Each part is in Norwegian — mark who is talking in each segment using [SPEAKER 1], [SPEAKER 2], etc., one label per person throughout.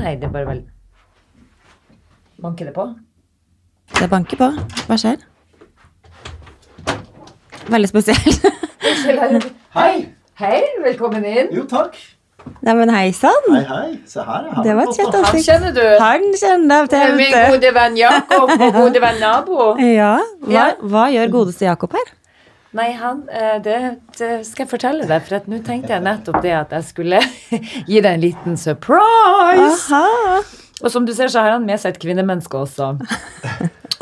[SPEAKER 1] Nei, det er bare vel Banker det på?
[SPEAKER 2] Det banker på. Hva skjer? Veldig spesielt.
[SPEAKER 1] Unnskyld, herre.
[SPEAKER 3] Hei!
[SPEAKER 1] Hei, velkommen inn.
[SPEAKER 3] Jo, takk.
[SPEAKER 2] Nei, men hei sann.
[SPEAKER 3] Hei, hei. Se her. ja. Her
[SPEAKER 2] Det
[SPEAKER 3] har
[SPEAKER 2] var et
[SPEAKER 3] vi fått
[SPEAKER 2] kjent
[SPEAKER 3] noe.
[SPEAKER 1] Han
[SPEAKER 2] ansikt.
[SPEAKER 1] kjenner du.
[SPEAKER 2] Han kjenner
[SPEAKER 1] Det er
[SPEAKER 2] deg
[SPEAKER 1] min
[SPEAKER 2] til
[SPEAKER 1] gode venn Jakob og gode venn nabo.
[SPEAKER 2] Ja. Hva,
[SPEAKER 1] Ja.
[SPEAKER 2] hva gjør godeste Jakob her?
[SPEAKER 1] Nei, han, eh, det, det skal jeg fortelle deg, for at nå tenkte jeg nettopp det at jeg skulle gi deg en liten
[SPEAKER 2] Ah.
[SPEAKER 1] surprise.
[SPEAKER 2] Aha.
[SPEAKER 1] Og som du ser, så har han med seg et kvinnemenneske også.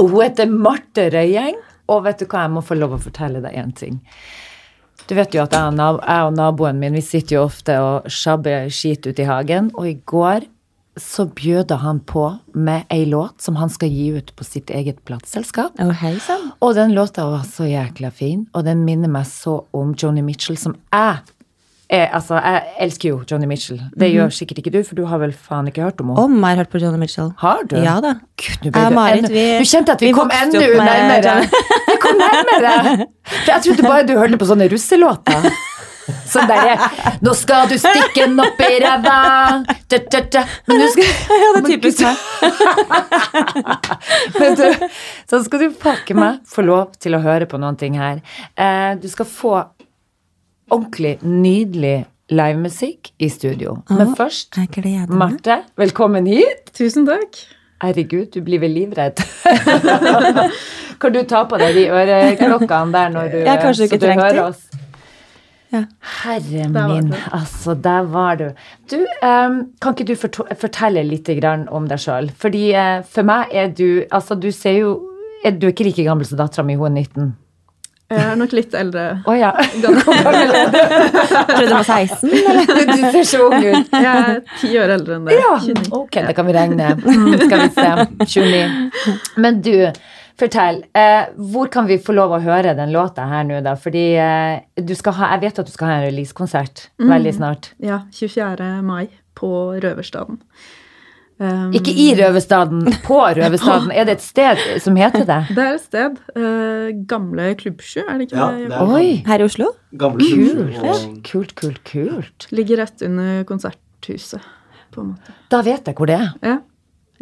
[SPEAKER 1] Hun heter Marte Røyeng, og vet du hva, jeg må få lov å fortelle deg én ting. Du vet jo at jeg og, nab jeg og naboen min vi sitter jo ofte og sjabber skit ut i hagen, og i går så bjøda han på med ei låt som han skal gi ut på sitt eget plateselskap.
[SPEAKER 2] Å, hei sann.
[SPEAKER 1] Og den låta var så jækla fin, og den minner meg så om Joni Mitchell, som jeg er, Altså, jeg elsker jo Joni Mitchell. Det gjør sikkert ikke du, for du har vel faen ikke hørt om henne?
[SPEAKER 2] Om jeg har hørt på Johnny Mitchell.
[SPEAKER 1] Har du?
[SPEAKER 2] Ja da.
[SPEAKER 1] Gud, nå ble
[SPEAKER 2] Jeg og
[SPEAKER 1] du
[SPEAKER 2] Marit,
[SPEAKER 1] enda-
[SPEAKER 2] vi-
[SPEAKER 1] Du kjente at vi,
[SPEAKER 2] vi
[SPEAKER 1] kom
[SPEAKER 2] vokste
[SPEAKER 1] enda
[SPEAKER 2] opp med
[SPEAKER 1] nærmere.
[SPEAKER 2] Johnny.
[SPEAKER 1] Vi kom nærmere. For jeg trodde bare du hørte på sånne russelåter. Sånn derre Nå skal du stikke den opp i ræva. Da, da, da. Men du skal
[SPEAKER 2] Ja, det er typisk meg.
[SPEAKER 1] Men du, så skal du pakke meg få lov til å høre på noen ting her. Eh, du skal få ordentlig nydelig livemusikk i studio. Men
[SPEAKER 2] Åh,
[SPEAKER 1] først,
[SPEAKER 2] Jeg gleder meg.
[SPEAKER 1] Marte, velkommen hit.
[SPEAKER 4] Tusen takk.
[SPEAKER 1] Herregud, du blir vel livredd. kan du ta på deg de øreklokkene der når du,
[SPEAKER 2] Jeg har kanskje
[SPEAKER 1] så
[SPEAKER 2] ikke
[SPEAKER 1] du
[SPEAKER 2] trengt
[SPEAKER 1] hører
[SPEAKER 2] de.
[SPEAKER 1] oss?
[SPEAKER 2] Ja.
[SPEAKER 1] Herre
[SPEAKER 4] var
[SPEAKER 1] min,
[SPEAKER 4] du.
[SPEAKER 1] altså, der var du. Du, ehm, kan ikke du forto- fortelle litt grann om deg sjøl? Fordi eh, for meg er du Altså, du ser jo er, Du er ikke like gammel som dattera mi, hun er 19.
[SPEAKER 4] Jeg er nok litt eldre.
[SPEAKER 1] Å ja.
[SPEAKER 2] Trodde du var 16?
[SPEAKER 1] Du ser så ung ut.
[SPEAKER 4] Jeg er ti år eldre enn det.
[SPEAKER 1] Ja, ok, det kan vi regne. Mm, skal vi se. 29. Men du, fortell. Eh, hvor kan vi få lov å høre den låta her nå, da? Fordi eh, du skal ha, jeg vet at du skal ha en releasekonsert
[SPEAKER 2] Mm.
[SPEAKER 1] veldig snart.
[SPEAKER 4] Ja, 24. mai på Røverstaden. Um,
[SPEAKER 1] Ikke i Røverstaden, på Røverstaden. Er det et sted som heter det?
[SPEAKER 4] Det er et sted. eh, gamle Klubbsjø, er det ikke
[SPEAKER 3] Ja,
[SPEAKER 4] det?
[SPEAKER 3] det er
[SPEAKER 1] Oi!
[SPEAKER 2] Her i Oslo?
[SPEAKER 3] gamle
[SPEAKER 1] Kult.
[SPEAKER 3] skjul og-
[SPEAKER 1] Kult, kult, kult.
[SPEAKER 4] Ligger rett under konserthuset, på en måte.
[SPEAKER 1] Da vet jeg hvor det er.
[SPEAKER 4] Ja.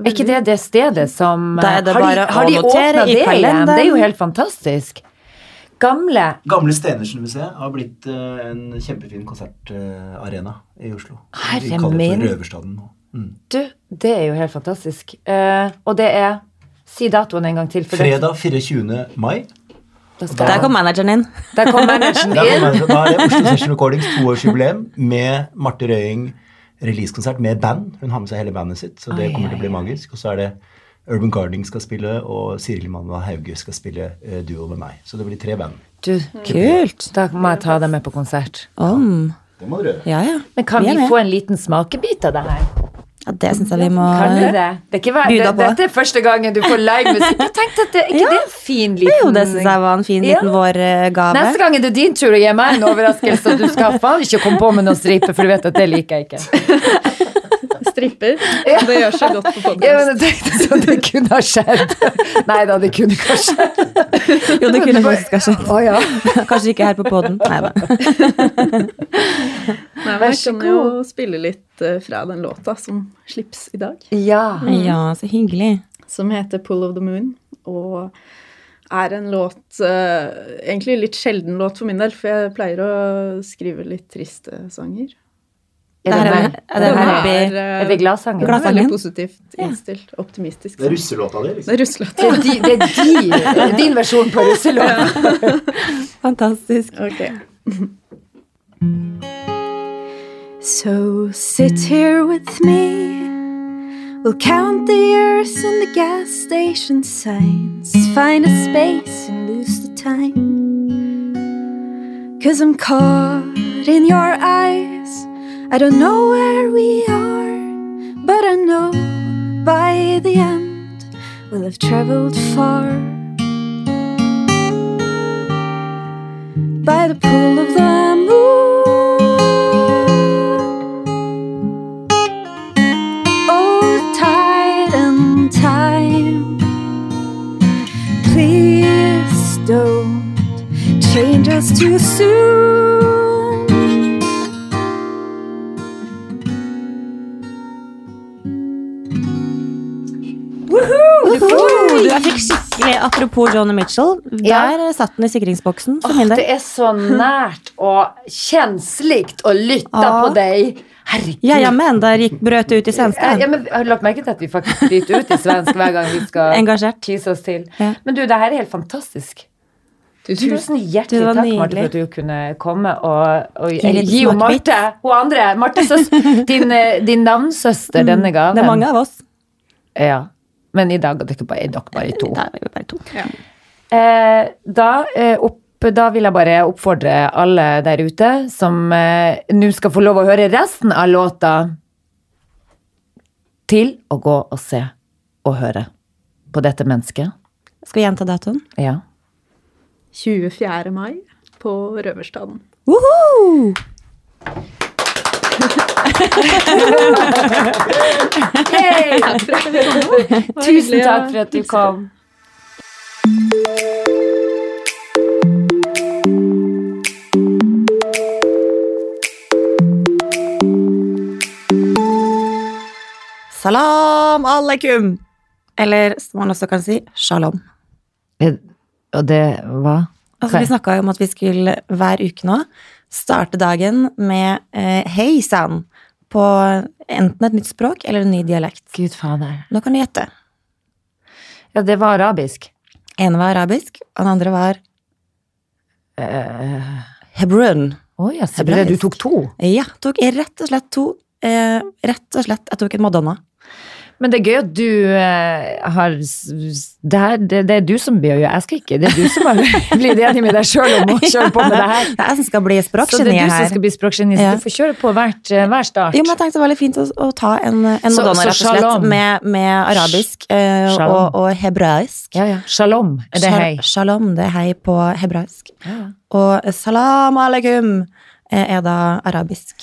[SPEAKER 1] Er ikke det det stedet som
[SPEAKER 2] Da er det
[SPEAKER 1] Har de,
[SPEAKER 2] bare
[SPEAKER 1] har
[SPEAKER 2] å
[SPEAKER 1] de
[SPEAKER 2] notere
[SPEAKER 1] åpnet
[SPEAKER 2] i
[SPEAKER 1] det igjen? Det er jo
[SPEAKER 2] kalenderen.
[SPEAKER 1] helt fantastisk. Gamle
[SPEAKER 3] Gamle Stenersen-museet har blitt eh, en kjempefin konsertarena eh, i Oslo.
[SPEAKER 1] Herre
[SPEAKER 3] Vi kaller det
[SPEAKER 1] min.
[SPEAKER 3] for Røverstaden nå. Mm.
[SPEAKER 1] Du, det er jo helt fantastisk. Eh, og det er Si datoen en gang til. For det-
[SPEAKER 3] Fredag 24. mai.
[SPEAKER 1] Da skal,
[SPEAKER 2] Der kom manageren inn.
[SPEAKER 1] der kom manageren
[SPEAKER 3] Da
[SPEAKER 1] inn.
[SPEAKER 3] kommer- da er det Oslo Session Recordings toårsjubileum med Marte Røying releasekonsert med band. Hun har med seg hele bandet sitt, så det
[SPEAKER 1] Oi,
[SPEAKER 3] kommer til å bli
[SPEAKER 1] oi, oi.
[SPEAKER 3] magisk. Og så er det Urban Gardening skal spille, og Siri Manna Hauge skal spille eh, duo med meg. Så det blir tre band.
[SPEAKER 1] Du,
[SPEAKER 2] Kult.
[SPEAKER 1] da må jeg ta deg med på konsert.
[SPEAKER 2] Om.
[SPEAKER 3] Det må dere gjøre.
[SPEAKER 2] Ja, ja.
[SPEAKER 1] Men kan
[SPEAKER 2] Vi er
[SPEAKER 1] vi
[SPEAKER 2] med.
[SPEAKER 1] få en liten smakebit av det her?
[SPEAKER 2] ja det syns jeg vi må
[SPEAKER 1] Kan du det? det, er ikke hver,
[SPEAKER 2] Bjuda
[SPEAKER 1] det
[SPEAKER 2] på.
[SPEAKER 1] dette er første gangen du får livemusikk. Jeg tenkte at det, ikke det er en fin liten
[SPEAKER 2] Jo, det syns jeg var en fin liten
[SPEAKER 1] Ja.
[SPEAKER 2] vårgave.
[SPEAKER 1] Neste gang er det din tur å gi meg en overraskelse, og du skal faen ikke komme på med noen striper, for du vet at det liker jeg ikke.
[SPEAKER 4] Stripper. Det gjør seg godt på
[SPEAKER 1] Ja,
[SPEAKER 4] podkast.
[SPEAKER 1] men jeg tenkte sånn, det kunne ha skjedd. Nei da, det kunne ikke ha skjedd.
[SPEAKER 2] Jo, det kunne faktisk ha skjedd.
[SPEAKER 1] Å, ja.
[SPEAKER 2] Kanskje ikke her på poden. Nei da.
[SPEAKER 4] Nei, men
[SPEAKER 1] Vær
[SPEAKER 4] jeg
[SPEAKER 1] så
[SPEAKER 4] kan jo spille litt eh, fra den låta som slips i dag.
[SPEAKER 1] ja.
[SPEAKER 2] Ja, så hyggelig.
[SPEAKER 4] som heter 'Pull of the Moon'. Og er en låt eh, Egentlig litt sjelden låt for min del, for jeg pleier å skrive litt triste sanger.
[SPEAKER 1] Er
[SPEAKER 2] Det her
[SPEAKER 1] det,
[SPEAKER 2] er,
[SPEAKER 1] meg?
[SPEAKER 2] er det her oppi
[SPEAKER 4] eh,
[SPEAKER 1] er det gladsangen?
[SPEAKER 2] Glad-
[SPEAKER 4] veldig
[SPEAKER 2] Gladsangen?
[SPEAKER 4] positivt innstilt. Optimistisk.
[SPEAKER 3] Det er
[SPEAKER 4] sang.
[SPEAKER 3] russelåta di, liksom.
[SPEAKER 4] Det er russelåt.
[SPEAKER 1] Det er, di, det er di, det er din versjon på russelåten.
[SPEAKER 2] Fantastisk.
[SPEAKER 4] Okay. So sit here with me. We'll count the years on the gas station signs. Find a space and lose the time. Cause I'm caught in your eyes. I don't know where we are, but I know by the end we'll have traveled far. by the pool of the moon. Oh, tide and time, please don't change us too soon.
[SPEAKER 2] Og du, jeg fikk skikkelig Apropos Joni Mitchell,
[SPEAKER 1] Ja.
[SPEAKER 2] der satt den i sikringsboksen for
[SPEAKER 1] Åh,
[SPEAKER 2] min del.
[SPEAKER 1] det er så nært og kjenslikt å lytte
[SPEAKER 2] Ja.
[SPEAKER 1] på deg. Herregud.
[SPEAKER 2] Ja, ja, men der gikk brøt det ut i svenska.
[SPEAKER 1] Ja, men Har du lagt merke til at vi faktisk bryter ut i svensk hver gang vi skal
[SPEAKER 2] Engasjert.
[SPEAKER 1] tease oss til?
[SPEAKER 2] Ja.
[SPEAKER 1] Men du, det her er helt fantastisk. Tusen hjertelig
[SPEAKER 2] Det var
[SPEAKER 1] takk, Marte,
[SPEAKER 2] nydelig.
[SPEAKER 1] for at du kunne komme og, og
[SPEAKER 2] Gi litt
[SPEAKER 1] gi jo
[SPEAKER 2] smakebit.
[SPEAKER 1] Marte Hun andre, Marte søs, din, eh, din navnsøster, denne gaven.
[SPEAKER 2] Mm. Det er mange av oss.
[SPEAKER 1] Ja. Men i dag er dere bare, er dere bare to.
[SPEAKER 2] Der er vi bare to.
[SPEAKER 1] Eh, da, eh, opp, da vil jeg bare oppfordre alle der ute som eh, nå skal få lov å høre resten av låta, til å gå og se og høre på dette mennesket.
[SPEAKER 2] Skal vi gjenta datoen?
[SPEAKER 1] Ja.
[SPEAKER 5] 24. mai på Røverstaden.
[SPEAKER 2] Woohoo!
[SPEAKER 1] Tusen takk for at du kom.
[SPEAKER 2] Salam aleikum! Eller som man også kan si, shalom.
[SPEAKER 1] Eh, Og det var
[SPEAKER 2] Altså,
[SPEAKER 1] Ok.
[SPEAKER 2] Vi snakka jo om at vi skulle hver uke nå starte dagen med eh, hei sann på enten et nytt språk eller en ny dialekt.
[SPEAKER 1] Gud fader.
[SPEAKER 2] Nå kan du gjette.
[SPEAKER 1] Ja, det var arabisk.
[SPEAKER 2] Ene var arabisk, og den andre var
[SPEAKER 1] Eh,
[SPEAKER 2] hebron.
[SPEAKER 1] Å ja, så ble det du tok
[SPEAKER 2] Hebraisk.
[SPEAKER 1] to.
[SPEAKER 2] Ja, tok jeg rett og slett to. Eh, rett og slett, Jeg tok en Madonna.
[SPEAKER 1] Men det er gøy at du eh, har s- s- det, her, det, det er du som blir jo Jeg skal ikke. Det er du som har blitt enig med deg sjøl om å kjøre på med det her.
[SPEAKER 2] Det er jeg som skal bli
[SPEAKER 1] Så det er
[SPEAKER 2] språkgeni
[SPEAKER 1] du som
[SPEAKER 2] her.
[SPEAKER 1] skal bli språkgeni. så
[SPEAKER 2] Ja.
[SPEAKER 1] Du får kjøre på hvert, eh, hver start.
[SPEAKER 2] Jo, men jeg tenkte det var litt fint å, å ta en, en
[SPEAKER 1] Så-
[SPEAKER 2] Madonna,
[SPEAKER 1] så
[SPEAKER 2] rett og slett,
[SPEAKER 1] shalom.
[SPEAKER 2] med, med arabisk eh,
[SPEAKER 1] Shalom.
[SPEAKER 2] og, og hebraisk.
[SPEAKER 1] ja, ja. Shalom. Er det
[SPEAKER 2] Shal-
[SPEAKER 1] hei?
[SPEAKER 2] Shalom, det er hei på hebraisk.
[SPEAKER 1] Ja.
[SPEAKER 2] Og salam aleikum eh, er da arabisk.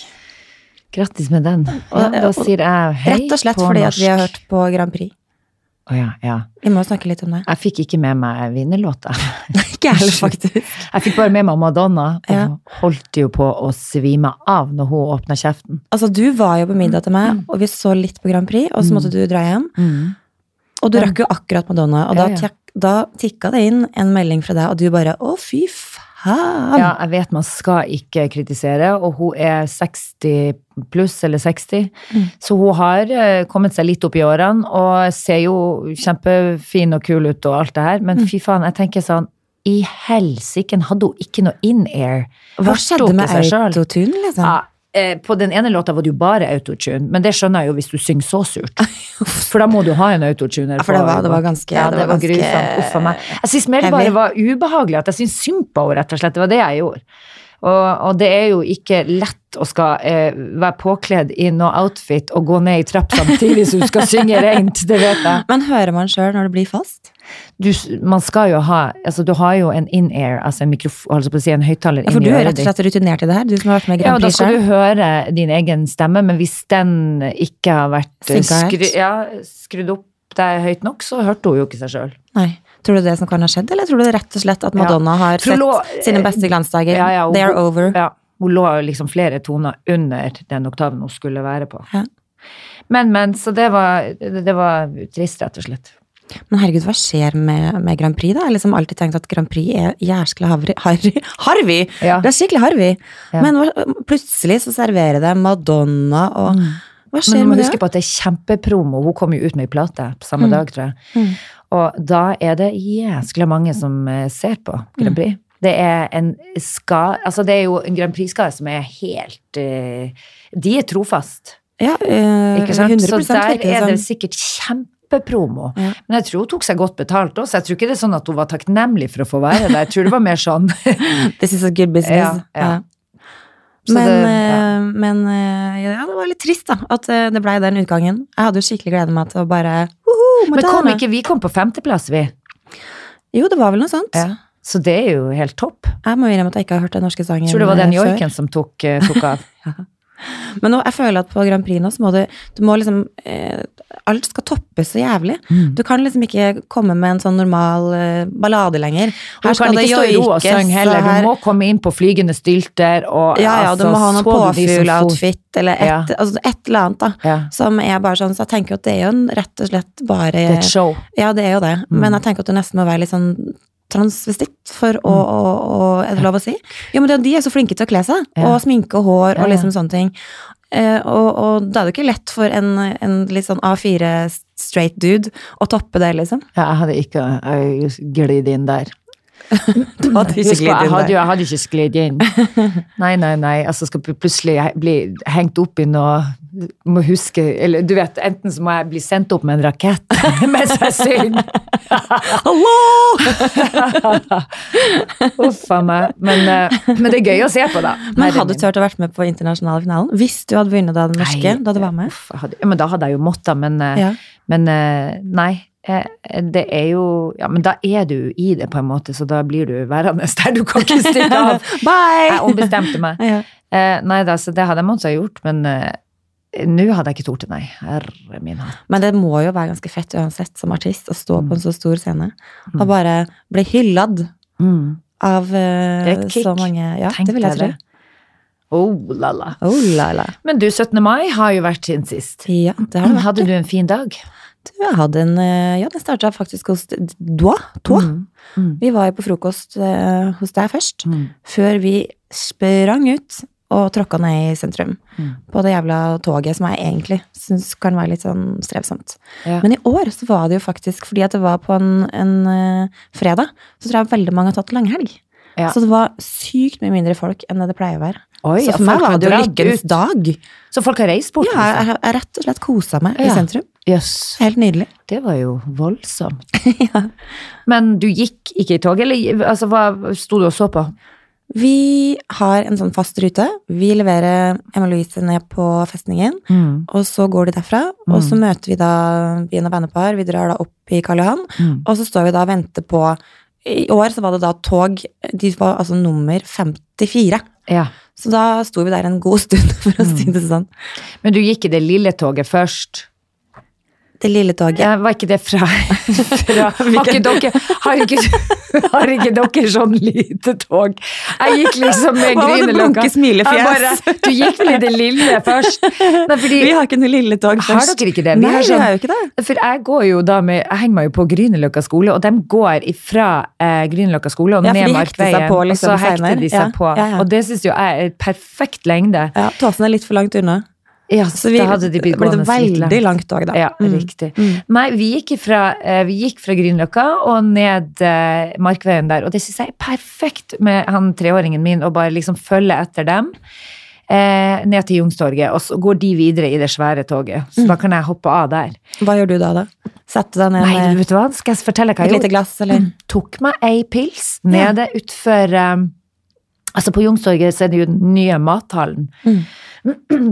[SPEAKER 1] Grattis med den. Ja, da
[SPEAKER 2] og-
[SPEAKER 1] sier jeg hei
[SPEAKER 2] Rett og slett
[SPEAKER 1] på
[SPEAKER 2] fordi
[SPEAKER 1] norsk.
[SPEAKER 2] at vi har hørt på Grand Prix.
[SPEAKER 1] Å ja, ja.
[SPEAKER 2] Vi må jo snakke litt om det.
[SPEAKER 1] Jeg fikk ikke med meg vinnerlåta.
[SPEAKER 2] Ikke
[SPEAKER 1] heller, faktisk. Jeg fikk bare med meg Madonna, og
[SPEAKER 2] Ja.
[SPEAKER 1] holdt jo på å svime av når hun åpna kjeften.
[SPEAKER 2] Altså, du var jo på middag til
[SPEAKER 1] Mm.
[SPEAKER 2] meg, og vi så litt på Grand Prix, og så måtte du dra hjem. Og du rakk jo akkurat Madonna, og
[SPEAKER 1] Ja,
[SPEAKER 2] da,
[SPEAKER 1] ja.
[SPEAKER 2] tek- da tikka det inn en melding fra deg, og du bare å, fy faen.
[SPEAKER 1] Ja, jeg vet man skal ikke kritisere, og hun er 60 pluss, eller 60,
[SPEAKER 2] Mm.
[SPEAKER 1] så hun har eh, kommet seg litt opp i årene, og ser jo kjempefin og kul ut og alt det her,
[SPEAKER 2] Mm.
[SPEAKER 1] men fy faen, jeg tenker sånn, i helsiken hadde hun ikke noe in-air. Hørte
[SPEAKER 2] Hva
[SPEAKER 1] hun
[SPEAKER 2] skjedde med
[SPEAKER 1] ikke seg selv?
[SPEAKER 2] autotune, liksom?
[SPEAKER 1] Ja, eh, på den ene låta var det jo bare autotune, men det skjønner jeg jo hvis du synger så surt. For da må du ha en autotuner.
[SPEAKER 2] Ja, for det var-
[SPEAKER 1] på-
[SPEAKER 2] det var ganske-
[SPEAKER 1] Ja, det,
[SPEAKER 2] det var
[SPEAKER 1] var
[SPEAKER 2] ganske
[SPEAKER 1] grusomt. Uff a meg. Jeg syns mer det bare
[SPEAKER 2] heavy.
[SPEAKER 1] var ubehagelig, at jeg syns synd på henne, rett og slett. Det var det jeg gjorde. Og, og det er jo ikke lett å skal eh, være påkledd i noe outfit og gå ned i trapp samtidig som du skal synge rent, det vet jeg.
[SPEAKER 2] Men hører man sjøl når det blir fast?
[SPEAKER 1] Du, s- man skal jo ha Altså, du har jo en in-air, altså en mikrofon, altså på å si en høyttaler
[SPEAKER 2] Ja,
[SPEAKER 1] inni
[SPEAKER 2] for du er
[SPEAKER 1] øret
[SPEAKER 2] rett og
[SPEAKER 1] ditt.
[SPEAKER 2] slett rutinert i det her, du som har vært med i
[SPEAKER 1] Ja, og
[SPEAKER 2] Grand
[SPEAKER 1] da
[SPEAKER 2] Prix
[SPEAKER 1] skal
[SPEAKER 2] sjøl.
[SPEAKER 1] du høre din egen stemme, men hvis den ikke har vært eh,
[SPEAKER 2] Synka helt.
[SPEAKER 1] skru, ja, skrudd opp deg høyt nok, så hørte hun jo ikke seg sjøl.
[SPEAKER 2] Nei. Tror du det som kan ha skjedd, eller tror du det rett og slett at Madonna har
[SPEAKER 1] Tror
[SPEAKER 2] sett
[SPEAKER 1] lo-
[SPEAKER 2] sine beste glansdager?
[SPEAKER 1] Ja, ja, hun-
[SPEAKER 2] They are over.
[SPEAKER 1] Ja, hun lå jo liksom flere toner under den oktaven hun skulle være på.
[SPEAKER 2] Ja.
[SPEAKER 1] Men, men, så det var, det det var trist, rett og slett.
[SPEAKER 2] Men herregud, hva skjer med, med Grand Prix, da? Jeg har liksom alltid tenkt at Grand Prix er jæskla harry. Harry!
[SPEAKER 1] Ja.
[SPEAKER 2] Det er skikkelig harry!
[SPEAKER 1] Ja.
[SPEAKER 2] Men hva- plutselig så serverer det Madonna og Hva
[SPEAKER 1] Mm. Men
[SPEAKER 2] skjer
[SPEAKER 1] du må
[SPEAKER 2] med
[SPEAKER 1] huske
[SPEAKER 2] det? Mm.
[SPEAKER 1] på at det er kjempepromo. Hun kom jo ut med ei plate på samme dag, tror jeg. Og da er det jæskla mange som eh, ser på Grand
[SPEAKER 2] Mm.
[SPEAKER 1] Prix. Det er en ska... Altså, det er jo en Grand Prix-skare som er helt eh, De er trofast,
[SPEAKER 2] Ja, eh,
[SPEAKER 1] ikke sant?
[SPEAKER 2] 100
[SPEAKER 1] Så der
[SPEAKER 2] virker
[SPEAKER 1] er det
[SPEAKER 2] det som.
[SPEAKER 1] sikkert kjempepromo.
[SPEAKER 2] sånn. Ja.
[SPEAKER 1] Men jeg tror hun tok seg godt betalt også. Jeg tror ikke det er sånn at hun var takknemlig for å få være der. Jeg tror det var mer sånn
[SPEAKER 2] This is a good business.
[SPEAKER 1] Ja, ja. Så
[SPEAKER 2] Men,
[SPEAKER 1] det-
[SPEAKER 2] eh, men eh, ja, det var litt trist, da. At eh, det blei den utgangen. Jeg hadde jo skikkelig gleda meg til å bare «Woho,
[SPEAKER 1] Men kom
[SPEAKER 2] Madonna!»
[SPEAKER 1] ikke Vi kom på femteplass, vi.
[SPEAKER 2] Jo, det var vel noe sånt.
[SPEAKER 1] Så det er jo helt topp.
[SPEAKER 2] Jeg må innrømme at jeg ikke har hørt den norske sangen
[SPEAKER 1] Jeg tror det var den
[SPEAKER 2] eh, før.
[SPEAKER 1] joiken som tok, eh, tok av.
[SPEAKER 2] Men nå, jeg føler at på Grand Prix nå så må du, du må liksom eh, Alt skal toppes så jævlig.
[SPEAKER 1] Mm.
[SPEAKER 2] Du kan liksom ikke komme med en sånn normal eh, ballade lenger.
[SPEAKER 1] Og du kan ikke stå i ro og
[SPEAKER 2] joikes,
[SPEAKER 1] synge heller.
[SPEAKER 2] og her-
[SPEAKER 1] Du må komme inn på flygende stylter og altså,
[SPEAKER 2] ja, ja, du må ha
[SPEAKER 1] så
[SPEAKER 2] noen
[SPEAKER 1] du de som for-
[SPEAKER 2] påfugloutfit eller et,
[SPEAKER 1] Ja.
[SPEAKER 2] altså et eller annet, da.
[SPEAKER 1] Ja.
[SPEAKER 2] Som er bare sånn, så jeg tenker jo at det er jo en, rett og slett bare
[SPEAKER 1] Det er et show.
[SPEAKER 2] Ja, det er jo det.
[SPEAKER 1] Mm.
[SPEAKER 2] Men jeg tenker at du nesten må være litt sånn transvestitt for å,
[SPEAKER 1] Mm.
[SPEAKER 2] å, å Er det lov å si? Jo, men det, de er så flinke til å kle seg.
[SPEAKER 1] Ja.
[SPEAKER 2] Og sminke og hår
[SPEAKER 1] Ja,
[SPEAKER 2] og
[SPEAKER 1] ja.
[SPEAKER 2] liksom sånne ting. Eh, og, og da er det jo ikke lett for en, en litt sånn A4 straight dude å toppe det, liksom.
[SPEAKER 1] Ja, jeg hadde ikke jeg glidd inn der.
[SPEAKER 2] Du hadde ikke
[SPEAKER 1] Husk på,
[SPEAKER 2] glidd inn
[SPEAKER 1] jeg hadde,
[SPEAKER 2] der.
[SPEAKER 1] jo- jeg hadde ikke sklidd inn. Nei, nei, nei. Altså, skal pl- plutselig he- bli hengt opp i noe Må huske Eller du vet, enten så må jeg bli sendt opp med en rakett mens jeg synger. Uff a meg. Men, eh, men det er gøy å se på, da.
[SPEAKER 2] Men
[SPEAKER 1] Herre
[SPEAKER 2] hadde
[SPEAKER 1] min.
[SPEAKER 2] du turt å vært med på internasjonale finalen? Hvis du hadde vunnet da den norske,
[SPEAKER 1] Nei,
[SPEAKER 2] da du var med?
[SPEAKER 1] uff, jeg hadde, ja, men da hadde jeg jo måttet, men, eh,
[SPEAKER 2] Ja.
[SPEAKER 1] men eh, nei. eh, Det er jo Ja, men da er du i det, på en måte, så da blir du værende der. Du kan ikke stikke av. Jeg
[SPEAKER 2] Bye!
[SPEAKER 1] ombestemte meg.
[SPEAKER 2] Ja.
[SPEAKER 1] Eh, Nei da, så det hadde jeg måttet ha gjort, men eh, nå hadde jeg ikke tort det, nei. Herre min hatt.
[SPEAKER 2] Men det må jo være ganske fett uansett som artist å stå på en så stor scene
[SPEAKER 1] Mm.
[SPEAKER 2] og bare bli hyllad Mm. av eh,
[SPEAKER 1] Det er et kick.
[SPEAKER 2] så mange Ja,
[SPEAKER 1] Tenkte
[SPEAKER 2] det vil jeg tro.
[SPEAKER 1] Oh, la, la.
[SPEAKER 2] Oh, la, la.
[SPEAKER 1] Men du, 17. mai har jo vært siden sist.
[SPEAKER 2] Ja, det har det vært.
[SPEAKER 1] Hadde du en fin dag?
[SPEAKER 2] Jeg hadde en, eh, ja, den starta faktisk hos Doa. Toa.
[SPEAKER 1] Mm.
[SPEAKER 2] Vi var jo på frokost eh, hos deg først,
[SPEAKER 1] Mm.
[SPEAKER 2] før vi sprang ut og tråkka ned i sentrum.
[SPEAKER 1] Mm.
[SPEAKER 2] På det jævla toget som jeg egentlig syns kan være litt sånn strevsomt.
[SPEAKER 1] Ja.
[SPEAKER 2] Men i år så var det jo faktisk fordi at det var på en, en eh, fredag, så tror jeg veldig mange har tatt langhelg.
[SPEAKER 1] Ja.
[SPEAKER 2] Så det var sykt mye mindre folk enn det det pleier å være.
[SPEAKER 1] Oi,
[SPEAKER 2] så
[SPEAKER 1] ja, folk
[SPEAKER 2] for meg
[SPEAKER 1] har
[SPEAKER 2] var det jo
[SPEAKER 1] dratt
[SPEAKER 2] lykkens
[SPEAKER 1] ut.
[SPEAKER 2] dag.
[SPEAKER 1] Så folk har reist bort?
[SPEAKER 2] Ja, jeg jeg har rett og slett kosa meg
[SPEAKER 1] Ja.
[SPEAKER 2] i sentrum.
[SPEAKER 1] liksom? Jøss.
[SPEAKER 2] Helt nydelig.
[SPEAKER 1] Det var jo voldsomt. Men du gikk ikke i tog, eller altså, hva sto du og så på?
[SPEAKER 2] Vi har en sånn fast rute. Vi leverer Emma Louise ned på festningen, og så går de derfra. Og så møter vi da byen og vennepar. Vi drar da opp i Karl Johan,
[SPEAKER 1] Mm.
[SPEAKER 2] og så står vi da og venter på I år så var det da tog De var altså nummer 54.
[SPEAKER 1] Ja.
[SPEAKER 2] Så da sto vi der en god stund, for å si det sånn.
[SPEAKER 1] Men du gikk i det lille toget først.
[SPEAKER 2] Det lille toget.
[SPEAKER 1] Ja, var ikke det fra, fra har, ikke dere, har, ikke, har ikke dere sånn lite tog? Jeg gikk liksom med
[SPEAKER 2] Hva var det
[SPEAKER 1] grinelokka.
[SPEAKER 2] blanke smilefjes?
[SPEAKER 1] Jeg bare, Du gikk vel i det lille først? Nei, fordi,
[SPEAKER 2] Vi har ikke noe lille tog
[SPEAKER 1] Har
[SPEAKER 2] først.
[SPEAKER 1] dere ikke det? Vi
[SPEAKER 2] Nei,
[SPEAKER 1] har
[SPEAKER 2] vi
[SPEAKER 1] sånn-
[SPEAKER 2] har jo ikke det.
[SPEAKER 1] for jeg går jo da med Jeg henger meg jo på Grünerløkka skole, og de går ifra eh, Grünerløkka skole og
[SPEAKER 2] Ja, for
[SPEAKER 1] ned
[SPEAKER 2] de hekter seg
[SPEAKER 1] Markveien.
[SPEAKER 2] på liksom
[SPEAKER 1] og så hekter de
[SPEAKER 2] senere. Ja,
[SPEAKER 1] seg på.
[SPEAKER 2] ja, ja.
[SPEAKER 1] Og det syns jo jeg er perfekt lengde.
[SPEAKER 2] Ja, Tåsen er litt for langt unna.
[SPEAKER 1] Ja,
[SPEAKER 2] Så vi,
[SPEAKER 1] da hadde de blitt
[SPEAKER 2] ble det
[SPEAKER 1] gående litt langt.
[SPEAKER 2] veldig langt tog, da.
[SPEAKER 1] Ja,
[SPEAKER 2] Mm.
[SPEAKER 1] riktig. Nei, vi gikk fra, vi gikk fra Grünerløkka og ned eh, Markveien der, og det syns jeg er perfekt med han treåringen min, å bare liksom følge etter dem. Eh, ned til Jungstorget, og så går de videre i det svære toget.
[SPEAKER 2] Mm.
[SPEAKER 1] Så da kan jeg hoppe av der.
[SPEAKER 2] Hva gjør du da, da? Sette deg ned
[SPEAKER 1] Nei,
[SPEAKER 2] med
[SPEAKER 1] vet du hva? Skal jeg fortelle hva
[SPEAKER 2] et
[SPEAKER 1] jeg gjorde?
[SPEAKER 2] lite glass, eller?
[SPEAKER 1] tok meg ei pils nede utfor eh, Altså på Youngstorget så er det jo den nye mathallen.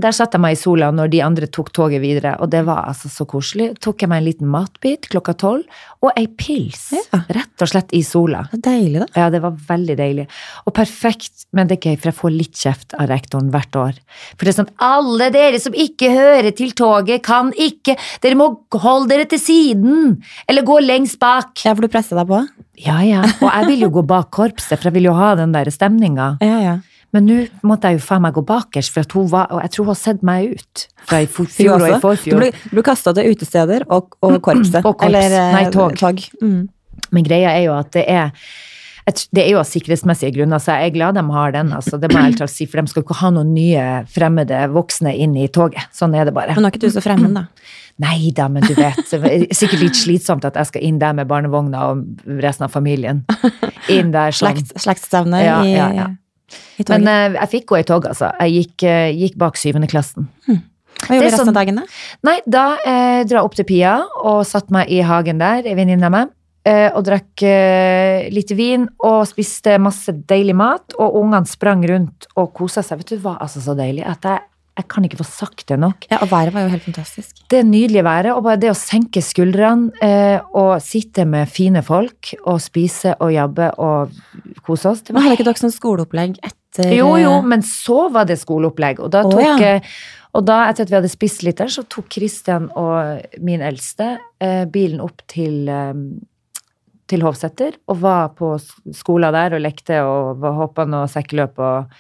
[SPEAKER 1] Der satt jeg meg i sola når de andre tok toget videre, og det var altså så koselig. Tok jeg meg en liten matbit klokka tolv, og ei pils.
[SPEAKER 2] Ja.
[SPEAKER 1] Rett og slett i sola.
[SPEAKER 2] Det er deilig, da.
[SPEAKER 1] Ja, det var veldig deilig. Og perfekt, men det er gøy, for jeg får litt kjeft av rektoren hvert år. For det er sånn, alle dere som ikke hører til toget, kan ikke Dere må holde dere til siden! Eller gå lengst bak!
[SPEAKER 2] Ja, for du presser deg på?
[SPEAKER 1] Ja, ja. Og jeg vil jo gå bak korpset, for jeg vil jo ha den der stemninga.
[SPEAKER 2] Ja, ja.
[SPEAKER 1] Men nå måtte jeg jo faen meg gå bakerst, for at hun var, og jeg tror hun har sett meg ut fra i for- fjor og i
[SPEAKER 2] altså. Du
[SPEAKER 1] forfjor.
[SPEAKER 2] blir, du blir kasta til utesteder og, Mm, og korpset.
[SPEAKER 1] Og korps.
[SPEAKER 2] Eller eh,
[SPEAKER 1] Nei, tog.
[SPEAKER 2] Mm.
[SPEAKER 1] Men greia er jo at det er jeg tr- det er jo av sikkerhetsmessige grunner, så jeg er glad de har den. altså, det må jeg helt klart si, For de skal jo ikke ha noen nye fremmede voksne inn i toget. Sånn er det bare.
[SPEAKER 2] Men nå er ikke du så fremmed, da.
[SPEAKER 1] Nei da, men du vet. Det er sikkert litt slitsomt at jeg skal inn der med barnevogna og resten av familien. Inn der sånn.
[SPEAKER 2] Slekt, Slektsstevne
[SPEAKER 1] Ja,
[SPEAKER 2] i,
[SPEAKER 1] ja, ja.
[SPEAKER 2] i toget.
[SPEAKER 1] Men eh, jeg fikk gå i tog, altså. Jeg gikk, eh, gikk bak syvende klassen.
[SPEAKER 2] Hva gjorde
[SPEAKER 1] det
[SPEAKER 2] du
[SPEAKER 1] er
[SPEAKER 2] resten
[SPEAKER 1] sånn-
[SPEAKER 2] av dagen, da?
[SPEAKER 1] Nei, da eh, dra opp til Pia og satt meg i hagen der, en venninne av meg, eh, og drakk eh, litt vin og spiste masse deilig mat, og ungene sprang rundt og kosa seg. Vet du hva, altså så deilig at jeg Jeg kan ikke få sagt det nok.
[SPEAKER 2] Ja, og været var jo helt fantastisk.
[SPEAKER 1] Det nydelige været, og bare det å senke skuldrene eh, og sitte med fine folk og spise og jabbe og kose oss. Det
[SPEAKER 2] Men
[SPEAKER 1] var
[SPEAKER 2] hadde ikke dere sånn skoleopplegg etter
[SPEAKER 1] Jo, jo, men så var det skoleopplegg. Og da,
[SPEAKER 2] Eh, Å,
[SPEAKER 1] tok,
[SPEAKER 2] ja.
[SPEAKER 1] eh, og da etter at vi hadde spist litt der, så tok Kristian og min eldste eh, bilen opp til, eh, til Hovseter og var på s- skolen der og lekte og var- hoppa noe sekkeløp og,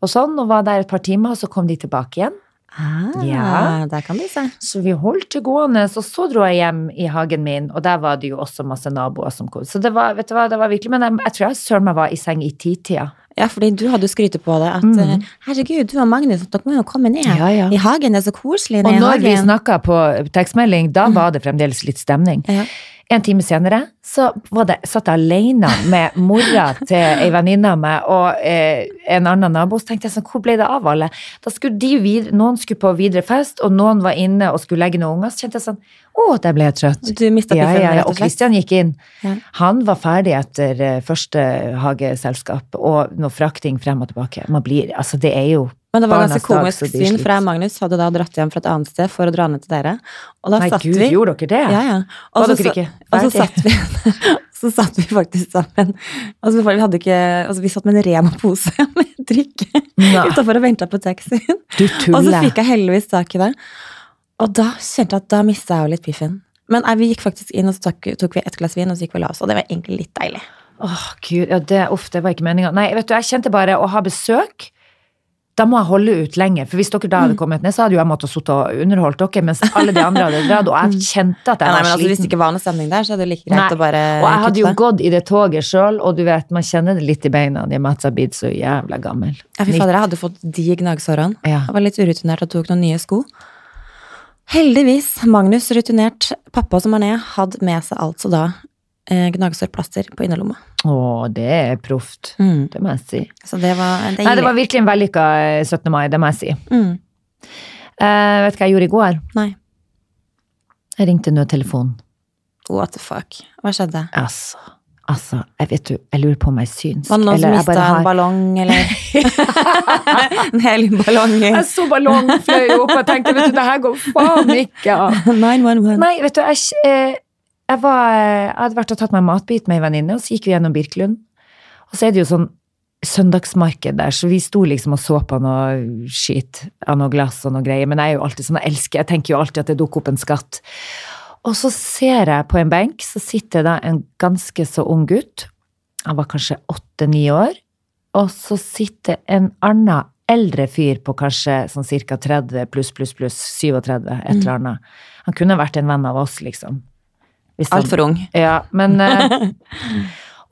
[SPEAKER 1] og sånn. Og var der et par timer, og så kom de tilbake igjen.
[SPEAKER 2] Ah,
[SPEAKER 1] Ja.
[SPEAKER 2] Der kan du se.
[SPEAKER 1] Så vi holdt det gående, og så dro jeg hjem i hagen min, og der var det jo også masse naboer som kom. Så det var, vet du hva, det var virkelig Men jeg, jeg tror jeg søren meg var i seng i titida.
[SPEAKER 2] Ja, fordi du hadde jo skrytet på det at
[SPEAKER 1] Mm.
[SPEAKER 2] eh, herregud, du og Magnus, dere må jo komme ned
[SPEAKER 1] Ja, ja.
[SPEAKER 2] i hagen. Det er så koselig
[SPEAKER 1] Og
[SPEAKER 2] nede i
[SPEAKER 1] når vi
[SPEAKER 2] hagen.
[SPEAKER 1] snakka på tekstmelding, da var det fremdeles litt stemning.
[SPEAKER 2] Mm. Ja.
[SPEAKER 1] En time senere så var det, satt jeg alene med mora til ei venninne av meg og eh, en annen nabo. Så tenkte jeg sånn, hvor ble det av alle? Da skulle de videre, Noen skulle på videre fest, og noen var inne og skulle legge noen unger. Så kjente jeg sånn, å, der ble jeg trøtt.
[SPEAKER 2] Du mistet
[SPEAKER 1] Ja,
[SPEAKER 2] piffen,
[SPEAKER 1] ja, ja.
[SPEAKER 2] rett og
[SPEAKER 1] Og
[SPEAKER 2] slett.
[SPEAKER 1] Kristian gikk inn.
[SPEAKER 2] Ja.
[SPEAKER 1] Han var ferdig etter eh, første hageselskap, og noe frakting frem og tilbake. Man blir, altså det er jo
[SPEAKER 2] Men det var
[SPEAKER 1] Barnas
[SPEAKER 2] ganske
[SPEAKER 1] dag, så
[SPEAKER 2] komisk
[SPEAKER 1] de
[SPEAKER 2] syn, for jeg
[SPEAKER 1] sliter.
[SPEAKER 2] og Magnus hadde da dratt hjem fra et annet sted for å dra ned til dere. Og da
[SPEAKER 1] Nei,
[SPEAKER 2] satt
[SPEAKER 1] gud,
[SPEAKER 2] vi
[SPEAKER 1] gjorde dere det?
[SPEAKER 2] Ja, ja.
[SPEAKER 1] Var
[SPEAKER 2] Og så,
[SPEAKER 1] dere ikke
[SPEAKER 2] og så
[SPEAKER 1] ferdig?
[SPEAKER 2] satt vi Så satt vi faktisk sammen. Og så vi hadde ikke Altså, vi satt med en Rema-pose med drikke
[SPEAKER 1] Nei.
[SPEAKER 2] utafor og venta på taxien.
[SPEAKER 1] Du
[SPEAKER 2] Og så
[SPEAKER 1] tuller.
[SPEAKER 2] fikk jeg heldigvis tak i det. Og da kjente jeg at da mista jeg jo litt piffen. Men nei, vi gikk faktisk inn, og så tok, tok vi et glass vin, og så gikk vi og la oss. Og det var egentlig litt deilig.
[SPEAKER 1] Åh, gud, ja, det, uff, det var ikke meninga. Nei, vet du, jeg kjente bare å ha besøk. Da må jeg holde ut lenger, for hvis dere da
[SPEAKER 2] Mm.
[SPEAKER 1] hadde kommet ned, så hadde jo jeg måttet sitte og underholdt dere, mens alle de andre hadde dratt, og jeg kjente at jeg
[SPEAKER 2] Mm. Ja, nei,
[SPEAKER 1] var
[SPEAKER 2] men altså, Hvis det
[SPEAKER 1] sliten.
[SPEAKER 2] ikke var noe stemning der, så er det like greit
[SPEAKER 1] Nei,
[SPEAKER 2] å bare
[SPEAKER 1] Og jeg hadde jo
[SPEAKER 2] kutte.
[SPEAKER 1] gått i det toget sjøl, og du vet, man kjenner det litt i beina i og med at jeg har blitt så jævla gammel.
[SPEAKER 2] Ja, fy fader, jeg hadde fått de gnagsårene.
[SPEAKER 1] Ja.
[SPEAKER 2] Jeg var litt urutinert og tok noen nye sko. Heldigvis, Magnus, rutinert pappa som er ned, hadde med seg altså da eh, gnagsårplaster på innerlomma.
[SPEAKER 1] Å, det er proft. Det må jeg si.
[SPEAKER 2] Så det var det
[SPEAKER 1] Mm. Nei, det var virkelig en vellykka eh, 17. mai, det må jeg si.
[SPEAKER 2] mm.
[SPEAKER 1] Eh, vet du hva jeg gjorde i går?
[SPEAKER 2] Nei.
[SPEAKER 1] Jeg ringte nødtelefonen.
[SPEAKER 2] What the fuck? Hva skjedde?
[SPEAKER 1] Altså, altså, jeg vet du, jeg lurer på om jeg er synsk.
[SPEAKER 2] Var det noen som
[SPEAKER 1] eller jeg
[SPEAKER 2] mista
[SPEAKER 1] bare har-
[SPEAKER 2] en ballong, eller En hel ballong i
[SPEAKER 1] Jeg så ballongen fløy opp og tenkte vet du, det her går faen ikke av.
[SPEAKER 2] 911.
[SPEAKER 1] Altså, Nei, vet du, jeg, eh, jeg, var, eh, jeg hadde vært og tatt meg en matbit med en venninne, og så gikk vi gjennom Birkelund. Og så er det jo sånn søndagsmarked der, så vi sto liksom og så på noe skitt av noe glass og noe greier. Men jeg er jo alltid sånn, jeg elsker, jeg tenker jo alltid at det dukker opp en skatt. Og så ser jeg på en benk, så sitter da en ganske så ung gutt. Han var kanskje åtte-ni år. Og så sitter en annen eldre fyr på kanskje sånn cirka 30 pluss, pluss, pluss, 37, et eller annet. Han kunne vært en venn av oss, liksom. Hvis han-
[SPEAKER 2] Altfor ung.
[SPEAKER 1] ja, men eh,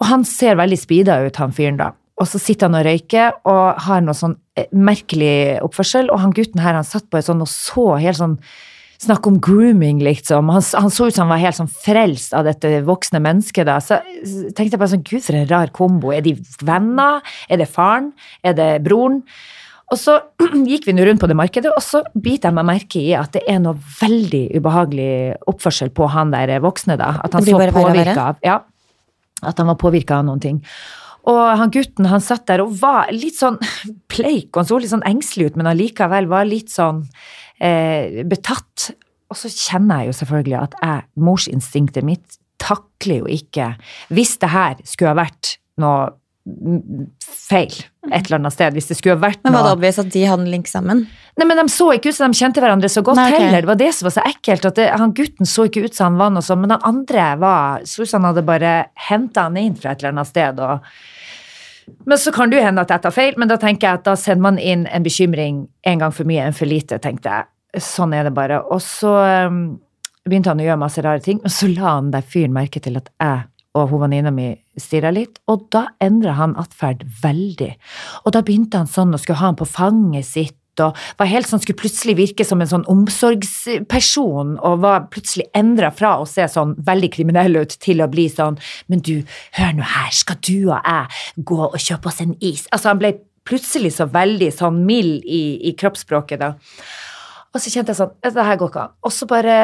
[SPEAKER 1] Og han ser veldig speeda ut, han fyren, da. Og så sitter han og røyker og har noe sånn eh, merkelig oppførsel. Og han gutten her, han satt på et sånn og så helt sånn Snakk om grooming, liksom. Han, s- han så ut som han var helt sånn frelst av dette voksne mennesket, da. Så s- tenkte jeg bare sånn, gud, for en rar kombo. Er de venner? Er det faren? Er det broren? Og så gikk vi nå rundt på det markedet, og så biter jeg meg merke i at det er noe veldig ubehagelig oppførsel på han der voksne, da. At han
[SPEAKER 2] Det
[SPEAKER 1] så
[SPEAKER 2] blir bare verre og verre.
[SPEAKER 1] påvirka av Ja. At han var påvirka av noen ting. Og han gutten, han satt der og var litt sånn pleik, og han så litt sånn engstelig ut, men allikevel var litt sånn eh, betatt. Og så kjenner jeg jo selvfølgelig at jeg, morsinstinktet mitt takler jo ikke Hvis det her skulle ha vært noe mm, feil et eller annet sted, hvis det skulle ha vært
[SPEAKER 2] Men var det
[SPEAKER 1] noe
[SPEAKER 2] obvious at de hadde en link sammen?
[SPEAKER 1] Nei, men De så ikke ut som de kjente hverandre så godt
[SPEAKER 2] Nei, ok.
[SPEAKER 1] heller. Det var det som var så ekkelt. at det, han Gutten så ikke ut som han var noe sånn, men den andre var så ut som han hadde bare henta han inn fra et eller annet sted. og... Men så kan det jo hende at jeg tar feil, men da tenker jeg at da sender man inn en bekymring en gang for mye enn for lite, tenkte jeg. Sånn er det bare. Og så um, begynte han å gjøre masse rare ting, og så la han der fyren merke til at jeg og hun venninna mi stirra litt, og da endra han atferd veldig. Og da begynte han sånn og skulle ha han på fanget sitt. Og var helt sånn, skulle plutselig virke som en sånn omsorgsperson, og var plutselig endra fra å se sånn veldig kriminell ut til å bli sånn Men du, hør nå her, skal du og jeg gå og kjøpe oss en is? Altså, han ble plutselig så veldig sånn mild i, i kroppsspråket, da. Og så kjente jeg sånn, det her går ikke an. Og så bare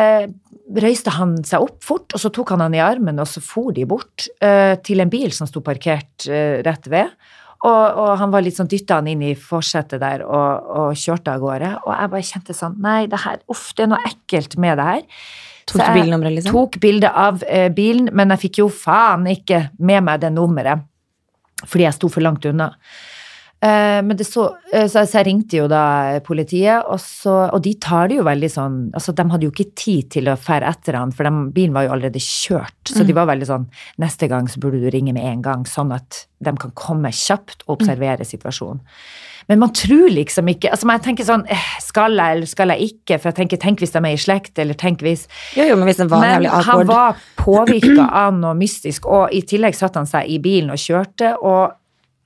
[SPEAKER 1] røyste han seg opp fort, og så tok han han i armen, og så for de bort eh, til en bil som sto parkert eh, rett ved. Og, og han var litt sånn dytta han inn i forsetet der og, og kjørte av gårde. Og jeg bare kjente sånn Nei, det her, uff, det er noe ekkelt med det her.
[SPEAKER 2] Tok
[SPEAKER 1] Så
[SPEAKER 2] du
[SPEAKER 1] jeg
[SPEAKER 2] bilnummeret, liksom?
[SPEAKER 1] Tok bilde av eh, bilen, men jeg fikk jo faen ikke med meg det nummeret. Fordi jeg sto for langt unna. Eh, men det så, eh, så, så jeg ringte jo da politiet, og, så, og de tar det jo veldig sånn altså De hadde jo ikke tid til å fære etter han, for dem- bilen var jo allerede kjørt. Så de var veldig sånn Neste gang så burde du ringe med en gang, sånn at de kan komme kjapt og observere situasjonen. Men man tror liksom ikke altså men jeg tenker sånn, eh, Skal jeg, eller skal jeg ikke? For jeg tenker, tenk hvis de er i slekt, eller tenk hvis
[SPEAKER 2] Jo, jo, men hvis den var
[SPEAKER 1] men
[SPEAKER 2] jævlig
[SPEAKER 1] han
[SPEAKER 2] awkward
[SPEAKER 1] var påvirka av noe mystisk, og i tillegg satte han seg i bilen og kjørte, og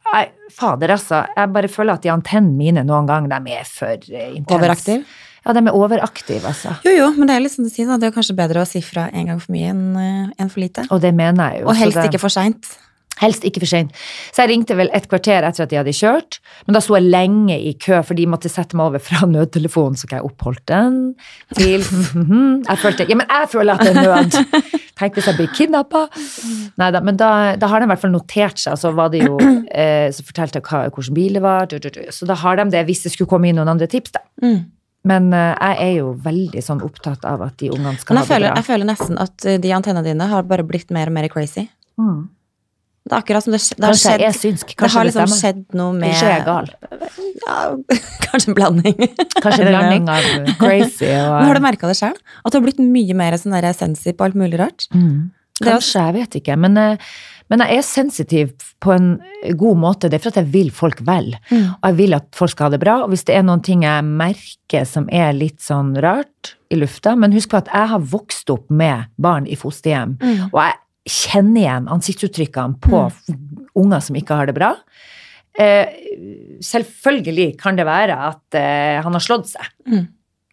[SPEAKER 1] Nei, fader, altså. Jeg bare føler at de antennene mine noen gang, de er for eh, intense.
[SPEAKER 2] Overaktiv?
[SPEAKER 1] Ja, de er overaktive, altså.
[SPEAKER 2] Jo, jo, men det er litt sånn å si, da. Det er kanskje bedre å si fra en gang for mye enn eh, en for lite.
[SPEAKER 1] Og det mener jeg jo.
[SPEAKER 2] Og
[SPEAKER 1] så
[SPEAKER 2] helst
[SPEAKER 1] det-
[SPEAKER 2] ikke for seint.
[SPEAKER 1] Helst ikke for sent. Så jeg ringte vel et kvarter etter at de hadde kjørt, men da sto jeg lenge i kø, for de måtte sette meg over fra nødtelefonen, så ikke jeg oppholdt den, til mhm, Jeg følte Ja, men jeg føler at det er nød! Tenk hvis jeg blir kidnappa! Nei da, men da, da har de i hvert fall notert seg, og så var det jo eh, Så fortalte jeg hva, hvilken bil det var, du, du, du. så da har de det, hvis det skulle komme inn noen andre tips, da.
[SPEAKER 2] Mm.
[SPEAKER 1] Men eh, jeg er jo veldig sånn opptatt av at de ungene skal
[SPEAKER 2] Men
[SPEAKER 1] ha
[SPEAKER 2] jeg føler,
[SPEAKER 1] det bra.
[SPEAKER 2] jeg føler nesten at eh, de antennene dine har bare blitt mer og mer crazy.
[SPEAKER 1] Mm.
[SPEAKER 2] Det er akkurat som det, det har
[SPEAKER 1] Kanskje
[SPEAKER 2] skjedd
[SPEAKER 1] jeg er synsk,
[SPEAKER 2] Det
[SPEAKER 1] kanskje
[SPEAKER 2] har
[SPEAKER 1] det,
[SPEAKER 2] liksom
[SPEAKER 1] stemmer.
[SPEAKER 2] skjedd noe med
[SPEAKER 1] Kanskje jeg er gal.
[SPEAKER 2] Ja, kanskje en blanding.
[SPEAKER 1] Kanskje en
[SPEAKER 2] Eller noe.
[SPEAKER 1] blanding av crazy og
[SPEAKER 2] Men har du merka det sjøl? At du har blitt mye mer sånn der sensitiv på alt mulig rart?
[SPEAKER 1] Mm.
[SPEAKER 2] Det er jo-
[SPEAKER 1] Kanskje, jeg vet ikke. Men, eh, men jeg er sensitiv på en god måte. Det er for at jeg vil folk vel.
[SPEAKER 2] Mm.
[SPEAKER 1] Og jeg vil at folk skal ha det bra. Og hvis det er noen ting jeg merker som er litt sånn rart i lufta Men husk på at jeg har vokst opp med barn i fosterhjem. Og jeg kjenner igjen ansiktsuttrykkene på f- unger som ikke har det bra. Eh, selvfølgelig kan det være at eh, han har slått seg. Mm.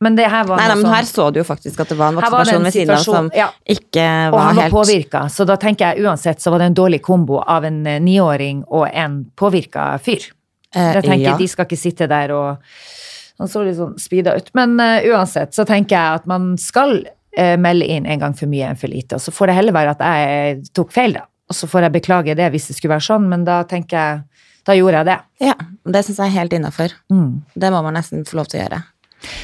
[SPEAKER 1] Men det her var
[SPEAKER 2] Nei, nei,
[SPEAKER 1] noe
[SPEAKER 2] men
[SPEAKER 1] sånn-
[SPEAKER 2] her så du jo faktisk at det var en
[SPEAKER 1] Her
[SPEAKER 2] voksen
[SPEAKER 1] var det en
[SPEAKER 2] person ved siden av som
[SPEAKER 1] situasjon- ja.
[SPEAKER 2] ikke
[SPEAKER 1] Og
[SPEAKER 2] var
[SPEAKER 1] han var
[SPEAKER 2] helt
[SPEAKER 1] påvirka, så da tenker jeg uansett så var det en dårlig kombo av en eh, niåring og en påvirka fyr.
[SPEAKER 2] Eh,
[SPEAKER 1] Jeg tenker
[SPEAKER 2] ja.
[SPEAKER 1] De skal ikke sitte der og Han så litt sånn speeda ut. Men eh, uansett så tenker jeg at man skal eh, melde inn en gang for mye enn for lite. Og så får det heller være at jeg eh, tok feil, da. Og så får jeg beklage det hvis det skulle være sånn, men da tenker jeg Da gjorde jeg det.
[SPEAKER 2] Ja, det syns jeg er helt innafor.
[SPEAKER 1] Mm.
[SPEAKER 2] Det må man nesten få lov til å gjøre.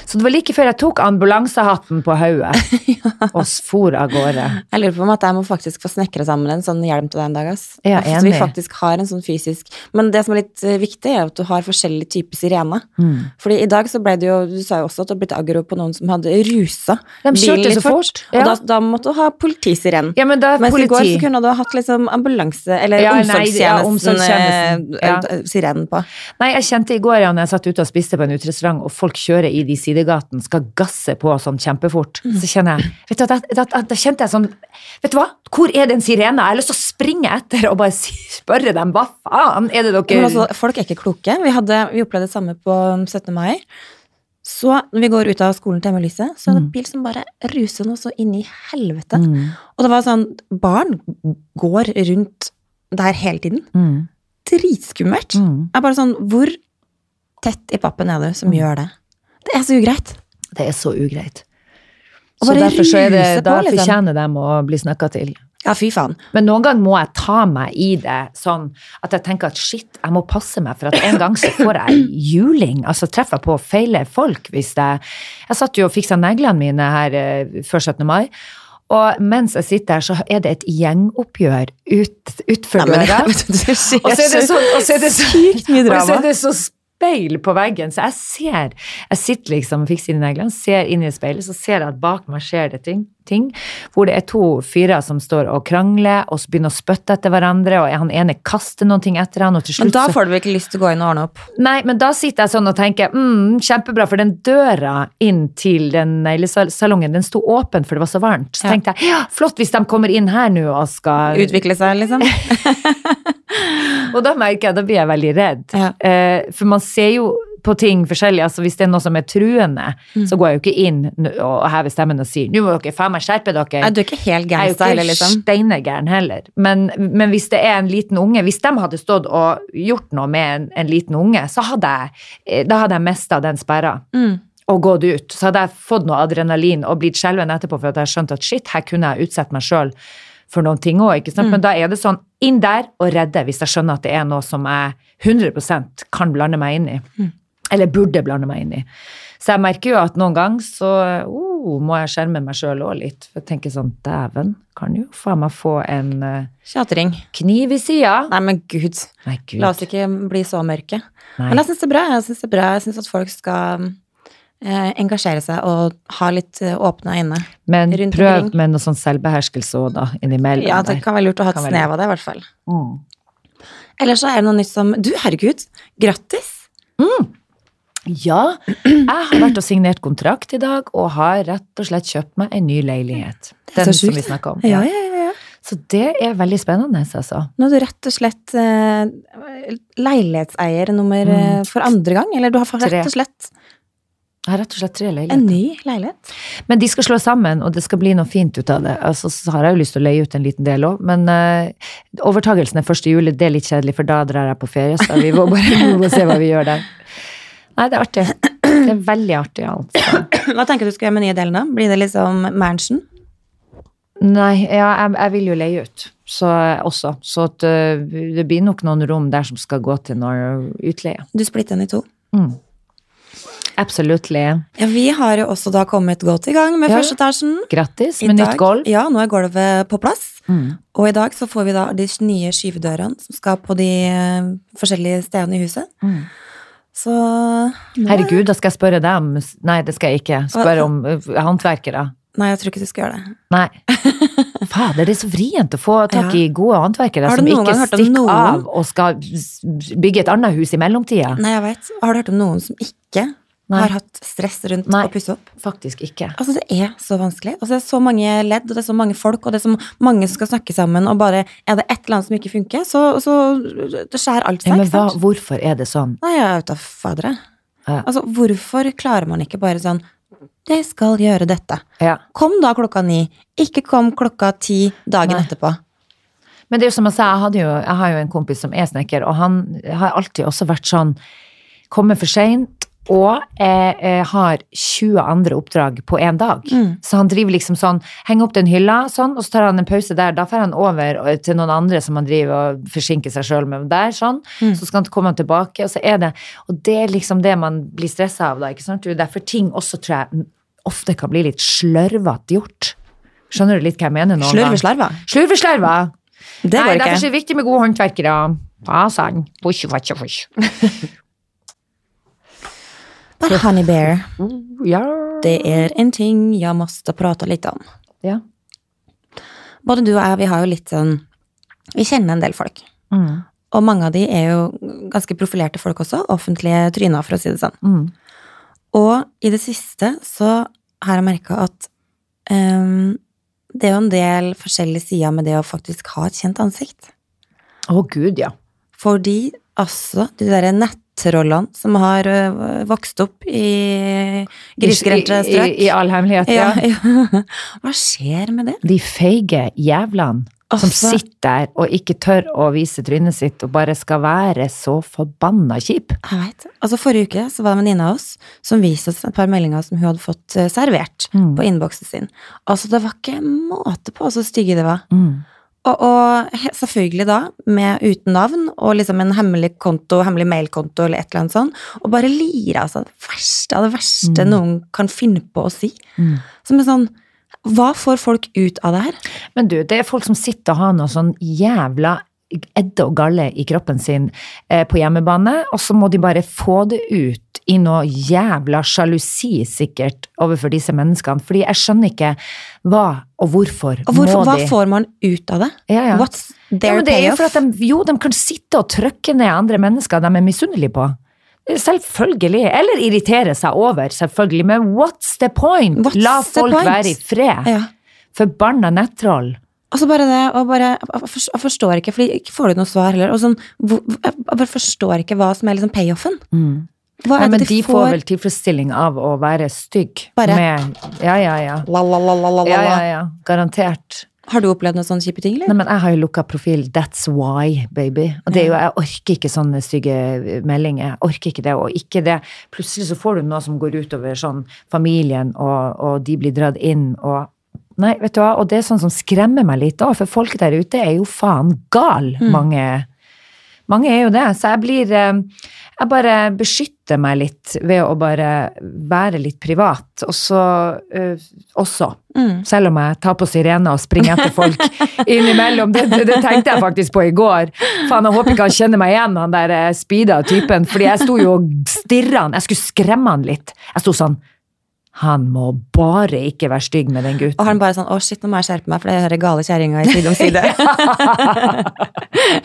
[SPEAKER 1] Så det var like før jeg tok ambulansehatten på hodet og s- for av gårde.
[SPEAKER 2] Jeg lurer på om at jeg må faktisk få snekre sammen en sånn hjelm til deg en dag. ass.
[SPEAKER 1] Ja,
[SPEAKER 2] så vi
[SPEAKER 1] enig.
[SPEAKER 2] faktisk har en sånn fysisk Men det som er litt eh, viktig, er at du har forskjellige typer sirene.
[SPEAKER 1] Mm.
[SPEAKER 2] Fordi i dag så ble det jo Du sa jo også at du har blitt aggro på noen som hadde rusa
[SPEAKER 1] De kjørte
[SPEAKER 2] bilen litt
[SPEAKER 1] så fort, ja.
[SPEAKER 2] Og da, da måtte du ha politisirenen.
[SPEAKER 1] Ja, men da
[SPEAKER 2] Mens i går
[SPEAKER 1] politi.
[SPEAKER 2] så kunne du ha hatt liksom ambulanse eller
[SPEAKER 1] Ja, nei, ja,
[SPEAKER 2] omsorgstjenesten
[SPEAKER 1] omsorgstjenesten,
[SPEAKER 2] eh,
[SPEAKER 1] ja.
[SPEAKER 2] eh, sirenen på.
[SPEAKER 1] Nei, jeg kjente i går ja, når jeg satt ute og spiste på en uterestaurant, og folk kjører i de sidegatene, skal gasse på sånn kjempefort.
[SPEAKER 2] Mm.
[SPEAKER 1] Så kjenner jeg Vet du, da, da, da, da kjente jeg sånn Vet du hva, hvor er den sirena? Jeg har lyst til å springe etter og bare si, spørre dem, hva faen er det dere
[SPEAKER 2] Men altså, folk er ikke kloke. Vi, hadde, vi opplevde det samme på 17. mai. Så når vi går ut av skolen til Emma-Lyse, så
[SPEAKER 1] Mm.
[SPEAKER 2] er det en bil som bare ruser noe så inn i helvete. Og det var sånn Barn går rundt der hele tiden.
[SPEAKER 1] Mm.
[SPEAKER 2] Dritskummelt.
[SPEAKER 1] Mm.
[SPEAKER 2] Jeg er bare sånn Hvor tett i pappen er du som gjør det? Det er så ugreit.
[SPEAKER 1] Det er så ugreit.
[SPEAKER 2] Og
[SPEAKER 1] Så
[SPEAKER 2] bare
[SPEAKER 1] derfor så er det,
[SPEAKER 2] ruse på,
[SPEAKER 1] da
[SPEAKER 2] liksom.
[SPEAKER 1] fortjener de å bli snakka til.
[SPEAKER 2] Ja, fy faen.
[SPEAKER 1] Men noen gang må jeg ta meg i det sånn at jeg tenker at shit, jeg må passe meg, for at en gang så får jeg juling. Altså treffer jeg på feile folk hvis jeg Jeg satt jo og fiksa neglene mine her eh, før 17. mai. Og mens jeg sitter her, så er det et gjengoppgjør ut, utfor
[SPEAKER 2] Nei, men,
[SPEAKER 1] døra.
[SPEAKER 2] vet du, det skjer
[SPEAKER 1] Og så er det så, og så er det så,
[SPEAKER 2] sykt
[SPEAKER 1] Og
[SPEAKER 2] mye
[SPEAKER 1] så er
[SPEAKER 2] drama.
[SPEAKER 1] det så speil på veggen, så jeg ser Jeg sitter liksom og fikser inn neglene, ser inn i speilet, så ser jeg at bak meg skjer det ting, ting hvor det er to fyrer som står og krangler, og så begynner å spytte etter hverandre, og han ene kaster noen ting etter han, og til
[SPEAKER 2] Men
[SPEAKER 1] slutt
[SPEAKER 2] da
[SPEAKER 1] så
[SPEAKER 2] får du vel ikke lyst til å gå inn og ordne opp?
[SPEAKER 1] Nei, men da sitter jeg sånn og tenker mm, kjempebra, for den døra inn til den neglesalongen, den sto åpen, for det var så varmt. Så
[SPEAKER 2] Ja.
[SPEAKER 1] tenkte jeg ja, flott hvis de kommer inn her nå og skal
[SPEAKER 2] Utvikle seg, liksom?
[SPEAKER 1] Og da merker jeg, da blir jeg veldig redd.
[SPEAKER 2] Ja.
[SPEAKER 1] Eh, for man ser jo på ting forskjellig. altså Hvis det er noe som er truende,
[SPEAKER 2] Mm.
[SPEAKER 1] så går jeg jo ikke inn n- og hever stemmen og sier 'nå må dere faen meg skjerpe dere'.
[SPEAKER 2] Nei, du er ikke helt
[SPEAKER 1] jeg er jo
[SPEAKER 2] gangsta
[SPEAKER 1] ikke
[SPEAKER 2] heller, liksom?
[SPEAKER 1] steinegæren heller. Men, men hvis det er en liten unge, hvis de hadde stått og gjort noe med en, en liten unge, så hadde jeg, eh, da hadde jeg mista den sperra.
[SPEAKER 2] Mm.
[SPEAKER 1] Og gått ut. Så hadde jeg fått noe adrenalin og blitt skjelven etterpå for at jeg skjønte at shit, her kunne jeg utsette meg sjøl for noen ting òg, ikke sant.
[SPEAKER 2] Mm.
[SPEAKER 1] Men da er det sånn inn der og redde, hvis jeg skjønner at det er noe som jeg 100 kan blande meg inn i.
[SPEAKER 2] Mm.
[SPEAKER 1] Eller burde blande meg inn i. Så jeg merker jo at noen ganger så oh, må jeg skjerme meg sjøl òg litt. For jeg tenker sånn Dæven, kan jo faen meg få en eh,
[SPEAKER 2] Tjatring.
[SPEAKER 1] kniv i sida.
[SPEAKER 2] Nei, men gud.
[SPEAKER 1] Nei, gud.
[SPEAKER 2] La oss ikke bli så mørke.
[SPEAKER 1] Nei.
[SPEAKER 2] Men jeg syns det er bra. Jeg synes det er bra. Jeg syns at folk skal eh, engasjere seg og ha litt eh, åpne øyne.
[SPEAKER 1] Men
[SPEAKER 2] rundt
[SPEAKER 1] prøv
[SPEAKER 2] omkring.
[SPEAKER 1] med noe sånn selvbeherskelse òg, da, innimellom.
[SPEAKER 2] Ja, det
[SPEAKER 1] der.
[SPEAKER 2] kan være lurt å ha et
[SPEAKER 1] Kan være
[SPEAKER 2] snev av det, i hvert fall.
[SPEAKER 1] Mm.
[SPEAKER 2] Eller så er det noe nytt som Du, herregud, grattis!
[SPEAKER 1] ja, jeg har vært og signert kontrakt i dag, og har rett og slett kjøpt meg en ny leilighet.
[SPEAKER 2] er
[SPEAKER 1] Den
[SPEAKER 2] så
[SPEAKER 1] som
[SPEAKER 2] sjukt.
[SPEAKER 1] vi snakka om.
[SPEAKER 2] Ja, ja, ja. ja.
[SPEAKER 1] Så det er veldig spennende, altså.
[SPEAKER 2] Nå er du rett og slett eh, leilighetseier nummer eh, for andre gang. Eller du har fått
[SPEAKER 1] Mm. Tre.
[SPEAKER 2] rett og slett
[SPEAKER 1] Jeg har rett og slett tre
[SPEAKER 2] en
[SPEAKER 1] leiligheter.
[SPEAKER 2] ny leilighet.
[SPEAKER 1] Men de skal slå sammen, og det skal bli noe fint ut av det. Altså, så har jeg jo lyst til å leie ut en liten del òg, men eh, overtagelsen er første juli. Det er litt kjedelig, for da drar jeg på ferie, så vi må bare vi må se hva vi gjør der. Nei, det er artig. Det er veldig artig, altså.
[SPEAKER 2] Hva tenker du skal gjøre med nye delen da? Blir det liksom mansion?
[SPEAKER 1] Nei, ja, jeg, jeg vil jo leie ut så, også, så at, eh, det blir nok noen rom der som skal gå til noe utleie.
[SPEAKER 2] Du splitter den i to.
[SPEAKER 1] Mm. Absolutely.
[SPEAKER 2] Ja, vi har jo også da kommet godt i gang med
[SPEAKER 1] Ja.
[SPEAKER 2] første etasjen.
[SPEAKER 1] Grattis
[SPEAKER 2] I
[SPEAKER 1] med
[SPEAKER 2] dag-
[SPEAKER 1] nytt gulv.
[SPEAKER 2] Ja, nå er gulvet på plass.
[SPEAKER 1] Mm.
[SPEAKER 2] Og i dag så får vi da de nye skyvedørene som skal på de eh, forskjellige stedene i huset.
[SPEAKER 1] Mm.
[SPEAKER 2] Så nå er-
[SPEAKER 1] Herregud, da skal jeg spørre deg om Nei, det skal jeg ikke. Spørre om eh, håndverkere.
[SPEAKER 2] Nei, jeg tror ikke du skal gjøre det.
[SPEAKER 1] Nei. Fader, det er så vrient å få tak i gode håndverkere
[SPEAKER 2] Har du
[SPEAKER 1] som
[SPEAKER 2] noen
[SPEAKER 1] ikke
[SPEAKER 2] gang hørt om
[SPEAKER 1] stikker
[SPEAKER 2] noen?
[SPEAKER 1] av og skal s- bygge et annet hus i mellomtida.
[SPEAKER 2] Nei, jeg vet. Har du hørt om noen som ikke
[SPEAKER 1] Nei.
[SPEAKER 2] har hatt stress rundt
[SPEAKER 1] Nei.
[SPEAKER 2] å pusse opp?
[SPEAKER 1] Faktisk ikke.
[SPEAKER 2] Altså, det er så vanskelig. Altså, det er så mange ledd, og det er så mange folk, og det er så mange som skal snakke sammen, og bare er det et eller annet som ikke funker, så, så det skjærer alt
[SPEAKER 1] Ja,
[SPEAKER 2] seg,
[SPEAKER 1] men
[SPEAKER 2] ikke
[SPEAKER 1] hva,
[SPEAKER 2] sant?
[SPEAKER 1] hvorfor er det sånn?
[SPEAKER 2] Nei, jeg er ute av fadere.
[SPEAKER 1] Ja.
[SPEAKER 2] Altså, hvorfor klarer man ikke bare sånn Jeg skal gjøre dette.
[SPEAKER 1] Ja.
[SPEAKER 2] Kom da klokka ni. Ikke kom klokka ti dagen
[SPEAKER 1] Nei.
[SPEAKER 2] etterpå.
[SPEAKER 1] Men det er jo som jeg sa, jeg, hadde jo, jeg har jo en kompis som er snekker, og han har alltid også vært sånn Kommer for seint og eh, eh, har 20 andre oppdrag på én dag. Så han driver liksom sånn Henger opp den hylla, sånn, og så tar han en pause der. Da drar han over eh, til noen andre som han driver og forsinker seg sjøl med der, sånn. Så skal han komme tilbake, og så er det Og det er liksom det man blir stressa av, da, ikke sant. Det er derfor ting også, tror jeg, ofte kan bli litt slørvete gjort. Skjønner du litt hva jeg mener nå?
[SPEAKER 2] Slurveslarva.
[SPEAKER 1] Slurveslerva. Nei,
[SPEAKER 2] Det går
[SPEAKER 1] derfor er
[SPEAKER 2] ikke.
[SPEAKER 1] det viktig med gode håndverkere. Ja, sann. Push, push, push.
[SPEAKER 2] Men Honey Bear,
[SPEAKER 1] Uh, Ja.
[SPEAKER 2] det er en ting jeg måtte prate litt om.
[SPEAKER 1] ja.
[SPEAKER 2] Både du og jeg, vi har jo litt sånn Vi kjenner en del folk.
[SPEAKER 1] Mm.
[SPEAKER 2] Og mange av de er jo ganske profilerte folk også, offentlige tryner, for å si det sånn.
[SPEAKER 1] Mm.
[SPEAKER 2] Og i det siste så har jeg merka at ehm, det er jo en del forskjellige sider med det å faktisk ha et kjent ansikt.
[SPEAKER 1] Å, gud, ja.
[SPEAKER 2] Fordi altså, de derre nettrollene som har øh, vokst opp i grisgrendte
[SPEAKER 1] I,
[SPEAKER 2] strøk
[SPEAKER 1] i, I all hemmelighet, ja.
[SPEAKER 2] ja, ja. Hva skjer med det?
[SPEAKER 1] De feige jævlene som
[SPEAKER 2] Altså.
[SPEAKER 1] sitter der og ikke tør å vise trynet sitt og bare skal være så forbanna kjip.
[SPEAKER 2] Jeg vet. Altså Forrige uke så var en venninne av oss som viste oss et par meldinger som hun hadde fått eh, servert
[SPEAKER 1] Mm.
[SPEAKER 2] på innboksen sin. Altså Det var ikke måte på så stygge de var.
[SPEAKER 1] Mm.
[SPEAKER 2] Og, og he- selvfølgelig da, med uten navn og liksom en hemmelig konto, hemmelig mailkonto eller et eller annet sånt, og bare lira altså det verste av det verste
[SPEAKER 1] Mm.
[SPEAKER 2] noen kan finne på å si.
[SPEAKER 1] Mm.
[SPEAKER 2] Som er sånn Hva får folk ut av det her?
[SPEAKER 1] Men du, det er folk som sitter og har noe sånn jævla edde og galle i kroppen sin eh, på hjemmebane, og så må de bare få det ut i noe jævla sjalusi, sikkert, overfor disse menneskene. Fordi jeg skjønner ikke hva og hvorfor,
[SPEAKER 2] Og hvorfor,
[SPEAKER 1] må
[SPEAKER 2] hva
[SPEAKER 1] de
[SPEAKER 2] får man ut av det?
[SPEAKER 1] Ja, ja.
[SPEAKER 2] What's
[SPEAKER 1] ja,
[SPEAKER 2] their
[SPEAKER 1] men det er jo for
[SPEAKER 2] payoff?
[SPEAKER 1] at de, jo, de kan sitte og trykke ned andre mennesker de er misunnelige på. Selvfølgelig. Eller irritere seg over, selvfølgelig. Men what's the point?
[SPEAKER 2] What's
[SPEAKER 1] La
[SPEAKER 2] the
[SPEAKER 1] folk
[SPEAKER 2] point?
[SPEAKER 1] være i fred.
[SPEAKER 2] Ja.
[SPEAKER 1] Forbanna nettroll.
[SPEAKER 2] Altså bare det, og bare, jeg for- jeg forstår ikke, for ikke får du noe svar heller. Og sånn, hvor- jeg bare forstår ikke hva som er liksom payoffen. Hva
[SPEAKER 1] Mm. Nei,
[SPEAKER 2] er
[SPEAKER 1] men
[SPEAKER 2] det
[SPEAKER 1] de får vel tilfredsstilling av å være stygg.
[SPEAKER 2] Bare-
[SPEAKER 1] Med, ja, ja, ja.
[SPEAKER 2] La, la, la, la, la, la.
[SPEAKER 1] Ja, ja, ja. Garantert.
[SPEAKER 2] Har du opplevd noen sånne kjipe ting, eller?
[SPEAKER 1] Nei, men jeg har jo lukka profil. That's why, baby. Og det er jo, jeg orker ikke sånne stygge eh, meldinger. Jeg orker ikke det, og ikke det. Plutselig så får du noe som går utover sånn familien, og, og de blir dratt inn, og Nei, vet du hva, og det er sånn som skremmer meg litt òg, for folk der ute er jo faen gal, mange. Mange er jo det, så jeg blir eh, Jeg bare beskytter meg litt ved å bare være litt privat, og så eh, også. Selv om jeg tar på sirene og springer etter folk innimellom. Det, det, det tenkte jeg faktisk på i går. Faen, jeg håper ikke han kjenner meg igjen, han der eh, speeda typen, fordi jeg sto jo og stirra han. Jeg skulle skremme han litt. Jeg sto sånn Han må bare ikke være stygg med den gutten.
[SPEAKER 2] Og han bare sånn 'Å, shit, nå må jeg skjerpe meg, for det hører gale kjerringa i side om side'.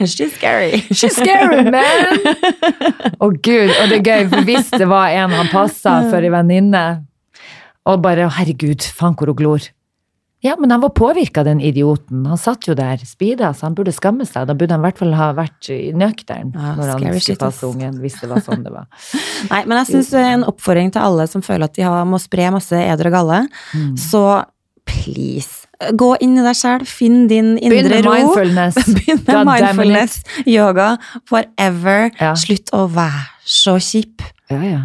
[SPEAKER 2] She's scary.
[SPEAKER 1] She's scary, man! Å gud, og det er gøy, for hvis det var en han passa for ei venninne, og bare «Å, 'herregud, faen hvor hun glor'. Ja, men han var påvirka, den idioten. Han satt jo der, speeda, så han burde skamme seg. Da burde han i hvert fall ha vært i nøktern
[SPEAKER 2] Ja,
[SPEAKER 1] når han
[SPEAKER 2] Ah, scary
[SPEAKER 1] skulle
[SPEAKER 2] shit, ass.
[SPEAKER 1] passe ungen, hvis det var sånn det var.
[SPEAKER 2] Nei, men jeg syns en oppfordring til alle som føler at de har, må spre masse eder og galle,
[SPEAKER 1] Mm.
[SPEAKER 2] så please, eh, gå inn i deg selv, finn din
[SPEAKER 1] Begynn
[SPEAKER 2] indre
[SPEAKER 1] med
[SPEAKER 2] ro.
[SPEAKER 1] mindfulness.
[SPEAKER 2] Begynn med
[SPEAKER 1] God damn it.
[SPEAKER 2] mindfulness, yoga, forever.
[SPEAKER 1] Ja.
[SPEAKER 2] Slutt å være så kjip.
[SPEAKER 1] Ja, ja.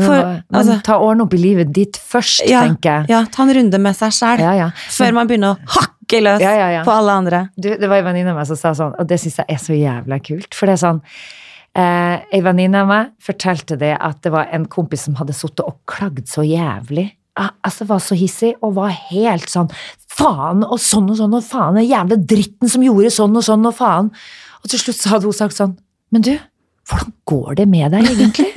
[SPEAKER 1] Men,
[SPEAKER 2] For,
[SPEAKER 1] hva- men
[SPEAKER 2] altså,
[SPEAKER 1] ta ordene opp i livet ditt først,
[SPEAKER 2] ja,
[SPEAKER 1] tenker jeg.
[SPEAKER 2] ja, ta en runde med seg selv,
[SPEAKER 1] Ja, ja.
[SPEAKER 2] før man begynner å hakke løs
[SPEAKER 1] Ja, ja, ja.
[SPEAKER 2] på alle andre.
[SPEAKER 1] du, det var en venninne av meg som sa sånn, og det syns jeg er så jævla kult. For det er sånn eh, Ei venninne av meg fortalte det at det var en kompis som hadde sittet og klagd så jævlig. Ah, Altså var så hissig og var helt sånn faen og sånn og sånn og faen, den jævla dritten som gjorde sånn og sånn og faen. Og til slutt så hadde hun sagt sånn, men du, hvordan går det med deg egentlig?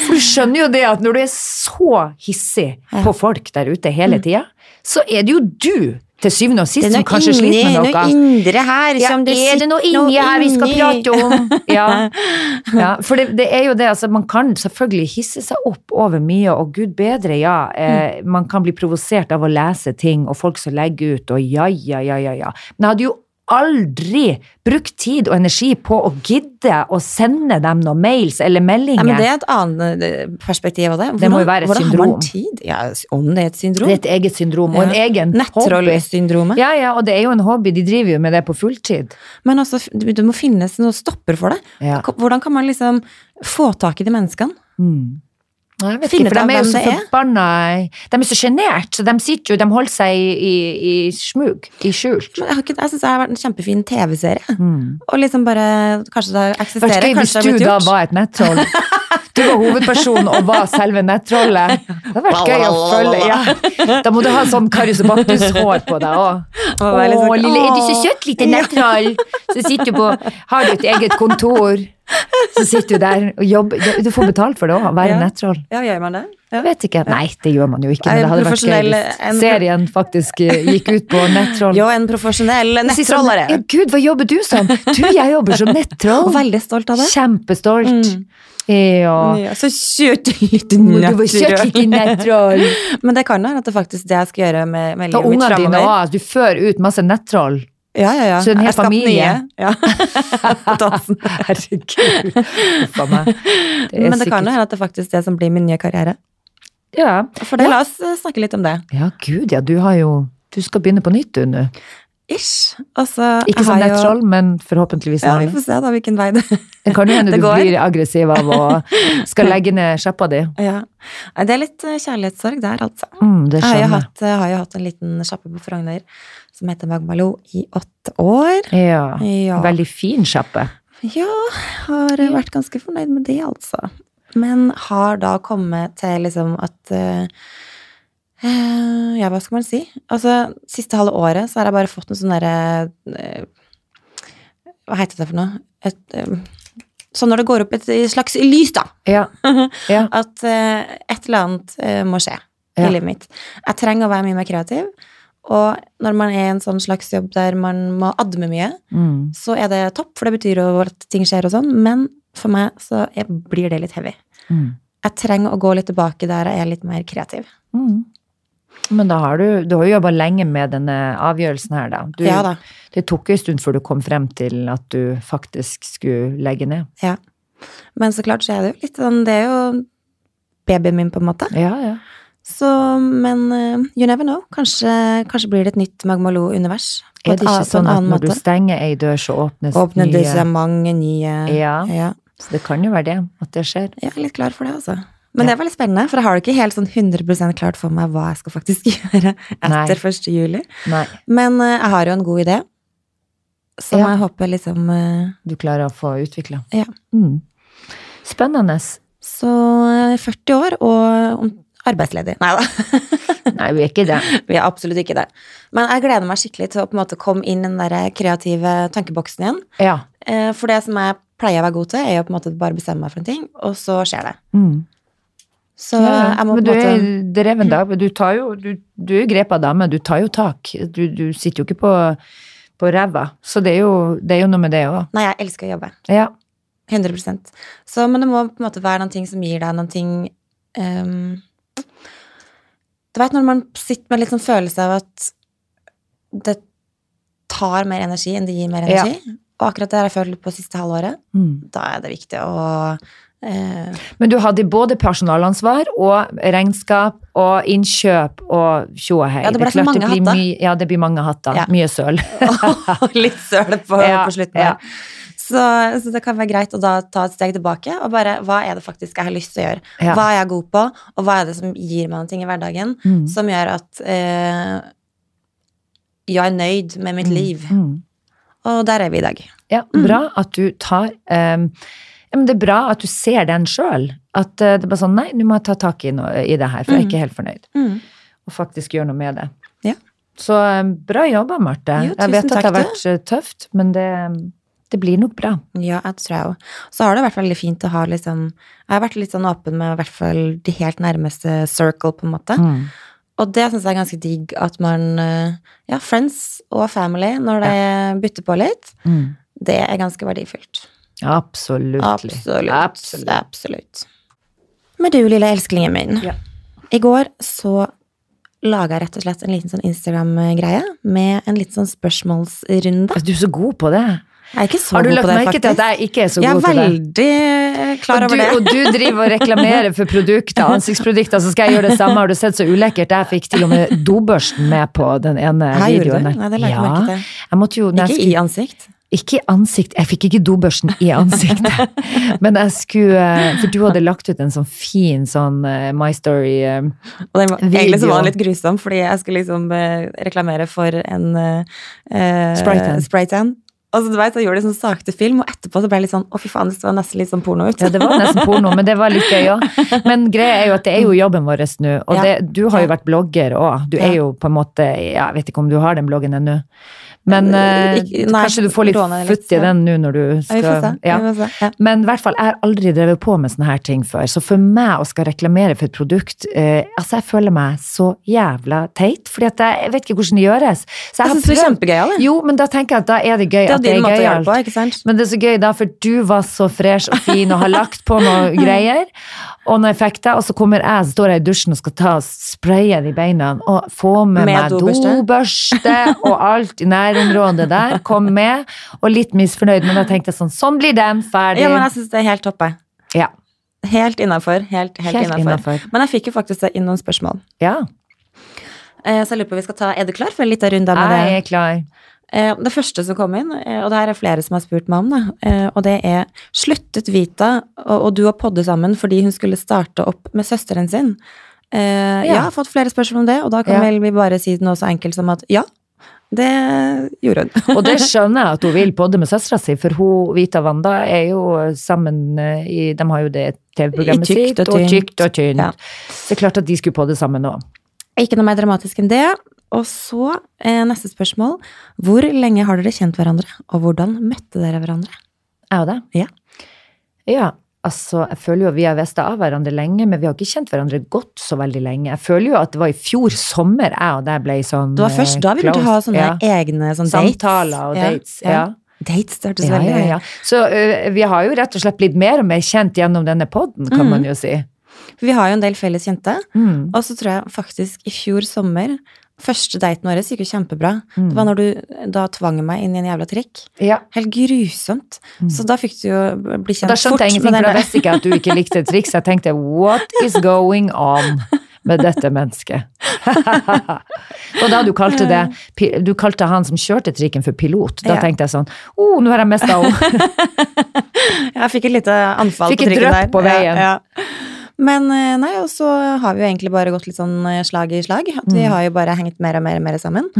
[SPEAKER 1] For du skjønner jo det at når du er så hissig på folk der ute hele tida, så er det jo du til syvende og sist som kanskje sliter med noe.
[SPEAKER 2] indre
[SPEAKER 1] Ja, er
[SPEAKER 2] her
[SPEAKER 1] Liksom, det noe inni her vi skal prate om? Ja, ja for det, det er jo det, altså man kan selvfølgelig hisse seg opp over mye, og gud bedre, ja. Eh, man kan bli provosert av å lese ting, og folk som legger ut, og ja, ja, ja, ja, ja. Men jeg hadde jo aldri brukt tid og energi på å gidde å sende dem noen mails eller meldinger.
[SPEAKER 2] Nei, men det er et annet eh, perspektiv av det.
[SPEAKER 1] Det må jo være et
[SPEAKER 2] hvordan Har
[SPEAKER 1] syndrom.
[SPEAKER 2] man tid? Ja, om det er et syndrom?
[SPEAKER 1] Det er et eget syndrom, og en
[SPEAKER 2] Ja.
[SPEAKER 1] egen hobby.
[SPEAKER 2] Nettrollsyndromet.
[SPEAKER 1] Ja, ja, og det er jo en hobby, de driver jo med det på fulltid.
[SPEAKER 2] Men også, du du må finnes noe stopper for det.
[SPEAKER 1] Ja.
[SPEAKER 2] K- Hvordan kan man liksom få tak i de menneskene?
[SPEAKER 1] Nei, Jeg vet
[SPEAKER 2] Finne
[SPEAKER 1] ikke, for
[SPEAKER 2] ut av
[SPEAKER 1] de er jo
[SPEAKER 2] hvem
[SPEAKER 1] så
[SPEAKER 2] det er.
[SPEAKER 1] forbanna De er så sjenert, så de sitter jo De holder seg i, i, i smug, i skjult.
[SPEAKER 2] Men jeg, har ikke- jeg syns det har vært en kjempefin TV-serie. Og liksom bare Kanskje det
[SPEAKER 1] Vært
[SPEAKER 2] eksisterer,
[SPEAKER 1] gøy hvis
[SPEAKER 2] kanskje det
[SPEAKER 1] Mm. du da
[SPEAKER 2] har blitt gjort.
[SPEAKER 1] var et nettroll. Du var hovedpersonen og var selve nettrollet. Det hadde vært gøy å følge. Ja. Da må du ha sånn Karius og Baktus-hår på deg òg. Å,
[SPEAKER 2] Og være litt sånn,
[SPEAKER 1] lille, er du så
[SPEAKER 2] «Åh».
[SPEAKER 1] søt, lite nettroll? Så sitter du på Har du et eget kontor, så sitter du der og jobber. Du får betalt for det òg, å være
[SPEAKER 2] Ja.
[SPEAKER 1] nettroll.
[SPEAKER 2] Ja, gjør man det?
[SPEAKER 1] Jeg vet ikke. Nei, det gjør man jo ikke. Men
[SPEAKER 2] Nei,
[SPEAKER 1] det hadde vært gøy
[SPEAKER 2] profesjonell- en-
[SPEAKER 1] hvis serien faktisk eh, gikk ut på nettroll.
[SPEAKER 2] Jo, en profesjonell
[SPEAKER 1] Jeg sier sånn, Ja,
[SPEAKER 2] nettrollere.
[SPEAKER 1] Gud, hva jobber du som? Du, jeg jobber som nettroll.
[SPEAKER 2] Og veldig stolt av det. Mm.
[SPEAKER 1] Kjempestolt. Ja.
[SPEAKER 2] Ja, så kjørte litt
[SPEAKER 1] Du var kjørt
[SPEAKER 2] nettroll.
[SPEAKER 1] ikke nettroll.
[SPEAKER 2] Men det kan være at det faktisk det jeg skal gjøre med, med
[SPEAKER 1] Og
[SPEAKER 2] livet mitt
[SPEAKER 1] ungene dine
[SPEAKER 2] framover.
[SPEAKER 1] også, Du fører ut masse nettroll.
[SPEAKER 2] Ja, ja, ja.
[SPEAKER 1] Så en hel
[SPEAKER 2] Jeg skapte
[SPEAKER 1] familie.
[SPEAKER 2] nye, Ja. På dansen.
[SPEAKER 1] Herregud. Huff a meg. er
[SPEAKER 2] Men det kan jo
[SPEAKER 1] sikkert-
[SPEAKER 2] hende at det faktisk er det som blir min nye karriere.
[SPEAKER 1] ja.
[SPEAKER 2] For det, la oss eh, snakke litt om det.
[SPEAKER 1] ja, gud, ja. Du har jo Du skal begynne på nytt, du nå.
[SPEAKER 2] Ish. Altså,
[SPEAKER 1] Ikke sånn som
[SPEAKER 2] jeg har jo-
[SPEAKER 1] nettroll, men forhåpentligvis
[SPEAKER 2] Ja, vi
[SPEAKER 1] snarlig.
[SPEAKER 2] får se da hvilken vei det
[SPEAKER 1] Det kan jo hende
[SPEAKER 2] Det
[SPEAKER 1] du
[SPEAKER 2] går.
[SPEAKER 1] blir aggressiv av å skal legge ned sjappa di.
[SPEAKER 2] ja. Nei, Det er litt eh, kjærlighetssorg der, altså.
[SPEAKER 1] Mm, det
[SPEAKER 2] Jeg har jo
[SPEAKER 1] skjønner jeg.
[SPEAKER 2] hatt, eh, har jo hatt en liten sjappe på Frogner som heter Magmalo i åtte år.
[SPEAKER 1] Ja.
[SPEAKER 2] Ja.
[SPEAKER 1] Veldig fin sjappe.
[SPEAKER 2] Ja, har eh, vært ganske fornøyd med det, altså. Men har da kommet til liksom at eh, eh, Ja, hva skal man si? Altså, siste halve året så har jeg bare fått en sånn derre eh, Hva heter det for noe? Et, eh, sånn når det går opp et slags lys, da.
[SPEAKER 1] Ja. ja.
[SPEAKER 2] At eh, et eller annet eh, må skje
[SPEAKER 1] Ja.
[SPEAKER 2] i livet mitt. Jeg trenger å være mye mer kreativ. Og når man er i en sånn slags jobb der man må adme mye,
[SPEAKER 1] Mm.
[SPEAKER 2] så er det topp, for det betyr jo at ting skjer og sånn, men for meg så er- blir det litt heavy.
[SPEAKER 1] Mm.
[SPEAKER 2] Jeg trenger å gå litt tilbake der jeg er litt mer kreativ.
[SPEAKER 1] Mm. Men da har du, du har jo jobba lenge med denne avgjørelsen her, da. Du,
[SPEAKER 2] Ja da.
[SPEAKER 1] Det tok jo en stund før du kom frem til at du faktisk skulle legge ned.
[SPEAKER 2] Ja. Men så klart så er det jo litt sånn, det er jo babyen min på en måte.
[SPEAKER 1] Ja, ja.
[SPEAKER 2] Så, men eh, you never know. Kanskje, kanskje blir det et nytt Magmaloo-univers. på
[SPEAKER 1] Er
[SPEAKER 2] et
[SPEAKER 1] det ikke
[SPEAKER 2] annet- på en
[SPEAKER 1] sånn at
[SPEAKER 2] annen
[SPEAKER 1] når du
[SPEAKER 2] måte.
[SPEAKER 1] stenger ei dør, så åpnes
[SPEAKER 2] Åpner det
[SPEAKER 1] nye?
[SPEAKER 2] seg mange nye
[SPEAKER 1] Ja.
[SPEAKER 2] ja.
[SPEAKER 1] Så det kan jo være det, at det skjer.
[SPEAKER 2] Jeg er litt klar for det, altså. Men det var litt spennende, for jeg har det ikke helt sånn 100 klart for meg hva jeg skal faktisk gjøre
[SPEAKER 1] Nei.
[SPEAKER 2] etter 1. juli.
[SPEAKER 1] Nei,
[SPEAKER 2] Men eh, jeg har jo en god idé, som
[SPEAKER 1] Ja.
[SPEAKER 2] jeg håper liksom eh,
[SPEAKER 1] du klarer å få utvikla.
[SPEAKER 2] Ja.
[SPEAKER 1] Mm. Spennende.
[SPEAKER 2] Så eh, 40 år og om- arbeidsledig. Nei da,
[SPEAKER 1] Nei, vi er ikke det.
[SPEAKER 2] vi er absolutt ikke det. Men jeg gleder meg skikkelig til å på en måte komme inn i den der kreative tankeboksen igjen.
[SPEAKER 1] Ja.
[SPEAKER 2] Eh, For det som jeg pleier å være god til, er jo på en måte bare bestemme meg for en ting, og så skjer det.
[SPEAKER 1] Mm.
[SPEAKER 2] Så
[SPEAKER 1] ja, ja.
[SPEAKER 2] jeg må
[SPEAKER 1] men
[SPEAKER 2] på en
[SPEAKER 1] du er
[SPEAKER 2] måte
[SPEAKER 1] dreven dame. Du, tar jo, du, du er jo grepa dame. Du tar jo tak. Du, du sitter jo ikke på, på ræva. Så det er, jo, det er jo noe med det òg.
[SPEAKER 2] Nei, jeg elsker å jobbe.
[SPEAKER 1] Ja.
[SPEAKER 2] 100 så, Men det må på en måte være noen ting som gir deg noen ting ehm, Du vet når man sitter med litt sånn følelse av at det tar mer energi enn det gir mer energi. Og akkurat det har jeg følt på siste halvåret.
[SPEAKER 1] Mm.
[SPEAKER 2] Da er det viktig å eh,
[SPEAKER 1] Men du hadde både personalansvar og regnskap og innkjøp og tjo og hei.
[SPEAKER 2] Ja, det ble
[SPEAKER 1] er klart
[SPEAKER 2] så mange
[SPEAKER 1] blir
[SPEAKER 2] hatter.
[SPEAKER 1] mye- ja, det blir mange hatter.
[SPEAKER 2] Ja.
[SPEAKER 1] Mye søl.
[SPEAKER 2] og litt søl på,
[SPEAKER 1] Ja,
[SPEAKER 2] på slutten.
[SPEAKER 1] ja.
[SPEAKER 2] der. Så, så det kan være greit å da ta et steg tilbake og bare hva er det faktisk jeg har lyst til å gjøre?
[SPEAKER 1] Ja.
[SPEAKER 2] Hva er jeg god på, og hva er det som gir meg noen ting i hverdagen
[SPEAKER 1] Mm.
[SPEAKER 2] som gjør at eh, jeg er nøyd med mitt liv? Mm.
[SPEAKER 1] Mm.
[SPEAKER 2] Og der er vi i dag.
[SPEAKER 1] Ja, bra at du tar ehm, ja, men Det er bra at du ser den sjøl. At eh, det er bare sånn Nei, nå må jeg ta tak i, noe, i det her, for jeg er ikke helt fornøyd.
[SPEAKER 2] Mm.
[SPEAKER 1] Og faktisk gjøre noe med det.
[SPEAKER 2] Ja.
[SPEAKER 1] Så ehm, bra jobba, Marte.
[SPEAKER 2] Jo, tusen
[SPEAKER 1] jeg vet at det
[SPEAKER 2] takk,
[SPEAKER 1] har vært eh, tøft, men det, det blir nok bra.
[SPEAKER 2] Ja, jeg tror jeg òg. Så har det vært veldig fint å ha liksom Jeg har vært litt sånn åpen med i hvert fall de helt nærmeste circle, på en måte.
[SPEAKER 1] Mm.
[SPEAKER 2] Og det syns jeg er ganske digg at man eh, Ja, friends og family, når det bytter på litt,
[SPEAKER 1] Mm.
[SPEAKER 2] det er ganske verdifullt.
[SPEAKER 1] Absolutt.
[SPEAKER 2] Absolutt.
[SPEAKER 1] Absolutt.
[SPEAKER 2] Absolutt. Men du, lille elsklingen min.
[SPEAKER 1] Ja.
[SPEAKER 2] I går så laga jeg rett og slett en liten sånn Instagram-greie med en litt sånn spørsmålsrunde.
[SPEAKER 1] Du er så god på det.
[SPEAKER 2] Jeg er ikke så
[SPEAKER 1] Har du
[SPEAKER 2] god
[SPEAKER 1] lagt
[SPEAKER 2] på det,
[SPEAKER 1] merke
[SPEAKER 2] faktisk.
[SPEAKER 1] til at jeg ikke er så
[SPEAKER 2] jeg er
[SPEAKER 1] god til det?
[SPEAKER 2] veldig eh, klar
[SPEAKER 1] og,
[SPEAKER 2] over
[SPEAKER 1] du,
[SPEAKER 2] det.
[SPEAKER 1] og du driver og reklamerer for produkter, ansiktsprodukter, så skal jeg gjøre det samme. Har du sett så ulekkert? Jeg fikk til og med dobørsten med på den ene
[SPEAKER 2] Her gjorde
[SPEAKER 1] videoen.
[SPEAKER 2] du? Nei, det la jeg ikke merke til.
[SPEAKER 1] Jeg måtte jo, når
[SPEAKER 2] Ikke
[SPEAKER 1] jeg
[SPEAKER 2] i
[SPEAKER 1] skulle,
[SPEAKER 2] ansikt.
[SPEAKER 1] ikke i ansikt. Jeg fikk ikke dobørsten i ansiktet. Men jeg skulle eh, For du hadde lagt ut en sånn fin sånn eh, My Story eh,
[SPEAKER 2] Og den var,
[SPEAKER 1] Video.
[SPEAKER 2] egentlig så var den litt grusom, fordi jeg skulle liksom eh, reklamere for en eh,
[SPEAKER 1] Spraytan.
[SPEAKER 2] spraytan. Og så du vet, jeg gjorde det sånn sakte film, og etterpå så ble jeg litt sånn å fy faen, det var nesten litt sånn porno ut.
[SPEAKER 1] Ja, det var nesten porno, men det var litt gøy òg. Men greia er jo at det er jo jobben vår nå. Og
[SPEAKER 2] Ja.
[SPEAKER 1] det, du har jo vært blogger òg. Du er
[SPEAKER 2] Ja.
[SPEAKER 1] jo på en måte ja, Jeg vet ikke om du har den bloggen ennå. Men
[SPEAKER 2] Eh,
[SPEAKER 1] eh,
[SPEAKER 2] ikke- nei,
[SPEAKER 1] kanskje du får litt
[SPEAKER 2] låner jeg litt,
[SPEAKER 1] futt i
[SPEAKER 2] ja.
[SPEAKER 1] den nå når du
[SPEAKER 2] Ja, vi får
[SPEAKER 1] skal
[SPEAKER 2] se.
[SPEAKER 1] ja.
[SPEAKER 2] Vi får se. Ja.
[SPEAKER 1] Men i hvert fall, jeg har aldri drevet på med sånne her ting før. Så for meg å skal reklamere for et produkt eh, Altså, jeg føler meg så jævla teit, fordi at jeg, jeg vet ikke hvordan det gjøres. Så
[SPEAKER 2] Jeg
[SPEAKER 1] har
[SPEAKER 2] synes det er
[SPEAKER 1] prøvd-
[SPEAKER 2] kjempegøy, det.
[SPEAKER 1] Jo, men da tenker jeg at da er det gøy
[SPEAKER 2] Det er
[SPEAKER 1] at det
[SPEAKER 2] din
[SPEAKER 1] er
[SPEAKER 2] måte å gjøre det
[SPEAKER 1] gøyalt.
[SPEAKER 2] på, ikke sant?
[SPEAKER 1] Men det er så gøy, da, for du var så fresh og fin og har lagt på noe greier. Og når jeg fikk det, og så kommer jeg, så står jeg i dusjen og skal ta og spraye de beina og få med,
[SPEAKER 2] Med
[SPEAKER 1] meg dobørste.
[SPEAKER 2] dobørste.
[SPEAKER 1] og alt i nærområdet der. Kom med. Og litt misfornøyd, men da tenkte jeg sånn, sånn blir den ferdig.
[SPEAKER 2] Ja, men jeg syns det er helt topp, jeg.
[SPEAKER 1] Ja,
[SPEAKER 2] Helt innafor. Helt, helt,
[SPEAKER 1] Helt
[SPEAKER 2] innenfor.
[SPEAKER 1] innenfor.
[SPEAKER 2] Men jeg fikk jo faktisk inn noen spørsmål.
[SPEAKER 1] ja.
[SPEAKER 2] Eh, Så jeg lurer på, vi skal ta, Er du klar for en liten runde med
[SPEAKER 1] Jeg
[SPEAKER 2] det?
[SPEAKER 1] er klar.
[SPEAKER 2] Eh, Det første som kom inn, eh, og det her er flere som har spurt meg om, da, eh, og det er Sluttet Vita og og du å podde sammen fordi hun skulle starte opp med søsteren sin?
[SPEAKER 1] Ja.
[SPEAKER 2] Eh, Jeg har fått flere spørsmål om det, og da kan
[SPEAKER 1] Ja.
[SPEAKER 2] vel vi bare si noe så enkelt som at ja, det gjorde hun.
[SPEAKER 1] Og det skjønner jeg at hun vil podde med søstera si, for hun, Vita Wanda, er jo sammen eh, i De har jo det TV-programmet
[SPEAKER 2] I
[SPEAKER 1] sitt,
[SPEAKER 2] tykt og
[SPEAKER 1] og
[SPEAKER 2] tynt.
[SPEAKER 1] tykt og tynt.
[SPEAKER 2] Ja.
[SPEAKER 1] Så det er klart at de skulle podde sammen nå.
[SPEAKER 2] Ikke noe mer dramatisk enn det. Og så eh, neste spørsmål. Hvor lenge har dere kjent hverandre, og hvordan møtte dere hverandre?
[SPEAKER 1] Jeg og deg?
[SPEAKER 2] Ja.
[SPEAKER 1] Ja, altså, jeg føler jo at vi har visst av hverandre lenge, men vi har ikke kjent hverandre godt så veldig lenge. Jeg føler jo at det var i fjor sommer jeg og deg ble sånn eh,
[SPEAKER 2] Det var først da vi begynte å ha sånne
[SPEAKER 1] ja.
[SPEAKER 2] egne sånn
[SPEAKER 1] Samtaler og dates, ja.
[SPEAKER 2] Dates, det hørtes
[SPEAKER 1] Ja,
[SPEAKER 2] veldig
[SPEAKER 1] ja, ja. Så ø, vi har jo rett og slett blitt mer og mer kjent gjennom denne podden,
[SPEAKER 2] Mm.
[SPEAKER 1] kan man jo si.
[SPEAKER 2] For Vi har jo en del felles kjente.
[SPEAKER 1] Mm.
[SPEAKER 2] Og så tror jeg faktisk i fjor sommer Første daten vår gikk jo kjempebra.
[SPEAKER 1] Mm.
[SPEAKER 2] Det var når du da tvang meg inn i en jævla trikk.
[SPEAKER 1] Ja.
[SPEAKER 2] Helt grusomt. Så da fikk du jo bli
[SPEAKER 1] Mm.
[SPEAKER 2] kjent
[SPEAKER 1] Da skjønte jeg
[SPEAKER 2] fort
[SPEAKER 1] ingenting,
[SPEAKER 2] med
[SPEAKER 1] for da
[SPEAKER 2] den
[SPEAKER 1] visste ikke jeg at du ikke likte triks. Jeg tenkte what is going on med dette mennesket? og da du kalte det pi- Du kalte han som kjørte trikken for pilot. Da
[SPEAKER 2] Ja.
[SPEAKER 1] tenkte jeg sånn oh, nå har jeg mista henne.
[SPEAKER 2] Jeg fikk et lite anfall
[SPEAKER 1] Fikk
[SPEAKER 2] på
[SPEAKER 1] et
[SPEAKER 2] trikken
[SPEAKER 1] drypp
[SPEAKER 2] der.
[SPEAKER 1] på veien.
[SPEAKER 2] Ja, ja. Men eh, nei, og så har vi jo egentlig bare gått litt sånn eh, slag i slag. At
[SPEAKER 1] Mm.
[SPEAKER 2] vi har jo bare hengt mer og mer og mer sammen.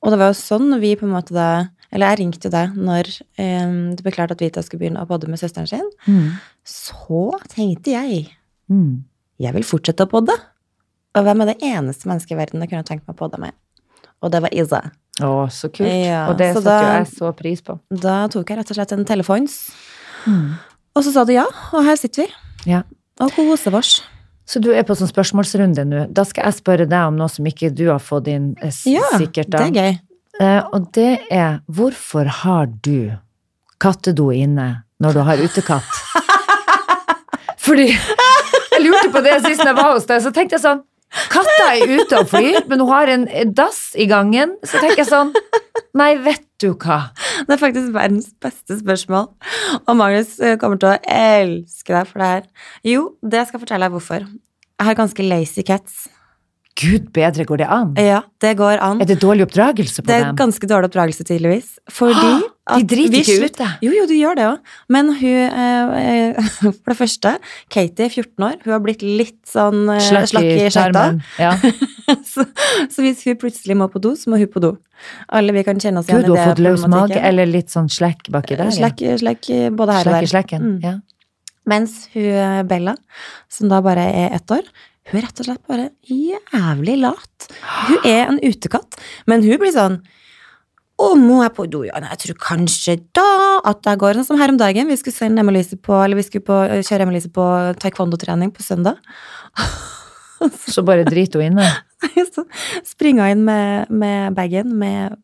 [SPEAKER 2] Og det var jo sånn vi på en måte da Eller jeg ringte jo deg når eh, det ble klart at Vita skulle begynne å podde med søsteren sin.
[SPEAKER 1] Mm.
[SPEAKER 2] Så tenkte jeg
[SPEAKER 1] Mm.
[SPEAKER 2] jeg vil fortsette å podde. Og hvem er det eneste mennesket i verden jeg kunne tenkt meg å podde med? Og det var Iza.
[SPEAKER 1] Å, så kult.
[SPEAKER 2] Ja,
[SPEAKER 1] og det
[SPEAKER 2] så
[SPEAKER 1] satte
[SPEAKER 2] da-
[SPEAKER 1] jo jeg så pris på. Mm.
[SPEAKER 2] Da tok jeg rett og slett en telefons, og så sa du ja, og her sitter vi.
[SPEAKER 1] Ja.
[SPEAKER 2] Og koser oss.
[SPEAKER 1] Så du er på sånn spørsmålsrunde nå. Da skal jeg spørre deg om noe som ikke du har fått inn, eh, s-
[SPEAKER 2] Ja,
[SPEAKER 1] sikkert.
[SPEAKER 2] det
[SPEAKER 1] da.
[SPEAKER 2] er gøy.
[SPEAKER 1] Eh, og det er hvorfor har du kattedo inne når du har utekatt? Fordi jeg lurte på det sist jeg var hos deg, så tenkte jeg sånn Katta er ute og flyr, men hun har en dass i gangen. Så tenker jeg sånn Nei, vet du hva.
[SPEAKER 2] Det er faktisk verdens beste spørsmål. Og Magnus eh, kommer til å elske deg for det her. Jo, det skal jeg fortelle deg hvorfor. Jeg har ganske lazy cats.
[SPEAKER 1] Gud bedre, går det an?
[SPEAKER 2] Ja, det går an.
[SPEAKER 1] Er det dårlig oppdragelse på
[SPEAKER 2] Det er
[SPEAKER 1] dem?
[SPEAKER 2] ganske dårlig oppdragelse, tydeligvis. Fordi
[SPEAKER 1] De driter
[SPEAKER 2] vi
[SPEAKER 1] ikke ut
[SPEAKER 2] slutt-
[SPEAKER 1] det.
[SPEAKER 2] Jo, jo, de gjør det òg. Men hun eh, eh, For det første, Katie er 14 år. Hun har blitt litt sånn eh, slakk i skøyta.
[SPEAKER 1] tarmen. Ja.
[SPEAKER 2] Så, så hvis hun plutselig må på do, så må hun på do. Alle vi kan kjenne oss igjen
[SPEAKER 1] Gud, du har
[SPEAKER 2] i
[SPEAKER 1] fått
[SPEAKER 2] det.
[SPEAKER 1] løs mage, eller litt sånn slekk baki der. ja.
[SPEAKER 2] Slekk, slekk eh, både her og
[SPEAKER 1] Slekk
[SPEAKER 2] der.
[SPEAKER 1] i slekken.
[SPEAKER 2] Mm.
[SPEAKER 1] Ja.
[SPEAKER 2] Mens hun eh, Bella, som da bare er ett år, hun er rett og slett bare jævlig lat. Hun er en utekatt, men hun blir sånn Å, må jeg på do? Ja, nei, jeg tror kanskje da at jeg går. Sånn som her om dagen. Vi skulle, sende Emma-Lise på, eller vi skulle på, kjøre Emma-Lise på taekwondo-trening på søndag.
[SPEAKER 1] Så bare driter hun inne.
[SPEAKER 2] så springer jeg inn med, med bagen med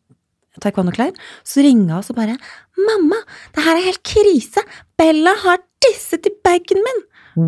[SPEAKER 2] taekwondo-klær. Så ringer hun og så bare 'Mamma, det her er helt krise! Bella har tisset i bagen min!'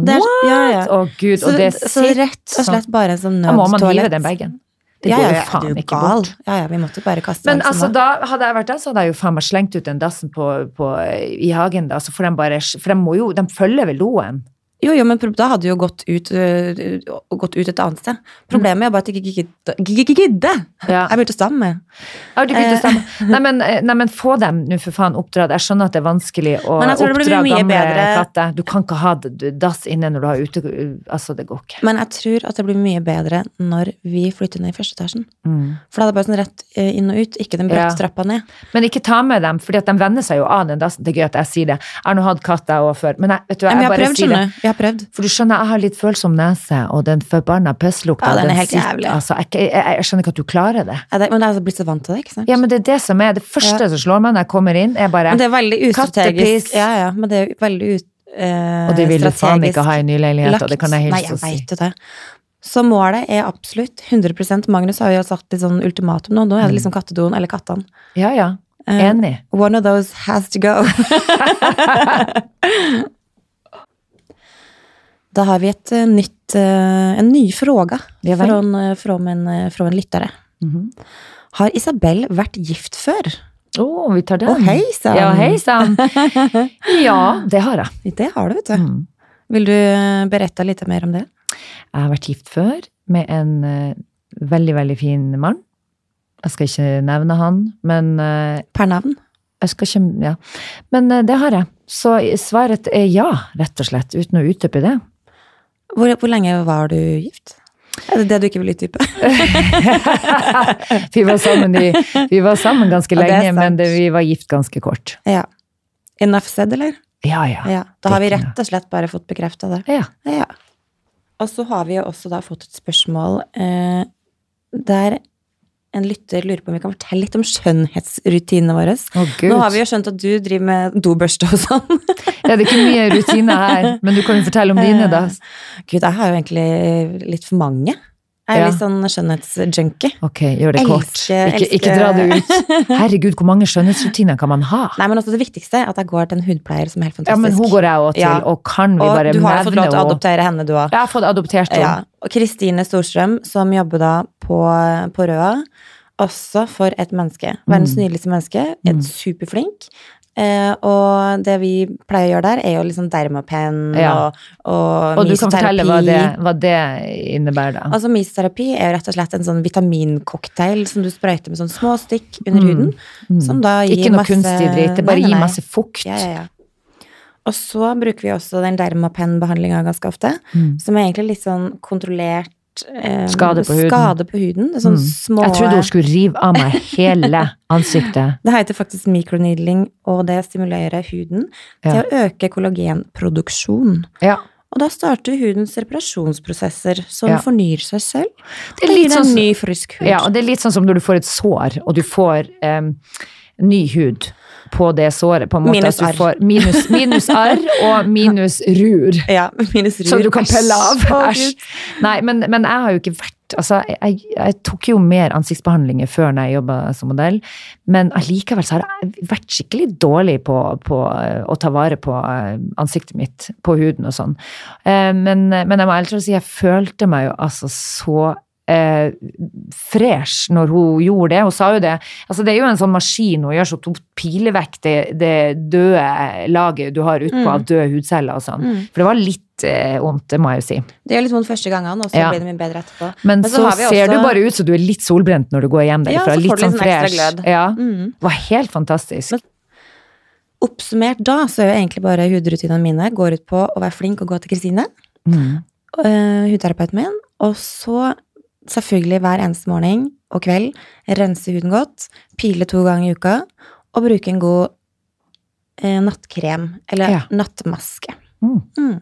[SPEAKER 2] Det er-
[SPEAKER 1] What?!
[SPEAKER 2] ja, ja.
[SPEAKER 1] Å gud,
[SPEAKER 2] Så,
[SPEAKER 1] og det
[SPEAKER 2] så
[SPEAKER 1] sitter
[SPEAKER 2] rett og slett bare en sånn
[SPEAKER 1] Da må man hive
[SPEAKER 2] nødtoalett.
[SPEAKER 1] den bagen. Det
[SPEAKER 2] Ja,
[SPEAKER 1] går
[SPEAKER 2] ja,
[SPEAKER 1] jo
[SPEAKER 2] ja, du er
[SPEAKER 1] faen ikke
[SPEAKER 2] gal.
[SPEAKER 1] bort.
[SPEAKER 2] Ja, ja, vi måtte jo bare kaste
[SPEAKER 1] Men
[SPEAKER 2] den
[SPEAKER 1] altså,
[SPEAKER 2] som var.
[SPEAKER 1] da hadde jeg vært der, så hadde jeg jo faen meg slengt ut den dassen på, på, i hagen, da. Så får de bare For de må jo De følger vel loen?
[SPEAKER 2] Jo, jo, men pro- da hadde jo gått ut, øh, øh, gått ut et annet sted. Problemet er bare at jeg ikke gidde. gidde- gidde.
[SPEAKER 1] Ja.
[SPEAKER 2] Jeg begynte å stamme.
[SPEAKER 1] Jeg har ikke begynt å stemme. Nei, men, eh, nei, men få dem nå for faen oppdratt. Jeg skjønner at det er vanskelig å
[SPEAKER 2] Men jeg tror det blir
[SPEAKER 1] oppdra
[SPEAKER 2] mye
[SPEAKER 1] gamle
[SPEAKER 2] bedre-
[SPEAKER 1] katter. Du kan ikke ha d- d- dass inne når du har ute... Altså, det går ikke.
[SPEAKER 2] Men jeg tror at det blir mye bedre når vi flytter ned i første etasjen.
[SPEAKER 1] Mm.
[SPEAKER 2] For da er det bare sånn rett øh, inn og ut, ikke den bratte
[SPEAKER 1] Ja.
[SPEAKER 2] trappa ned.
[SPEAKER 1] Men ikke ta med dem, for de venner seg jo av den dassen. Det er gøy at jeg sier det. Jeg har nå hatt katt jeg òg før. Men jeg, vet du,
[SPEAKER 2] Men
[SPEAKER 1] jeg
[SPEAKER 2] vi har
[SPEAKER 1] bare sier
[SPEAKER 2] prøvd,
[SPEAKER 1] det.
[SPEAKER 2] skjønner du. Vi har prøvd.
[SPEAKER 1] For du skjønner, jeg har litt følsom nese, og den forbanna pisslukta
[SPEAKER 2] Ja, den er
[SPEAKER 1] den
[SPEAKER 2] helt
[SPEAKER 1] sitter-
[SPEAKER 2] jævlig.
[SPEAKER 1] Altså, jeg, jeg, jeg skjønner ikke at du klarer det.
[SPEAKER 2] Ja, det- Men jeg er altså blitt så vant til det, ikke sant?
[SPEAKER 1] Ja, men det er det som er det første som slår meg når jeg kommer inn, er bare
[SPEAKER 2] men det er veldig ustrategisk.
[SPEAKER 1] Kattepiss.
[SPEAKER 2] Ja, ja, men det er veldig ut, øh,
[SPEAKER 1] Og det vil du faen ikke ha i ny leilighet,
[SPEAKER 2] lagt.
[SPEAKER 1] og det kan jeg
[SPEAKER 2] Nei,
[SPEAKER 1] hilse
[SPEAKER 2] jeg
[SPEAKER 1] og si.
[SPEAKER 2] vet jo det. Så målet er absolutt 100 Magnus har jo sagt litt sånn ultimatum nå. Nå er det liksom
[SPEAKER 1] Mm.
[SPEAKER 2] kattedoen eller kattene.
[SPEAKER 1] Ja, ja.
[SPEAKER 2] Eh,
[SPEAKER 1] Enig.
[SPEAKER 2] one of those has to go. da har vi et eh, nytt eh, En ny fråga
[SPEAKER 1] Ja vel.
[SPEAKER 2] från, eh, från, en, eh, från en lyttare.
[SPEAKER 1] Mhm.
[SPEAKER 2] Har Isabel vært gift før?
[SPEAKER 1] Å, vi tar den.
[SPEAKER 2] Å, hei sann!
[SPEAKER 1] Ja, hei sann. Ja, det har jeg.
[SPEAKER 2] Det har du, vet du.
[SPEAKER 1] Mm.
[SPEAKER 2] Vil du eh, berette litt mer om det?
[SPEAKER 1] Jeg har vært gift før med en eh, veldig, veldig fin mann. Jeg skal ikke nevne han, men eh,
[SPEAKER 2] Per navn?
[SPEAKER 1] jeg skal ikke, ja. Men eh, det har jeg. Så svaret er ja, rett og slett, uten å utdype det.
[SPEAKER 2] Hvor, hvor lenge var du gift? Er det det du ikke vil utdype?
[SPEAKER 1] vi, var sammen i, vi var sammen ganske
[SPEAKER 2] Ja, det er
[SPEAKER 1] lenge, men
[SPEAKER 2] sant.
[SPEAKER 1] det, vi var gift ganske kort.
[SPEAKER 2] Ja. Enough said, eller?
[SPEAKER 1] Ja, ja.
[SPEAKER 2] Ja. Da har vi
[SPEAKER 1] det kunne-
[SPEAKER 2] rett og slett bare fått bekrefta det.
[SPEAKER 1] ja.
[SPEAKER 2] Ja. Og så har vi jo også da fått et spørsmål eh, der en lytter lurer på om vi kan fortelle litt om skjønnhetsrutinene våre.
[SPEAKER 1] Å, gud.
[SPEAKER 2] Nå har vi jo skjønt at du driver med dobørste og sånn.
[SPEAKER 1] Ja, det er ikke mye rutine her, men du kan jo fortelle om dine, da.
[SPEAKER 2] Gud, jeg har jo egentlig litt for mange. Jeg er
[SPEAKER 1] Ja.
[SPEAKER 2] litt sånn skjønnhetsjunkie.
[SPEAKER 1] Ok, gjør det kort.
[SPEAKER 2] Elsker-
[SPEAKER 1] ikke, ikke dra det ut. Herregud, hvor mange skjønnhetsrutiner kan man ha?
[SPEAKER 2] Nei, men også det viktigste er at jeg går til en hudpleier som er helt fantastisk.
[SPEAKER 1] Ja, men hun går jeg òg til,
[SPEAKER 2] Ja.
[SPEAKER 1] og kan vi
[SPEAKER 2] og
[SPEAKER 1] bare
[SPEAKER 2] du har
[SPEAKER 1] nevne
[SPEAKER 2] jo fått lov til å
[SPEAKER 1] henne?
[SPEAKER 2] adoptere henne, du òg.
[SPEAKER 1] Jeg har fått adoptert
[SPEAKER 2] Ja,
[SPEAKER 1] henne.
[SPEAKER 2] og Kristine Storstrøm, som jobber da på, på Røa, også for et menneske. Verdens
[SPEAKER 1] Mm.
[SPEAKER 2] nydeligste menneske. Et superflink. Eh, og det vi pleier å gjøre der, er jo liksom dermapen
[SPEAKER 1] Ja.
[SPEAKER 2] og, og,
[SPEAKER 1] Og du kan fortelle hva
[SPEAKER 2] mysoterapi.
[SPEAKER 1] det, hva det innebærer, da.
[SPEAKER 2] Altså Mysoterapi er jo rett og slett en sånn vitamincocktail som du sprøyter med sånn små stikk under huden. Som da gir
[SPEAKER 1] Mm. Ikke noe
[SPEAKER 2] masse
[SPEAKER 1] kunstig drit, det
[SPEAKER 2] Nei,
[SPEAKER 1] bare
[SPEAKER 2] nei,
[SPEAKER 1] gir
[SPEAKER 2] nei.
[SPEAKER 1] masse fukt.
[SPEAKER 2] Ja, ja, ja. Og så bruker vi også den dermapen-behandlinga ganske ofte, som er egentlig litt sånn kontrollert eh,
[SPEAKER 1] Mm. Skade på huden. Mm.
[SPEAKER 2] skade på huden. Det er sånn små
[SPEAKER 1] Jeg trodde hun skulle rive av meg hele ansiktet.
[SPEAKER 2] Det heter faktisk mikroneedling, og det stimulerer huden til å øke kollagenproduksjon.
[SPEAKER 1] Ja.
[SPEAKER 2] Og da starter hudens reparasjonsprosesser, som
[SPEAKER 1] Ja.
[SPEAKER 2] fornyer seg selv.
[SPEAKER 1] Det er
[SPEAKER 2] og gir
[SPEAKER 1] litt
[SPEAKER 2] deg
[SPEAKER 1] sånn-
[SPEAKER 2] ny, frisk hud.
[SPEAKER 1] Ja, og det er litt sånn som når du får et sår, og du får em, ny hud på det såret. På en måte,
[SPEAKER 2] Minus
[SPEAKER 1] at du
[SPEAKER 2] arr.
[SPEAKER 1] Får minus, minus arr og minus rur.
[SPEAKER 2] Ja, minus rur.
[SPEAKER 1] Som du kan pelle av.
[SPEAKER 2] Æsj, å,
[SPEAKER 1] Sånn, Æsj.
[SPEAKER 2] Gud.
[SPEAKER 1] Nei, men, men jeg har jo ikke vært Altså, jeg- jeg, jeg tok jo mer ansiktsbehandlinger før når jeg jobba som modell, men allikevel så har jeg vært skikkelig dårlig på, på eh, å ta vare på eh, ansiktet mitt, på huden og sånn. Eh, Men, men jeg må ærlig talt si, jeg følte meg jo altså så eh, fresh når hun gjorde det. Hun sa jo det. Altså, det er jo en sånn maskin hun gjør, så at hun piler vekk det, det døde laget du har
[SPEAKER 2] Mm.
[SPEAKER 1] utpå av døde hudceller og sånn. For det var litt eh, vondt, det må jeg jo si.
[SPEAKER 2] Det gjør litt vondt første gangen, og så
[SPEAKER 1] Ja.
[SPEAKER 2] blir det mye bedre etterpå.
[SPEAKER 1] Men, så,
[SPEAKER 2] har vi
[SPEAKER 1] ser
[SPEAKER 2] også-
[SPEAKER 1] du bare ut som du er litt solbrent når du går hjem
[SPEAKER 2] Ja,
[SPEAKER 1] derifra.
[SPEAKER 2] så får
[SPEAKER 1] litt
[SPEAKER 2] du litt
[SPEAKER 1] sånn
[SPEAKER 2] sånn ekstra
[SPEAKER 1] fresh.
[SPEAKER 2] glød.
[SPEAKER 1] Ja.
[SPEAKER 2] Mm.
[SPEAKER 1] Det var helt fantastisk.
[SPEAKER 2] Men- Oppsummert da, så er jo egentlig bare hudrutinene mine går ut på å være flink og gå til Kristine,
[SPEAKER 1] Mm.
[SPEAKER 2] øh, hudterapeuten min, og så selvfølgelig hver eneste morgen og kveld rense huden godt, pile to ganger i uka, og bruke en god eh, nattkrem, eller
[SPEAKER 1] Ja.
[SPEAKER 2] nattmaske.
[SPEAKER 1] Mm.
[SPEAKER 2] Mm.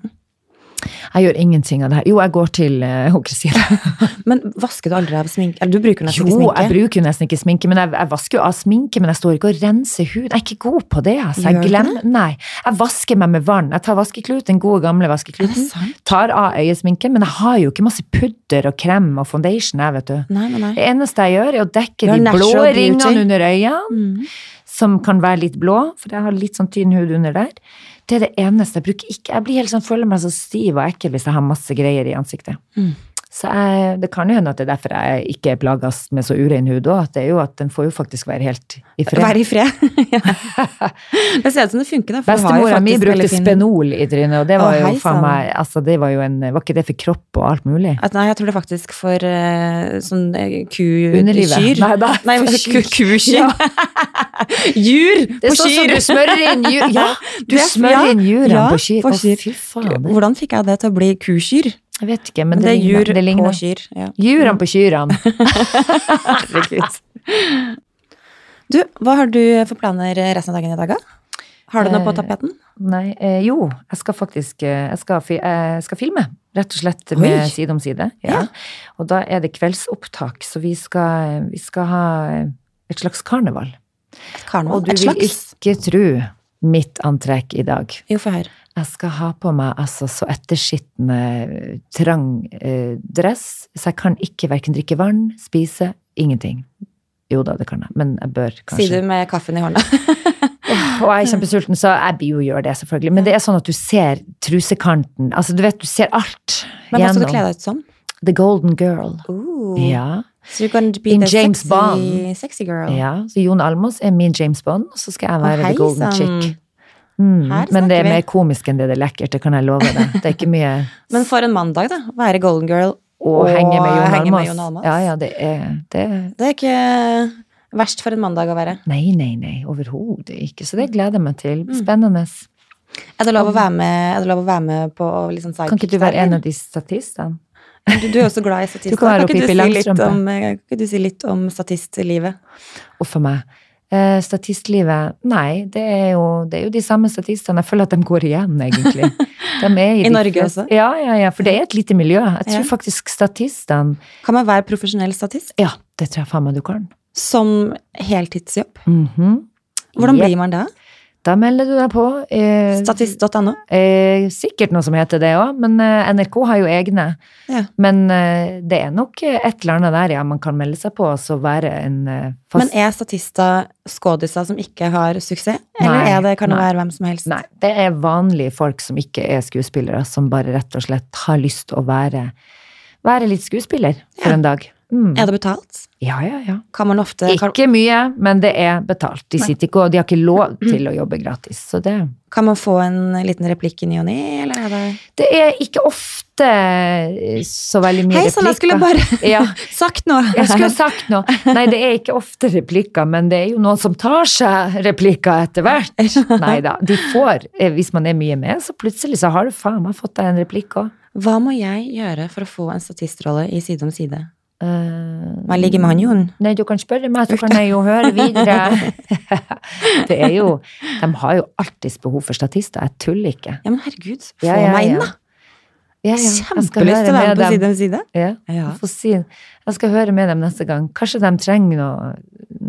[SPEAKER 1] Jeg gjør ingenting av det her. Jo, jeg går til eh, hun Kristine.
[SPEAKER 2] Men vasker du aldri av sminke? Eller du bruker nesten
[SPEAKER 1] Jo,
[SPEAKER 2] ikke sminke?
[SPEAKER 1] jeg bruker jo nesten ikke sminke, men jeg, jeg vasker jo av sminke, men jeg står ikke og renser hud. Jeg er ikke god på det, altså.
[SPEAKER 2] Gjør
[SPEAKER 1] Jeg
[SPEAKER 2] du
[SPEAKER 1] glemmer, nei. Jeg vasker meg med vann. Jeg tar vaskeklut, den gode gamle
[SPEAKER 2] Er det
[SPEAKER 1] vaskekluten.
[SPEAKER 2] sant?
[SPEAKER 1] Tar av øyesminken, men jeg har jo ikke masse pudder og krem og foundation, jeg, vet du.
[SPEAKER 2] Nei, nei, nei.
[SPEAKER 1] Det eneste jeg gjør, er å dekke
[SPEAKER 2] You're
[SPEAKER 1] de blå
[SPEAKER 2] natural beauty.
[SPEAKER 1] ringene under øynene,
[SPEAKER 2] Mm.
[SPEAKER 1] som kan være litt blå, for jeg har litt sånn tynn hud under der. Det er det eneste. Jeg bruker ikke Jeg blir helt sånn, føler meg så stiv og ekkel hvis jeg har masse greier i ansiktet.
[SPEAKER 2] Mm.
[SPEAKER 1] Så jeg, det kan jo hende at det er derfor jeg ikke plages med så urein hud òg. At det er jo at den får jo faktisk være helt i fred.
[SPEAKER 2] Være i fred. Ja. det ser ut som det funker, da. for du har jo
[SPEAKER 1] Bestemora mi
[SPEAKER 2] faktisk
[SPEAKER 1] brukte
[SPEAKER 2] veldig fin-
[SPEAKER 1] Spenol i trynet, og det var
[SPEAKER 2] Å,
[SPEAKER 1] jo
[SPEAKER 2] hei
[SPEAKER 1] faen
[SPEAKER 2] sann.
[SPEAKER 1] meg altså, det var, jo en, var ikke det for kropp og alt mulig?
[SPEAKER 2] At, nei, jeg tror det er faktisk for eh, sånn eh, ku...
[SPEAKER 1] Underlivet.
[SPEAKER 2] Kyr.
[SPEAKER 1] Nei, da.
[SPEAKER 2] Nei, men ku- kukyr. Jur
[SPEAKER 1] Det
[SPEAKER 2] på
[SPEAKER 1] er sånn som
[SPEAKER 2] kyr!
[SPEAKER 1] du smører inn jur Ja, du
[SPEAKER 2] Det- ja,
[SPEAKER 1] smører inn jurene
[SPEAKER 2] ja,
[SPEAKER 1] på kyr.
[SPEAKER 2] på
[SPEAKER 1] Å,
[SPEAKER 2] kyr.
[SPEAKER 1] fy faen.
[SPEAKER 2] Hvordan fikk jeg det til å bli kukyr?
[SPEAKER 1] Jeg vet ikke,
[SPEAKER 2] Men
[SPEAKER 1] men
[SPEAKER 2] det
[SPEAKER 1] det,
[SPEAKER 2] er jur
[SPEAKER 1] ligner. Det
[SPEAKER 2] på
[SPEAKER 1] ligner.
[SPEAKER 2] kyr. Ja.
[SPEAKER 1] Jurene på kyrne.
[SPEAKER 2] Herregud. Du, hva har du for planer resten av dagen i dag, da? Har du noe på
[SPEAKER 1] Eh,
[SPEAKER 2] tapeten?
[SPEAKER 1] Nei, eh, jo, jeg skal faktisk eh, jeg skal, fi, eh, skal filme, rett og slett med
[SPEAKER 2] Oi.
[SPEAKER 1] Side om side. Ja. Og da er det kveldsopptak, så vi skal, vi skal ha eh, et slags karneval.
[SPEAKER 2] Karneval?
[SPEAKER 1] Og du
[SPEAKER 2] Et
[SPEAKER 1] vil
[SPEAKER 2] slags?
[SPEAKER 1] ikke tro mitt antrekk i dag.
[SPEAKER 2] Jo, få høre.
[SPEAKER 1] Jeg skal ha på meg altså så etterskittende, trang eh, dress, så jeg kan ikke verken drikke vann, spise, ingenting. Jo da, det kan jeg, men jeg bør kanskje
[SPEAKER 2] Sier du med kaffen i hånda.
[SPEAKER 1] Og jeg er kjempesulten, så jeg blir jo gjør det, selvfølgelig. Men det er sånn at du ser trusekanten. Altså, du vet, du ser alt
[SPEAKER 2] Men hva skal du
[SPEAKER 1] gjennom.
[SPEAKER 2] kle deg Oh. ut som?
[SPEAKER 1] The Golden Girl.
[SPEAKER 2] Ooh.
[SPEAKER 1] Ja.
[SPEAKER 2] So you're gonna be
[SPEAKER 1] In
[SPEAKER 2] the
[SPEAKER 1] James
[SPEAKER 2] sexy,
[SPEAKER 1] Bond.
[SPEAKER 2] sexy girl.
[SPEAKER 1] ja. Så Jon Almaas er min James Bond, og så skal jeg være
[SPEAKER 2] Å,
[SPEAKER 1] The Golden
[SPEAKER 2] heisann.
[SPEAKER 1] Chick. Mm.
[SPEAKER 2] Her
[SPEAKER 1] Men det
[SPEAKER 2] snakker
[SPEAKER 1] er
[SPEAKER 2] vi.
[SPEAKER 1] mer komisk enn det det er lekkert, det kan jeg love deg. Det er ikke mye
[SPEAKER 2] Men for en mandag, da. Være golden girl
[SPEAKER 1] å henge med Jon
[SPEAKER 2] henge med
[SPEAKER 1] Almaas.
[SPEAKER 2] Jon Almaas.
[SPEAKER 1] Ja, ja, det er, det er
[SPEAKER 2] Det er ikke eh, verst for en mandag å være.
[SPEAKER 1] Nei, nei, nei. Overhodet ikke. Så det gleder jeg meg til.
[SPEAKER 2] Mm.
[SPEAKER 1] Spennende.
[SPEAKER 2] Er det lov å være med, er det lov å være med på litt sånn
[SPEAKER 1] Kan ikke du være en av de statistene?
[SPEAKER 2] Du, du er jo også glad i statister.
[SPEAKER 1] Du kan være
[SPEAKER 2] ikke
[SPEAKER 1] Pippi
[SPEAKER 2] du si litt
[SPEAKER 1] Langstrømpe.
[SPEAKER 2] om, eh, kan ikke du si litt om statistlivet?
[SPEAKER 1] Uff a meg. Eh, Statistlivet Nei, det er, jo, det er jo de samme statistene. Jeg føler at de går igjen, egentlig. De er i
[SPEAKER 2] I
[SPEAKER 1] de
[SPEAKER 2] Norge
[SPEAKER 1] fleste-
[SPEAKER 2] også?
[SPEAKER 1] Ja, ja, ja. For det er et lite miljø. Jeg tror
[SPEAKER 2] Ja.
[SPEAKER 1] faktisk statistene
[SPEAKER 2] Kan man være profesjonell statist
[SPEAKER 1] Ja, det tror jeg faen meg du kan.
[SPEAKER 2] som heltidsjobb?
[SPEAKER 1] Mhm.
[SPEAKER 2] Hvordan
[SPEAKER 1] Ja.
[SPEAKER 2] blir man da?
[SPEAKER 1] Da melder du deg på. eh,
[SPEAKER 2] Statist.no?
[SPEAKER 1] Eh, sikkert noe som heter det òg, men eh, NRK har jo egne.
[SPEAKER 2] Ja.
[SPEAKER 1] Men eh, det er nok eh, et eller annet der ja, man kan melde seg på og så være en eh,
[SPEAKER 2] Men
[SPEAKER 1] fast
[SPEAKER 2] er statister skådiser som ikke har suksess? Eller
[SPEAKER 1] Nei,
[SPEAKER 2] er det, kan det
[SPEAKER 1] nei.
[SPEAKER 2] være hvem som helst?
[SPEAKER 1] Nei, det er vanlige folk som ikke er skuespillere, som bare rett og slett har lyst til å være, være litt skuespiller for en dag. Mm.
[SPEAKER 2] Er det betalt?
[SPEAKER 1] Ja, ja, ja.
[SPEAKER 2] Kan man ofte kan,
[SPEAKER 1] Ikke mye, men det er betalt. De sitter ikke, og de har ikke lov til å jobbe gratis. Så det,
[SPEAKER 2] kan man få en liten replikk i ny og ne, eller er det
[SPEAKER 1] det er ikke ofte eh, så veldig mye
[SPEAKER 2] Hei sann, jeg skulle bare
[SPEAKER 1] Ja.
[SPEAKER 2] sagt noe!
[SPEAKER 1] Jeg skulle ha sagt noe. Nei, det er ikke ofte replikker, men det er jo noen som tar seg replikker etter hvert. Nei da. De får, eh, hvis man er mye med, så plutselig så har du faen meg fått deg en replikk òg.
[SPEAKER 2] Hva må jeg gjøre for å få en statistrolle i Side om side? Man ligger med han Jon.
[SPEAKER 1] Eh, Nei, du kan spørre meg, så kan jeg jo høre videre. Det er jo De har jo alltids behov for statister. Jeg tuller ikke.
[SPEAKER 2] Ja, men herregud, få
[SPEAKER 1] Ja, ja,
[SPEAKER 2] meg inn,
[SPEAKER 1] ja.
[SPEAKER 2] da!
[SPEAKER 1] Ja, ja, jeg
[SPEAKER 2] Kjempelyst
[SPEAKER 1] skal
[SPEAKER 2] til å
[SPEAKER 1] høre
[SPEAKER 2] være med
[SPEAKER 1] med
[SPEAKER 2] på
[SPEAKER 1] dem.
[SPEAKER 2] Side om side.
[SPEAKER 1] Ja.
[SPEAKER 2] Ja.
[SPEAKER 1] Jeg, får si, jeg skal høre med dem neste gang. Kanskje de trenger noe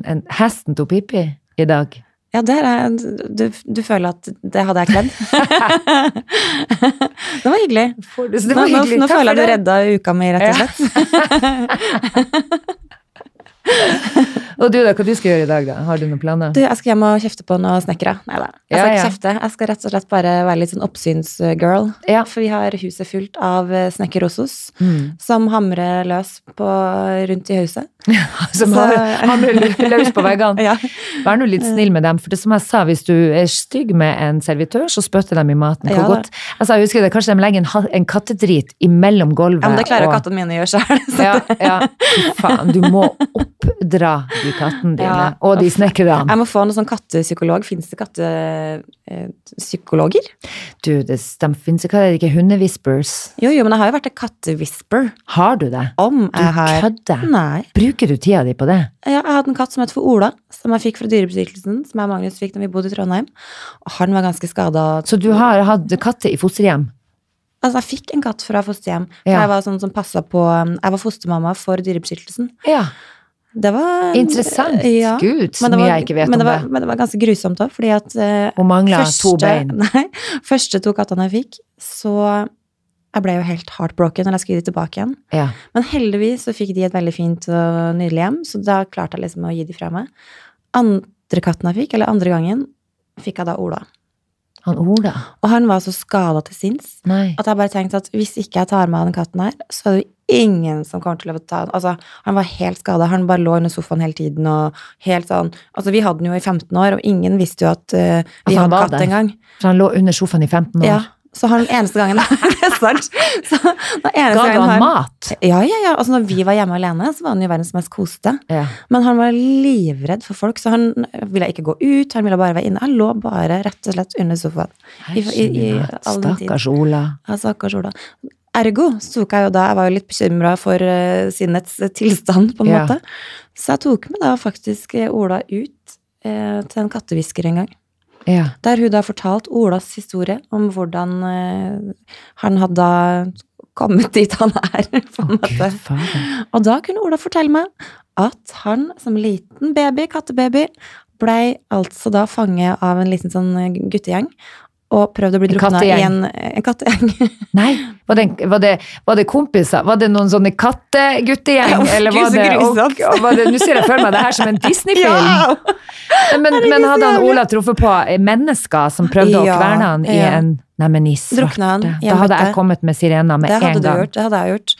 [SPEAKER 1] en, Hesten til Pippi i dag.
[SPEAKER 2] Ja, der er, du, du føler at det hadde jeg kledd. det var hyggelig.
[SPEAKER 1] det var
[SPEAKER 2] Nå- nå,
[SPEAKER 1] hyggelig.
[SPEAKER 2] nå
[SPEAKER 1] Takk for
[SPEAKER 2] føler jeg du
[SPEAKER 1] det.
[SPEAKER 2] redda uka mi, rett og
[SPEAKER 1] Ja.
[SPEAKER 2] slett.
[SPEAKER 1] Og du da, hva du skal gjøre i dag, da? Har du noen planer?
[SPEAKER 2] Du, jeg skal hjem og kjefte på noen snekkere. Nei da. Jeg
[SPEAKER 1] Ja,
[SPEAKER 2] skal
[SPEAKER 1] ja.
[SPEAKER 2] ikke kjefte. Jeg skal rett og slett bare være litt sånn oppsynsgirl.
[SPEAKER 1] Ja.
[SPEAKER 2] For vi har huset fullt av eh, snekkerossos
[SPEAKER 1] Mm.
[SPEAKER 2] som hamrer løs på, rundt i huset.
[SPEAKER 1] Som
[SPEAKER 2] Så-
[SPEAKER 1] har hamrer løs på veggene.
[SPEAKER 2] Ja.
[SPEAKER 1] Vær nå litt snill med dem, for det som jeg sa, hvis du er stygg med en servitør, så spytter de i maten. Hvor
[SPEAKER 2] Ja, da.
[SPEAKER 1] godt Altså, jeg husker det, kanskje de legger en, ha- en kattedrit imellom gulvet.
[SPEAKER 2] Ja, men det klarer
[SPEAKER 1] og-
[SPEAKER 2] kattene mine å gjøre sjøl.
[SPEAKER 1] Ja, ja. Fy Faen, du må oppdra de kattene dine,
[SPEAKER 2] Ja.
[SPEAKER 1] og de snekkerne.
[SPEAKER 2] Jeg må få noen sånn kattepsykolog. Fins det eh, kattepsykologer?
[SPEAKER 1] Du, det, de finnes ikke, hva er det ikke hundewhispers?
[SPEAKER 2] Jo, jo, men jeg har jo vært en kattewhisper.
[SPEAKER 1] Har du det?
[SPEAKER 2] Om
[SPEAKER 1] Du
[SPEAKER 2] jeg har
[SPEAKER 1] kødder.
[SPEAKER 2] Nei.
[SPEAKER 1] Bruker du tida di på det?
[SPEAKER 2] Ja, jeg hadde en katt som het for Ola, som jeg fikk fra Dyrebeskyttelsen. Som jeg og Magnus fikk da vi bodde i Trondheim. Og han var ganske skada.
[SPEAKER 1] Så du har hatt katter i fosterhjem?
[SPEAKER 2] Altså, jeg fikk en katt fra fosterhjem. for
[SPEAKER 1] Ja.
[SPEAKER 2] Jeg var sånn som passet på Jeg var fostermamma for Dyrebeskyttelsen.
[SPEAKER 1] Ja.
[SPEAKER 2] Det var
[SPEAKER 1] Interessant.
[SPEAKER 2] Eh, Ja.
[SPEAKER 1] Gud, så
[SPEAKER 2] Men det
[SPEAKER 1] mye
[SPEAKER 2] var-
[SPEAKER 1] jeg ikke vet
[SPEAKER 2] men det var,
[SPEAKER 1] om det.
[SPEAKER 2] Men det var ganske grusomt òg, fordi at eh,
[SPEAKER 1] Hun mangler to bein.
[SPEAKER 2] Nei, første to kattene jeg fikk, så jeg ble jo helt heartbroken når jeg skulle gi de tilbake igjen.
[SPEAKER 1] Ja.
[SPEAKER 2] Men heldigvis så fikk de et veldig fint og nydelig hjem, så da klarte jeg liksom å gi de fra meg. Andre katten jeg fikk, eller andre gangen, fikk jeg da Ola.
[SPEAKER 1] Han Ola?
[SPEAKER 2] Og han var så skada til sinns
[SPEAKER 1] Nei.
[SPEAKER 2] at jeg bare tenkte at hvis ikke jeg tar meg av den katten her, så er det jo ingen som kommer til å ta den. Altså, han var helt skada. Han bare lå under sofaen hele tiden og helt sånn Altså, vi hadde den jo i 15 år, og ingen visste jo at eh,
[SPEAKER 1] At Altså, han
[SPEAKER 2] vi hadde
[SPEAKER 1] var
[SPEAKER 2] katt
[SPEAKER 1] der.
[SPEAKER 2] engang.
[SPEAKER 1] For han lå under sofaen i 15 år.
[SPEAKER 2] Ja. Så han eneste gangen Det er sant. Så, den eneste
[SPEAKER 1] Ga du
[SPEAKER 2] gangen
[SPEAKER 1] han
[SPEAKER 2] han-
[SPEAKER 1] mat?
[SPEAKER 2] Ja, ja, ja. Altså, når vi var hjemme alene, så var han jo verdens mest koste.
[SPEAKER 1] Ja.
[SPEAKER 2] Men han var livredd for folk, så han ville ikke gå ut. Han ville bare være inne. Han lå bare rett og slett under sofaen. I- i- i all den tid.
[SPEAKER 1] Stakkars Ola.
[SPEAKER 2] Ja, stakkars Ola. Ergo så tok jeg jo da Jeg var jo litt bekymra for uh, sinnets tilstand, på en
[SPEAKER 1] Ja.
[SPEAKER 2] måte. Så jeg tok med da faktisk eh, Ola ut eh, til en kattehvisker en gang.
[SPEAKER 1] Ja.
[SPEAKER 2] Der hun da fortalte Olas historie om hvordan eh, han hadde da kommet dit han er, på en måte.
[SPEAKER 1] Gud fader.
[SPEAKER 2] Og da kunne Ola fortelle meg at han som liten baby, kattebaby, blei altså da fange av en liten sånn guttegjeng og prøvde å bli
[SPEAKER 1] En
[SPEAKER 2] drukna i en, eh,
[SPEAKER 1] kattegjeng.
[SPEAKER 2] en kattegjeng.
[SPEAKER 1] Nei, var det, var, det, var det kompiser? Var det noen sånne katteguttegjeng?
[SPEAKER 2] Ja, uff,
[SPEAKER 1] eller var
[SPEAKER 2] gud, så
[SPEAKER 1] det,
[SPEAKER 2] grusomt.
[SPEAKER 1] og- og var det, nå ser jeg for meg det her som en Disney-film. Nei, men, men hadde han Ola truffet på mennesker som prøvde å
[SPEAKER 2] Ja,
[SPEAKER 1] kverne han i
[SPEAKER 2] ja.
[SPEAKER 1] en Neimen, i svarte.
[SPEAKER 2] Drukna han i en
[SPEAKER 1] Da hadde
[SPEAKER 2] bøtte.
[SPEAKER 1] jeg kommet med sirena med
[SPEAKER 2] Det hadde
[SPEAKER 1] en
[SPEAKER 2] du
[SPEAKER 1] gang.
[SPEAKER 2] gjort. Det hadde jeg gjort.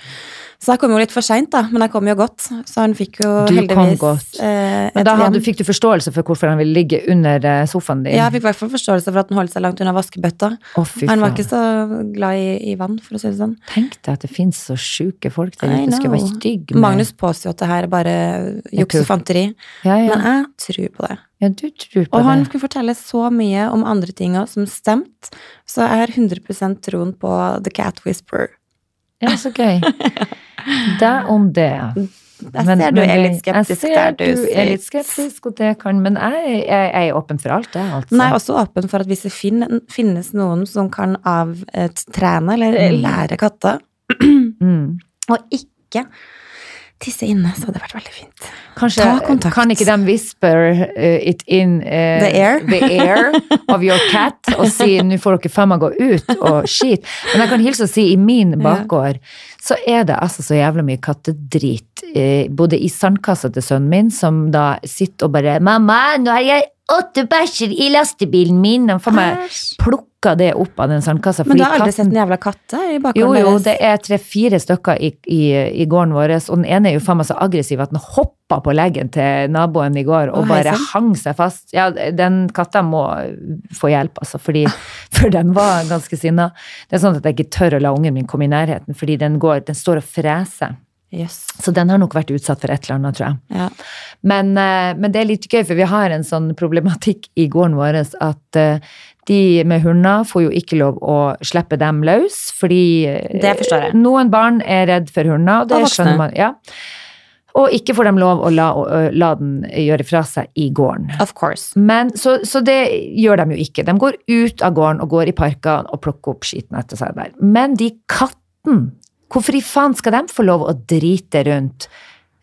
[SPEAKER 2] Så jeg kom jo litt for seint, da, men jeg kom jo godt. Så han fikk jo
[SPEAKER 1] Du kom
[SPEAKER 2] heldigvis
[SPEAKER 1] godt.
[SPEAKER 2] eh, et
[SPEAKER 1] Men da hadde,
[SPEAKER 2] hjem.
[SPEAKER 1] fikk du forståelse for hvorfor han ville ligge under eh, sofaen din?
[SPEAKER 2] Ja, jeg fikk i hvert fall forståelse for at han holdt seg langt unna vaskebøtta.
[SPEAKER 1] Å, fy
[SPEAKER 2] Han var
[SPEAKER 1] faen.
[SPEAKER 2] ikke så glad i, i vann, for å si det sånn.
[SPEAKER 1] Tenk deg at det finnes så sjuke folk der
[SPEAKER 2] I
[SPEAKER 1] ute. Skulle
[SPEAKER 2] know.
[SPEAKER 1] være stygg med
[SPEAKER 2] Magnus påstår jo at det her er bare juks
[SPEAKER 1] tull.
[SPEAKER 2] og fanteri,
[SPEAKER 1] Ja, ja.
[SPEAKER 2] men jeg tror på det.
[SPEAKER 1] ja, du tror på
[SPEAKER 2] Og han
[SPEAKER 1] det.
[SPEAKER 2] kunne fortelle så mye om andre ting òg, som stemte, så jeg har 100 troen på The Cat Whisperer.
[SPEAKER 1] Ja, så gøy. Deg om det.
[SPEAKER 2] Jeg ser du er litt skeptisk der,
[SPEAKER 1] Jeg ser du
[SPEAKER 2] du.
[SPEAKER 1] er
[SPEAKER 2] sitter.
[SPEAKER 1] litt skeptisk, og det kan Men jeg, jeg, jeg er åpen for alt, jeg, altså.
[SPEAKER 2] Men jeg er også åpen for at hvis det fin, finnes noen som kan avtrene eller
[SPEAKER 1] Mm.
[SPEAKER 2] lære katter,
[SPEAKER 1] mm.
[SPEAKER 2] og ikke tisse inne, så hadde det vært veldig fint.
[SPEAKER 1] Kanskje,
[SPEAKER 2] Ta kontakt.
[SPEAKER 1] Kan ikke de whisper eh, it in eh,
[SPEAKER 2] The air?
[SPEAKER 1] air of your cat og si 'nå får dere faen meg gå ut og skit'? Men jeg kan hilse og si i min bakgård så er det altså så jævla mye kattedrit. eh, både i sandkassa til sønnen min, som da sitter og bare 'Mamma, nå har jeg åtte bæsjer i lastebilen min. De får meg
[SPEAKER 2] Æsj.
[SPEAKER 1] plukka det opp av den sandkassa. fordi
[SPEAKER 2] Men du har aldri
[SPEAKER 1] katten-
[SPEAKER 2] sett en jævla katt der i
[SPEAKER 1] Jo,
[SPEAKER 2] bakgården
[SPEAKER 1] jo,
[SPEAKER 2] deres?
[SPEAKER 1] det er tre-fire stykker i, i, i gården vår, og den ene er jo faen meg så aggressiv at den hoppa på leggen til naboen i går og
[SPEAKER 2] Å, hei
[SPEAKER 1] bare
[SPEAKER 2] sann.
[SPEAKER 1] hang seg fast. Ja, den katta må få hjelp, altså, fordi, for den var ganske sinna. Det er sånn at jeg ikke tør å la ungen min komme i nærheten, fordi den, går, den står og freser.
[SPEAKER 2] Jøss.
[SPEAKER 1] Så den har nok vært utsatt for et eller annet, tror jeg.
[SPEAKER 2] Ja.
[SPEAKER 1] Men, eh, men det er litt gøy, for vi har en sånn problematikk i gården vår at eh, de med hunder får jo ikke lov å slippe dem løs, fordi eh,
[SPEAKER 2] Det forstår jeg.
[SPEAKER 1] noen barn er redd for hunder, og det
[SPEAKER 2] Og voksne.
[SPEAKER 1] skjønner man. Ja. Og ikke får de lov å la, å la den gjøre fra seg i gården.
[SPEAKER 2] Of course.
[SPEAKER 1] Men, så, så det gjør de jo ikke. De går ut av gården og går i parkene og plukker opp skiten etter seg der. Men de katten, hvorfor i faen skal de få lov å drite rundt?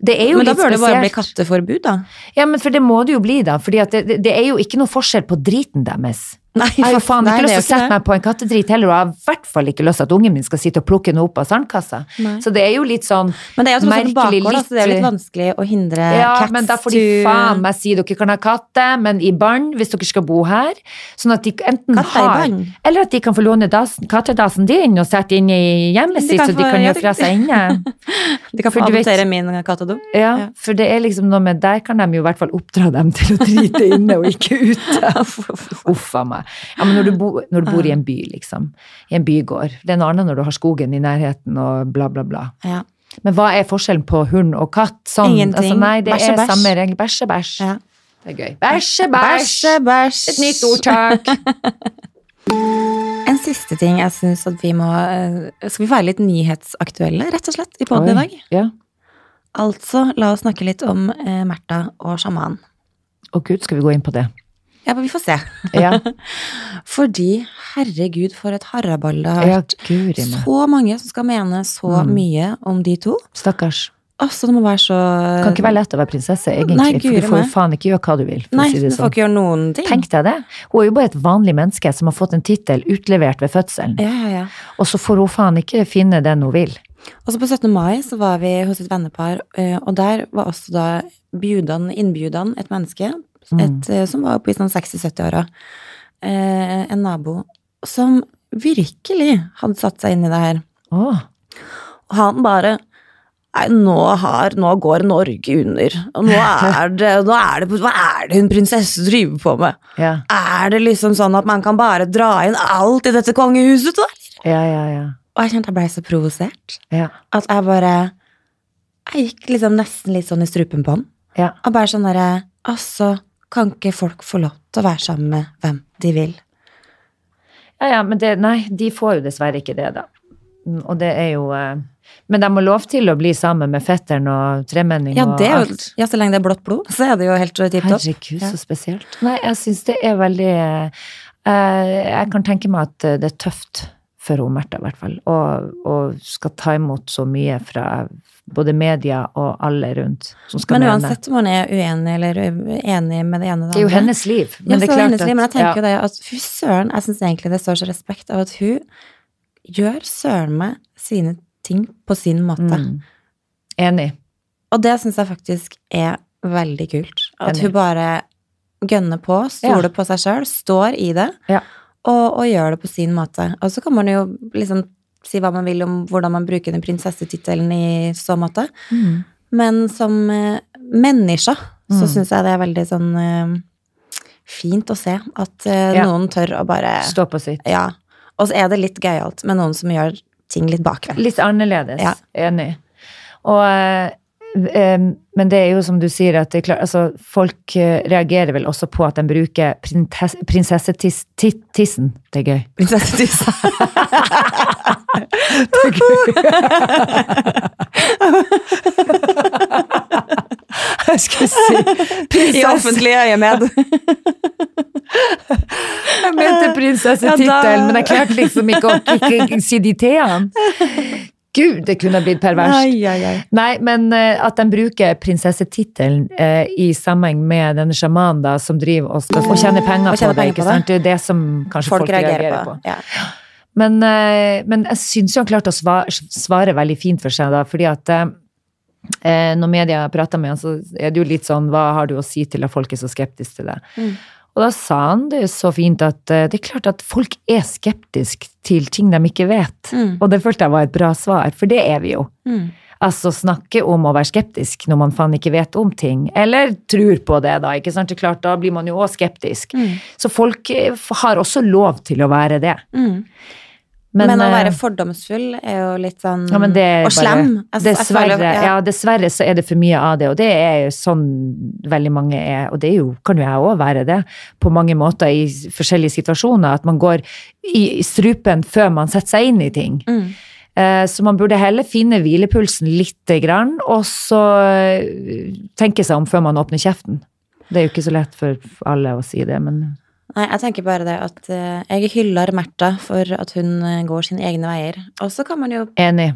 [SPEAKER 1] Det er jo
[SPEAKER 2] Men da
[SPEAKER 1] litt
[SPEAKER 2] bør det bare bli
[SPEAKER 1] spesielt.
[SPEAKER 2] katteforbud, da.
[SPEAKER 1] Ja, men for det må det jo bli, da. For det, det, det er jo ikke noe forskjell på driten deres.
[SPEAKER 2] Nei,
[SPEAKER 1] Jeg har jo
[SPEAKER 2] fuck,
[SPEAKER 1] faen
[SPEAKER 2] nei,
[SPEAKER 1] ikke
[SPEAKER 2] det er
[SPEAKER 1] lyst til å
[SPEAKER 2] jo ikke
[SPEAKER 1] sette
[SPEAKER 2] det.
[SPEAKER 1] meg på en kattedrit heller, og jeg har i hvert fall ikke lyst til at ungen min skal sitte og plukke den opp av sandkassa.
[SPEAKER 2] Nei.
[SPEAKER 1] Så det er jo litt sånn
[SPEAKER 2] Men det er jo tross alt en
[SPEAKER 1] merkelig,
[SPEAKER 2] bakgård, da, så det er jo litt vanskelig å hindre
[SPEAKER 1] ja,
[SPEAKER 2] cats
[SPEAKER 1] men da får de
[SPEAKER 2] to-
[SPEAKER 1] faen meg si dere kan ha katter, men i barn hvis dere skal bo her. Sånn at de enten
[SPEAKER 2] Katter i
[SPEAKER 1] har
[SPEAKER 2] barn?
[SPEAKER 1] Eller at de kan få låne dassen, kattedassen din og sette inn i hjemmet
[SPEAKER 2] De
[SPEAKER 1] sitt,
[SPEAKER 2] kan
[SPEAKER 1] så de
[SPEAKER 2] få-
[SPEAKER 1] kan
[SPEAKER 2] ja,
[SPEAKER 1] gjøre fra
[SPEAKER 2] de-
[SPEAKER 1] seg inne.
[SPEAKER 2] De kan få
[SPEAKER 1] For du vet-
[SPEAKER 2] adoptere min kattedom.
[SPEAKER 1] Ja,
[SPEAKER 2] Ja.
[SPEAKER 1] for det er liksom noe med Der kan de jo i hvert fall oppdra dem til å drite inne og ikke ute. Uff a meg. Ja, men når du, bo, når du bor i en by, liksom. I en bygård. Det er noe annet når du har skogen i nærheten og bla, bla, bla.
[SPEAKER 2] Ja.
[SPEAKER 1] Men hva er forskjellen på hund og katt? Sånn,
[SPEAKER 2] Ingenting.
[SPEAKER 1] Altså, nei, det
[SPEAKER 2] Bæsje,
[SPEAKER 1] er
[SPEAKER 2] bæsj.
[SPEAKER 1] samme regel. Bæsje, bæsj.
[SPEAKER 2] Ja.
[SPEAKER 1] Det er gøy. Bæsje, bæsj!
[SPEAKER 2] Bæsj, bæsj.
[SPEAKER 1] Et nytt ordtak.
[SPEAKER 2] En siste ting jeg syns at vi må eh, Skal vi være litt nyhetsaktuelle, rett og slett, i poden i dag?
[SPEAKER 1] Ja.
[SPEAKER 2] Altså, la oss snakke litt om eh, Märtha og sjaman.
[SPEAKER 1] Å gud, skal vi gå inn på det?
[SPEAKER 2] Ja, men vi får se.
[SPEAKER 1] Ja,
[SPEAKER 2] Fordi, herregud, for et haraball det har
[SPEAKER 1] ja
[SPEAKER 2] vært.
[SPEAKER 1] guri meg.
[SPEAKER 2] Så mange som skal mene så
[SPEAKER 1] Mm.
[SPEAKER 2] mye om de to.
[SPEAKER 1] Stakkars.
[SPEAKER 2] Altså, det må være så
[SPEAKER 1] Kan ikke være lett å være prinsesse, egentlig.
[SPEAKER 2] Nei,
[SPEAKER 1] for
[SPEAKER 2] guri
[SPEAKER 1] du får jo
[SPEAKER 2] meg.
[SPEAKER 1] faen ikke gjøre hva du vil. For
[SPEAKER 2] Nei,
[SPEAKER 1] å si
[SPEAKER 2] du
[SPEAKER 1] det
[SPEAKER 2] får
[SPEAKER 1] sånn.
[SPEAKER 2] ikke gjøre noen ting.
[SPEAKER 1] Tenk deg det. Hun er jo bare et vanlig menneske som har fått en tittel utlevert ved fødselen.
[SPEAKER 2] Ja, ja, ja.
[SPEAKER 1] Og så får hun faen ikke finne den hun vil.
[SPEAKER 2] Og så på 17. mai så var vi hos et vennepar, eh, og der var også da bjudan, innbjudan, et menneske et, eh, som var oppe i sånn 60-70-åra. Eh, en nabo som virkelig hadde satt seg inn i det her.
[SPEAKER 1] Åh,
[SPEAKER 2] Og han bare Nei, nå, har, nå går Norge under. Og nå er det, nå er det Hva er det hun prinsesse driver på med?
[SPEAKER 1] ja,
[SPEAKER 2] Er det liksom sånn at man kan bare dra inn alt i dette kongehuset, da?
[SPEAKER 1] ja, ja, ja.
[SPEAKER 2] Og jeg kjente jeg blei så provosert
[SPEAKER 1] ja.
[SPEAKER 2] at jeg bare Jeg gikk liksom nesten litt sånn i strupen på han.
[SPEAKER 1] Ja.
[SPEAKER 2] Og bare sånn derre Altså, kan ikke folk få lov til å være sammen med hvem de vil?
[SPEAKER 1] Ja, ja, men det, nei, de får jo dessverre ikke det, da. Mm, Og det er jo eh, Men de må lov til å bli sammen med fetteren og tremenning
[SPEAKER 2] Ja,
[SPEAKER 1] og
[SPEAKER 2] det er jo,
[SPEAKER 1] alt.
[SPEAKER 2] ja, så lenge det er blått blod, så er det jo helt tipp topp.
[SPEAKER 1] Herregud,
[SPEAKER 2] Ja.
[SPEAKER 1] så spesielt. Nei, jeg syns det er veldig eh, eh, Jeg kan tenke meg at eh, det er tøft for hun Märtha, i hvert fall. Og, og skal ta imot så mye fra både media og alle rundt som skal
[SPEAKER 2] Men
[SPEAKER 1] mene.
[SPEAKER 2] uansett om man er uenig eller u- enig med det ene og det andre.
[SPEAKER 1] Det er jo hennes liv.
[SPEAKER 2] Ja,
[SPEAKER 1] Men det er
[SPEAKER 2] så er det
[SPEAKER 1] klart
[SPEAKER 2] hennes liv, Men jeg tenker
[SPEAKER 1] ja.
[SPEAKER 2] jo det at fy søren, jeg syns egentlig det står så respekt av at hun gjør søren meg sine ting på sin måte.
[SPEAKER 1] Mm. Enig.
[SPEAKER 2] Og det syns jeg faktisk er veldig kult. At
[SPEAKER 1] Enig.
[SPEAKER 2] hun bare gønner på, stoler på seg sjøl, står i det,
[SPEAKER 1] Ja.
[SPEAKER 2] og, og gjør det på sin måte. Og så kan man jo liksom si hva man vil om hvordan man bruker den prinsessetittelen i så måte,
[SPEAKER 1] Mm.
[SPEAKER 2] men som eh, menneske så
[SPEAKER 1] Mm.
[SPEAKER 2] syns jeg det er veldig sånn eh, fint å se at eh,
[SPEAKER 1] Ja.
[SPEAKER 2] noen tør å bare
[SPEAKER 1] Stå på sitt.
[SPEAKER 2] Ja. Og så er det litt gøyalt med noen som gjør ting litt bakvendt.
[SPEAKER 1] Litt annerledes.
[SPEAKER 2] Ja.
[SPEAKER 1] Enig. Og, eh, em, men det er jo som du sier, at det er klart, altså, folk eh, reagerer vel også på at de bruker printes- prinsessetissen. Det er gøy.
[SPEAKER 2] Prinsessetiss.
[SPEAKER 1] Jeg skulle si
[SPEAKER 2] I offentlig øyemed.
[SPEAKER 1] Jeg mente prinsessetittelen,
[SPEAKER 2] Ja, da-
[SPEAKER 1] men jeg klarte liksom ikke å ikke, ikke, si de t-ene. Gud, det kunne blitt perverst.
[SPEAKER 2] Ai, ai, ai.
[SPEAKER 1] Nei, men eh, at de bruker prinsessetittelen eh, i sammenheng med denne sjamanen da, som driver og, skal- og tjener penger
[SPEAKER 2] Og
[SPEAKER 1] på
[SPEAKER 2] tjener
[SPEAKER 1] det,
[SPEAKER 2] penger på
[SPEAKER 1] ikke
[SPEAKER 2] det.
[SPEAKER 1] sant? Det er det som kanskje folk, reagerer, på.
[SPEAKER 2] Ja.
[SPEAKER 1] Men, eh, men jeg syns jo han klarte å svare, svare veldig fint for seg, da, fordi at eh, eh, når media prater med han, så er det jo litt sånn Hva har du å si til at folk er så skeptiske til det?
[SPEAKER 2] Mm.
[SPEAKER 1] Og da sa han det er så fint at eh, det er klart at folk er skeptiske til ting de ikke vet.
[SPEAKER 2] Mm.
[SPEAKER 1] Og det følte jeg var et bra svar, for det er vi jo. Altså snakke om å være skeptisk når man faen ikke vet om ting. Eller tror på det, da. ikke sant? Det er klart, Da blir man jo òg
[SPEAKER 2] Mm.
[SPEAKER 1] skeptisk. Så folk eh, har også lov til å være det.
[SPEAKER 2] mm. Men, å
[SPEAKER 1] eh,
[SPEAKER 2] være fordomsfull er jo litt sånn
[SPEAKER 1] ja, men det er
[SPEAKER 2] Og slem.
[SPEAKER 1] Bare,
[SPEAKER 2] Altså, jeg
[SPEAKER 1] dessverre,
[SPEAKER 2] føler- ja.
[SPEAKER 1] ja. dessverre så er det for mye av det, og det er jo sånn veldig mange er, og det er jo, kan jo jeg òg være det, på mange måter i s- forskjellige situasjoner, at man går i i strupen før man setter seg inn i ting.
[SPEAKER 2] Mm.
[SPEAKER 1] Eh, Så man burde heller finne hvilepulsen lite grann, og så eh, tenke seg om før man åpner kjeften. Det er jo ikke så lett for alle å si det, men
[SPEAKER 2] Nei, jeg tenker bare det at eh, jeg hyller Märtha for at hun eh, går sine egne veier. Og så kan man jo
[SPEAKER 1] enig.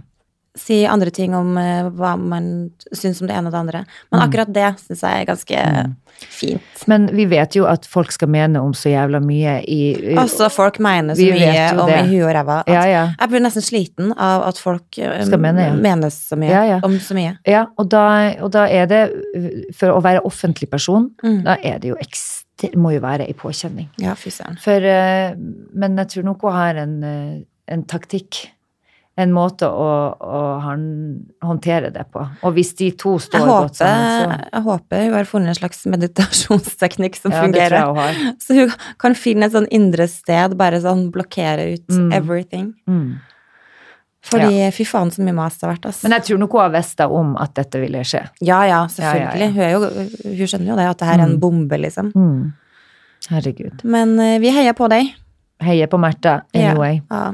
[SPEAKER 2] si andre ting om eh, hva man syns om det ene og det andre. Men
[SPEAKER 1] Mm.
[SPEAKER 2] akkurat det syns jeg er ganske fint.
[SPEAKER 1] Men vi vet jo at folk skal mene om så jævla mye i i-
[SPEAKER 2] Altså, folk mener så
[SPEAKER 1] Vi
[SPEAKER 2] mye
[SPEAKER 1] vet jo
[SPEAKER 2] om
[SPEAKER 1] det.
[SPEAKER 2] i huet og ræva. at
[SPEAKER 1] Ja, ja.
[SPEAKER 2] Jeg blir nesten sliten av at folk eh,
[SPEAKER 1] Skal mene, ja.
[SPEAKER 2] mener så mye
[SPEAKER 1] Ja, ja.
[SPEAKER 2] om så mye.
[SPEAKER 1] Ja, og da, og da er det uh, For å være offentlig person,
[SPEAKER 2] Mm.
[SPEAKER 1] da er det jo ekster, må jo være ei påkjenning.
[SPEAKER 2] Ja, fy søren.
[SPEAKER 1] For, uh, men jeg tror nok hun har en, uh, en taktikk. En måte å, å han, håndtere det på. Og hvis de to
[SPEAKER 2] Jeg
[SPEAKER 1] står
[SPEAKER 2] håper,
[SPEAKER 1] godt sammen,
[SPEAKER 2] jeg håper hun har funnet en slags meditasjonsteknikk
[SPEAKER 1] så
[SPEAKER 2] som
[SPEAKER 1] ja, det tror
[SPEAKER 2] fungerer.
[SPEAKER 1] jeg hun har.
[SPEAKER 2] Så hun kan finne et sånn indre sted, bare sånn blokkere ut
[SPEAKER 1] Mm.
[SPEAKER 2] everything.
[SPEAKER 1] Mm.
[SPEAKER 2] Fordi fy faen så mye mas det har vært, ass.
[SPEAKER 1] Men jeg tror nok hun har visst om at dette ville skje.
[SPEAKER 2] ja, ja, selvfølgelig. Hun, er jo, hun skjønner jo det, at det her er en
[SPEAKER 1] Mm.
[SPEAKER 2] bombe, liksom.
[SPEAKER 1] Mm. Herregud.
[SPEAKER 2] Men eh, vi heier på deg.
[SPEAKER 1] Heier på Märtha
[SPEAKER 2] Ja.
[SPEAKER 1] anyway.
[SPEAKER 2] Ja.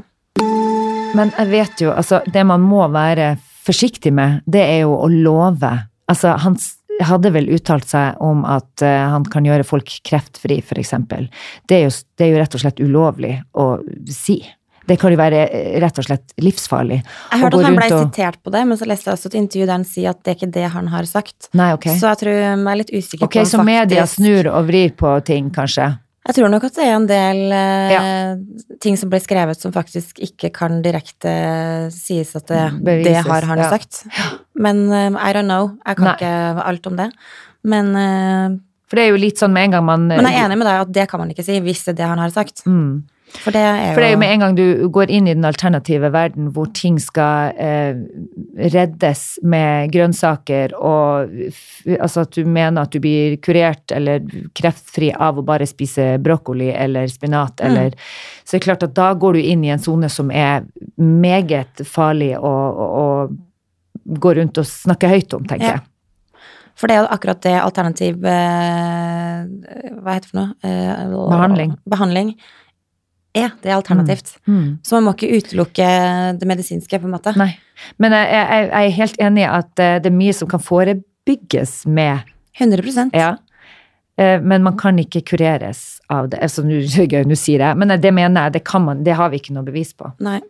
[SPEAKER 1] Men jeg vet jo, altså, det man må være forsiktig med, det er jo å love. Altså, han s- hadde vel uttalt seg om at eh, han kan gjøre folk kreftfri, for eksempel. Det er, jo, s- det er jo rett og slett ulovlig å si. Det kan jo være eh, rett og slett livsfarlig.
[SPEAKER 2] Jeg
[SPEAKER 1] å
[SPEAKER 2] hørte
[SPEAKER 1] gå
[SPEAKER 2] at han ble
[SPEAKER 1] rundt og-
[SPEAKER 2] sitert på det, men så leste jeg også et intervju der han sier at det er ikke det han har sagt.
[SPEAKER 1] Nei, ok.
[SPEAKER 2] Så jeg tror jeg er litt usikker
[SPEAKER 1] Ok,
[SPEAKER 2] på om
[SPEAKER 1] så media
[SPEAKER 2] faktisk-
[SPEAKER 1] snur og vrir på ting, kanskje.
[SPEAKER 2] Jeg tror nok at det er en del eh, ting som ble skrevet som faktisk ikke kan direkte sies at det, det
[SPEAKER 1] Mm, Bevises,
[SPEAKER 2] har han
[SPEAKER 1] ja.
[SPEAKER 2] sagt. Men eh, I don't know. Jeg kan
[SPEAKER 1] Nei.
[SPEAKER 2] ikke alt om det. Men, eh,
[SPEAKER 1] For det er jo litt sånn med en gang man
[SPEAKER 2] men jeg er enig med deg at det kan man ikke si hvis det er det han har sagt.
[SPEAKER 1] Mm.
[SPEAKER 2] For det er jo,
[SPEAKER 1] For det er jo med en gang du går inn i den alternative verden hvor ting skal eh, reddes med grønnsaker, og f altså at du mener at du blir kurert eller kreftfri av å bare spise brokkoli eller spinat, eller Så det er klart at da går du inn i en sone som er meget farlig å, å, å gå rundt og snakke høyt om, tenker
[SPEAKER 2] Ja.
[SPEAKER 1] jeg.
[SPEAKER 2] for det er jo akkurat det alternativ eh, Hva heter det for noe? Eh,
[SPEAKER 1] Behandling.
[SPEAKER 2] Behandling. Ja, det er alternativt.
[SPEAKER 1] Mm.
[SPEAKER 2] Så man må ikke utelukke det medisinske, på en måte.
[SPEAKER 1] Nei. Men jeg, jeg, jeg er helt enig i at eh, det er mye som kan forebygges med
[SPEAKER 2] 100
[SPEAKER 1] Ja. Eh, Men man kan ikke kureres av det. Altså, nå gøy, nå sier jeg, men det mener jeg, det kan man, det har vi ikke noe bevis på.
[SPEAKER 2] Nei.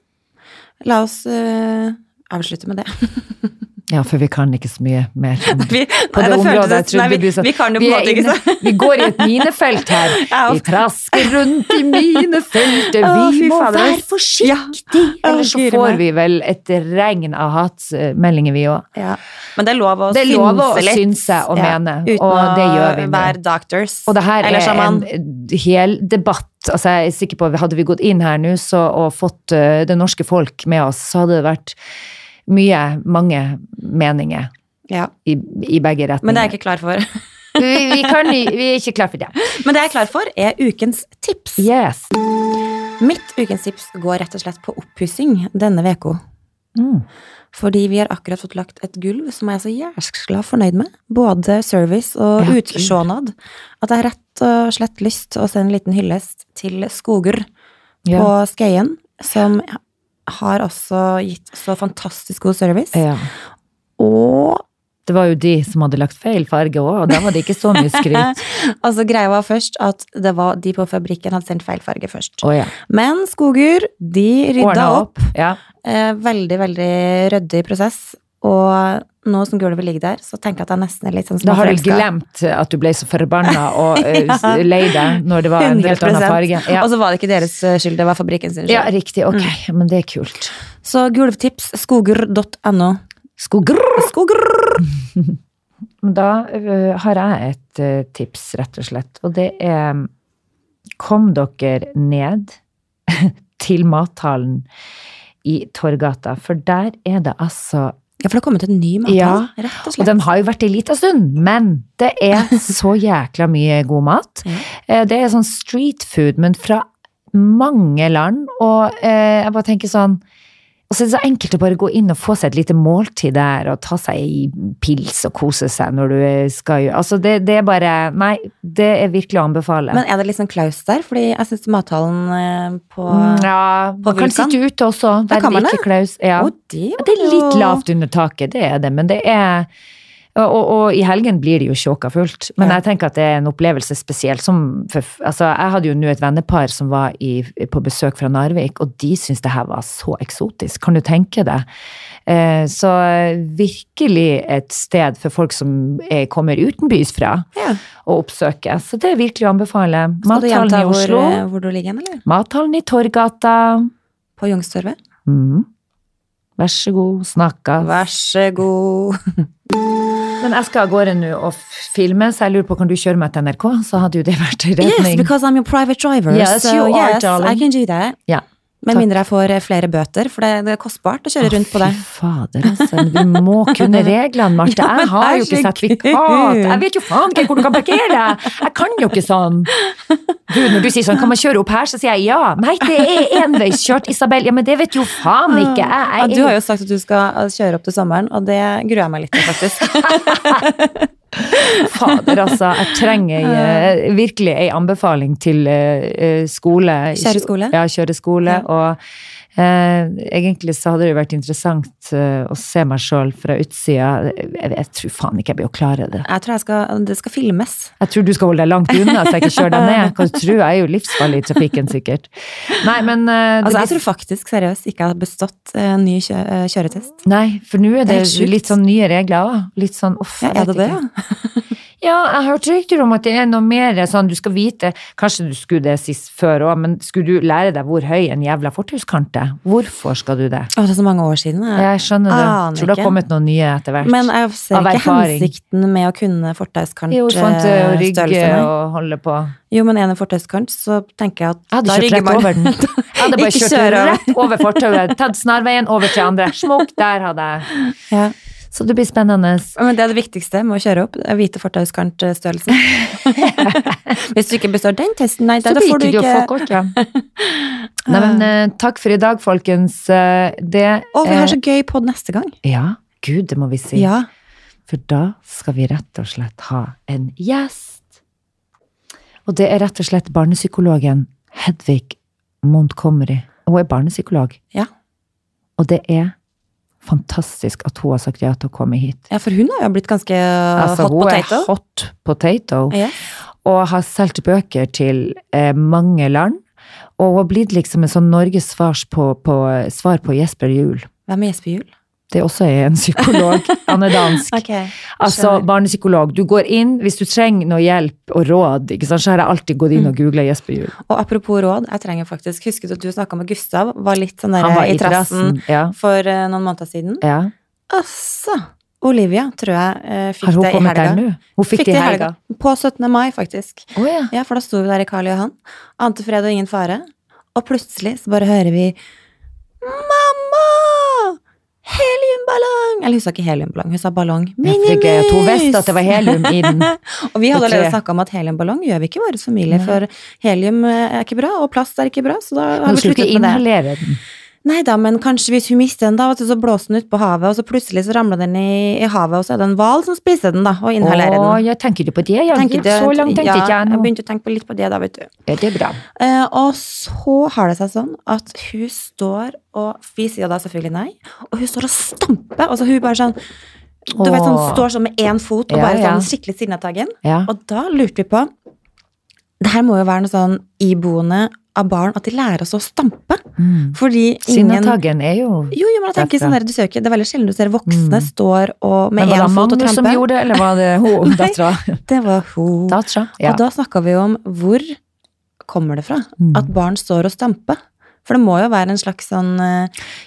[SPEAKER 2] La oss eh, avslutte med det.
[SPEAKER 1] Ja, for vi kan ikke så mye mer.
[SPEAKER 2] Vi,
[SPEAKER 1] På det
[SPEAKER 2] det føltes
[SPEAKER 1] området, jeg
[SPEAKER 2] nesten- nei,
[SPEAKER 1] trodde
[SPEAKER 2] vi,
[SPEAKER 1] du sa-
[SPEAKER 2] vi kan jo på
[SPEAKER 1] Vi
[SPEAKER 2] en
[SPEAKER 1] er
[SPEAKER 2] måte ikke
[SPEAKER 1] inne-
[SPEAKER 2] så
[SPEAKER 1] Vi går i et minefelt her.
[SPEAKER 2] Ja,
[SPEAKER 1] Vi trasker rundt i minefeltet.
[SPEAKER 2] Å,
[SPEAKER 1] Vi
[SPEAKER 2] fy
[SPEAKER 1] må
[SPEAKER 2] fader.
[SPEAKER 1] være forsiktige,
[SPEAKER 2] Ja. Å,
[SPEAKER 1] ellers så
[SPEAKER 2] guri
[SPEAKER 1] får
[SPEAKER 2] meg.
[SPEAKER 1] vi vel et regn av hatmeldinger, vi òg.
[SPEAKER 2] ja. Men det er lov å
[SPEAKER 1] Det er
[SPEAKER 2] synse
[SPEAKER 1] lov å
[SPEAKER 2] litt.
[SPEAKER 1] synse og mene,
[SPEAKER 2] uten
[SPEAKER 1] og
[SPEAKER 2] å
[SPEAKER 1] det gjør vi nå.
[SPEAKER 2] være doctors.
[SPEAKER 1] Og det her
[SPEAKER 2] Eller
[SPEAKER 1] er
[SPEAKER 2] sjaman.
[SPEAKER 1] en eh, hel debatt. Altså, jeg er sikker på at Hadde vi gått inn her nå så, og fått eh, det norske folk med oss, så hadde det vært mye, mange meninger
[SPEAKER 2] Ja.
[SPEAKER 1] i, i begge retninger.
[SPEAKER 2] Men det er jeg ikke klar for.
[SPEAKER 1] vi, vi, kan, vi er ikke klar for det.
[SPEAKER 2] Men det jeg er klar for, er ukens tips.
[SPEAKER 1] Yes.
[SPEAKER 2] Mitt ukens tips går rett og slett på oppussing denne veka.
[SPEAKER 1] Mm.
[SPEAKER 2] Fordi vi har akkurat fått lagt et gulv som jeg er så jæskla fornøyd med. Både service og
[SPEAKER 1] Ja, Gud.
[SPEAKER 2] utsjånad. At jeg har rett og slett lyst til å sende en liten hyllest til Skoger
[SPEAKER 1] Ja.
[SPEAKER 2] på Skøyen, som har også gitt så fantastisk god service.
[SPEAKER 1] ja.
[SPEAKER 2] Og
[SPEAKER 1] Det var jo de som hadde lagt feil farge òg, og da var det ikke så mye skryt.
[SPEAKER 2] altså, greia var først at det var de på fabrikken hadde sendt feil farge først.
[SPEAKER 1] Å ja.
[SPEAKER 2] Men Skoger, de rydda
[SPEAKER 1] Ordna
[SPEAKER 2] opp.
[SPEAKER 1] opp. Ja.
[SPEAKER 2] Eh, veldig, veldig ryddig prosess. Og nå som gulvet ligger der, så tenker jeg at jeg nesten er litt sånn
[SPEAKER 1] Da har du
[SPEAKER 2] småforelska.
[SPEAKER 1] glemt at du ble så forbanna og eh, s- lei deg når det var en helt annen
[SPEAKER 2] 100%.
[SPEAKER 1] farge. Ja.
[SPEAKER 2] Og så var det ikke deres eh, skyld, det var fabrikken sin skyld.
[SPEAKER 1] ja, riktig. Ok, men det er kult.
[SPEAKER 2] Så gulvtips skoger.no.
[SPEAKER 1] Skogrrr!
[SPEAKER 2] Skogrrr!
[SPEAKER 1] Da ø, har jeg et ø, tips, rett og slett. Og det er Kom dere ned til mathallen i Torgata, for der er det altså
[SPEAKER 2] Ja, for det har kommet en ny mathall,
[SPEAKER 1] Ja,
[SPEAKER 2] rett og
[SPEAKER 1] Og
[SPEAKER 2] slett.
[SPEAKER 1] den har jo vært i lita stund, men det er så jækla mye god mat.
[SPEAKER 2] Ja.
[SPEAKER 1] Eh, Det er sånn street food, men fra mange land. Og eh, jeg bare tenker sånn Og så er det så enkelt å bare gå inn og få seg et lite måltid der, og ta seg ei pils og kose seg når du eh, skal gjøre Altså, det, det er bare Nei, det er virkelig å anbefale.
[SPEAKER 2] Men er det litt sånn klaus der? Fordi jeg syns mathallen eh, på
[SPEAKER 1] Mm, ja,
[SPEAKER 2] på
[SPEAKER 1] man kan
[SPEAKER 2] Vulkan?
[SPEAKER 1] sitte ute også.
[SPEAKER 2] Der
[SPEAKER 1] Der det
[SPEAKER 2] kan man
[SPEAKER 1] ikke
[SPEAKER 2] det?
[SPEAKER 1] klaus. Ja.
[SPEAKER 2] Å, det,
[SPEAKER 1] Ja, det er litt lavt under taket, det er det, men det er og, og, og i helgen blir det jo sjåka fullt. Men
[SPEAKER 2] Ja.
[SPEAKER 1] jeg tenker at det er en opplevelse spesielt som for, altså, Jeg hadde jo nå et vennepar som var i, på besøk fra Narvik, og de syntes det her var så eksotisk. Kan du tenke deg? Eh, så virkelig et sted for folk som eh, kommer utenbys fra,
[SPEAKER 2] Ja.
[SPEAKER 1] å oppsøke. Så det er virkelig å anbefale.
[SPEAKER 2] Skal du
[SPEAKER 1] Mathallen
[SPEAKER 2] gjenta
[SPEAKER 1] i
[SPEAKER 2] hvor,
[SPEAKER 1] Oslo.
[SPEAKER 2] eh, hvor du ligger hen, eller?
[SPEAKER 1] Mathallen i Torgata.
[SPEAKER 2] På Youngstorget?
[SPEAKER 1] Mm. Vær så god, snakkes.
[SPEAKER 2] Vær så god.
[SPEAKER 1] Men jeg skal av gårde nå og f- filme, så jeg lurer på kan du kjøre meg til NRK? Så hadde jo det vært en
[SPEAKER 2] Yes,
[SPEAKER 1] redning.
[SPEAKER 2] because I'm your private driver.
[SPEAKER 1] Yes,
[SPEAKER 2] so
[SPEAKER 1] you are,
[SPEAKER 2] yes, I
[SPEAKER 1] darling.
[SPEAKER 2] can do that.
[SPEAKER 1] Ja.
[SPEAKER 2] Med
[SPEAKER 1] Takk.
[SPEAKER 2] mindre jeg får eh, flere bøter, for det, det er kostbart å kjøre rundt på det.
[SPEAKER 1] Fy fader, altså. Du må kunne reglene, Marte.
[SPEAKER 2] Ja, men
[SPEAKER 1] Jeg har jo ikke
[SPEAKER 2] herregud.
[SPEAKER 1] sertifikat. Jeg vet jo faen ikke hvor du kan parkere deg. Jeg kan jo ikke sånn. Du, når du sier sånn, kan man kjøre opp her, så sier jeg ja. Nei, det er enveiskjørt, Isabel. Ja, men det vet jo faen ikke jeg.
[SPEAKER 2] Ja,
[SPEAKER 1] jeg.
[SPEAKER 2] du har jo sagt at du skal eh, kjøre opp til sommeren, og det gruer jeg meg litt til, faktisk.
[SPEAKER 1] Fader, altså. Jeg trenger eh, virkelig ei anbefaling til eh, eh, skole.
[SPEAKER 2] Kjøre skole?
[SPEAKER 1] Ja, kjøre skole. Og eh, egentlig så hadde det vært interessant eh, å se meg sjøl fra utsida. Jeg, jeg tror faen ikke jeg blir å klare det.
[SPEAKER 2] Jeg tror jeg skal, det skal filmes.
[SPEAKER 1] Jeg tror du skal holde deg langt unna, så jeg ikke kjører deg ned. Hva du tror? Jeg er jo livsfarlig i trafikken, sikkert. Nei, men eh, det
[SPEAKER 2] Altså, jeg
[SPEAKER 1] blir-
[SPEAKER 2] tror faktisk seriøst ikke jeg har bestått eh, en ny kjø eh, kjøretest.
[SPEAKER 1] Nei, for nå er
[SPEAKER 2] Det er
[SPEAKER 1] det
[SPEAKER 2] helt sjukt.
[SPEAKER 1] litt sånn nye regler òg. Litt sånn uff.
[SPEAKER 2] Ja,
[SPEAKER 1] jeg
[SPEAKER 2] er
[SPEAKER 1] vet
[SPEAKER 2] det det,
[SPEAKER 1] ikke.
[SPEAKER 2] ja?
[SPEAKER 1] Ja, jeg hørte rykter om at det er noe mer sånn, du skal vite, kanskje du skulle det sist før òg, men skulle du lære deg hvor høy en jævla fortauskant er? Hvorfor skal du det?
[SPEAKER 2] Å, det er så mange år siden. Jeg.
[SPEAKER 1] Jeg skjønner det.
[SPEAKER 2] Aner
[SPEAKER 1] Tror det
[SPEAKER 2] ikke.
[SPEAKER 1] har kommet noen nye etter hvert.
[SPEAKER 2] Men jeg ser
[SPEAKER 1] Av
[SPEAKER 2] ikke
[SPEAKER 1] erfaring.
[SPEAKER 2] hensikten med å kunne fortauskant
[SPEAKER 1] jo,
[SPEAKER 2] eh,
[SPEAKER 1] sånn til å
[SPEAKER 2] størrelse,
[SPEAKER 1] rygge
[SPEAKER 2] nei.
[SPEAKER 1] og holde på.
[SPEAKER 2] Jo, men er det fortauskant, så tenker jeg at
[SPEAKER 1] Jeg hadde
[SPEAKER 2] da
[SPEAKER 1] kjørt rett
[SPEAKER 2] rygger man.
[SPEAKER 1] over den. Jeg hadde bare
[SPEAKER 2] Ikke
[SPEAKER 1] kjørt
[SPEAKER 2] kjøre over.
[SPEAKER 1] rett over fortauet, tatt snarveien over til andre. Smokk, der hadde jeg.
[SPEAKER 2] Ja.
[SPEAKER 1] Så det blir spennende.
[SPEAKER 2] Men det er det viktigste med å kjøre opp, er å vite fortauskantstørrelsen. Hvis du ikke består den testen, nei, da,
[SPEAKER 1] Så
[SPEAKER 2] da får
[SPEAKER 1] blir
[SPEAKER 2] du
[SPEAKER 1] ikke du å få
[SPEAKER 2] ikke
[SPEAKER 1] kort, ja. Nei, men eh, takk for i dag, folkens. Eh, Det
[SPEAKER 2] Å, vi
[SPEAKER 1] eh,
[SPEAKER 2] har så gøy pod neste gang.
[SPEAKER 1] Ja, gud, det må vi si.
[SPEAKER 2] Ja.
[SPEAKER 1] For da skal vi rett og slett ha en gjest. Og det er rett og slett barnepsykologen Hedvig Montgomery. Hun er barnepsykolog.
[SPEAKER 2] Ja.
[SPEAKER 1] Og det er fantastisk at hun har sagt ja til å komme hit.
[SPEAKER 2] ja, for hun har jo blitt ganske eh, hot
[SPEAKER 1] Altså, hun
[SPEAKER 2] potato.
[SPEAKER 1] er hot potato
[SPEAKER 2] Ja.
[SPEAKER 1] og har solgt bøker til eh, mange land. Og hun har blitt liksom en sånn Norges svars på, på, svar på Jesper Juel.
[SPEAKER 2] Hvem er Jesper Juel?
[SPEAKER 1] Det er også en psykolog. Han er dansk. Altså,
[SPEAKER 2] Skjønner.
[SPEAKER 1] barnepsykolog. Du går inn hvis du trenger noe hjelp og råd. ikke sant? Så har jeg alltid gått
[SPEAKER 2] Mm.
[SPEAKER 1] inn og googla Jesper Juel.
[SPEAKER 2] Og apropos råd, jeg trenger faktisk Husket du at du snakka med Gustav? Var litt sånn der
[SPEAKER 1] Han var
[SPEAKER 2] i trassen
[SPEAKER 1] Ja.
[SPEAKER 2] for eh, noen måneder siden.
[SPEAKER 1] ja.
[SPEAKER 2] Altså! Olivia, tror jeg, eh, fikk
[SPEAKER 1] Har hun
[SPEAKER 2] det i
[SPEAKER 1] kommet
[SPEAKER 2] helga.
[SPEAKER 1] der nå? Hun fikk, det i helga.
[SPEAKER 2] På 17. mai, faktisk.
[SPEAKER 1] Å ja.
[SPEAKER 2] Ja, for da sto vi der i Karl Johan. Ante fred og ingen fare. Og plutselig så bare hører vi Mamma! Heliumballong! Eller hun sa ikke heliumballong, hun sa ballong.
[SPEAKER 1] Ja, for det er gøy at Hun visste eh, at det var helium i den.
[SPEAKER 2] og vi hadde
[SPEAKER 1] Og
[SPEAKER 2] allerede
[SPEAKER 1] tre.
[SPEAKER 2] snakka om at heliumballong gjør vi ikke i vår familie,
[SPEAKER 1] Nei.
[SPEAKER 2] for helium eh, er ikke bra, og plast er ikke bra, så da har
[SPEAKER 1] Hun
[SPEAKER 2] vi
[SPEAKER 1] skulle
[SPEAKER 2] sluttet
[SPEAKER 1] ikke
[SPEAKER 2] med det.
[SPEAKER 1] inhalere den.
[SPEAKER 2] Nei da, men kanskje hvis hun mister den, da, vet du, så blåser den ut på havet, og så plutselig så ramler den i, i havet, og så er det en hval som spiser den, da, og inhalerer
[SPEAKER 1] Å,
[SPEAKER 2] den.
[SPEAKER 1] ja, tenker du på det? Ja,
[SPEAKER 2] Tenker
[SPEAKER 1] så
[SPEAKER 2] du-
[SPEAKER 1] langt tenkte
[SPEAKER 2] ja,
[SPEAKER 1] ikke jeg
[SPEAKER 2] Jeg
[SPEAKER 1] nå.
[SPEAKER 2] begynte å tenke på litt på det, da, vet du.
[SPEAKER 1] Ja, det er bra.
[SPEAKER 2] Eh, og så har det seg sånn at hun står og Vi sier da selvfølgelig nei, og hun står og stamper. Altså hun bare sånn Du vet sånn
[SPEAKER 1] Åh.
[SPEAKER 2] står sånn med én fot og
[SPEAKER 1] Ja,
[SPEAKER 2] bare
[SPEAKER 1] ja.
[SPEAKER 2] sånn skikkelig sinnatagen.
[SPEAKER 1] Ja.
[SPEAKER 2] Og da lurte vi på Det her må jo være noe sånn iboende av barn at de lærer oss å stampe.
[SPEAKER 1] Mm.
[SPEAKER 2] Fordi ingen
[SPEAKER 1] Sinnataggen er jo
[SPEAKER 2] jo, jo, men jeg
[SPEAKER 1] Derfra.
[SPEAKER 2] tenker sånn der, du ser jo ikke, Det er veldig sjelden du ser voksne
[SPEAKER 1] Mm.
[SPEAKER 2] står og,
[SPEAKER 1] Men
[SPEAKER 2] med
[SPEAKER 1] var det
[SPEAKER 2] én fot og
[SPEAKER 1] Magnus som
[SPEAKER 2] tramper.
[SPEAKER 1] gjorde det, eller var det hun?
[SPEAKER 2] Nei.
[SPEAKER 1] Dattera?
[SPEAKER 2] Det var hun.
[SPEAKER 1] Dattera? Ja.
[SPEAKER 2] Og da snakka vi om hvor kommer det fra
[SPEAKER 1] Mm.
[SPEAKER 2] at barn står og stamper. For det må jo være en slags sånn eh,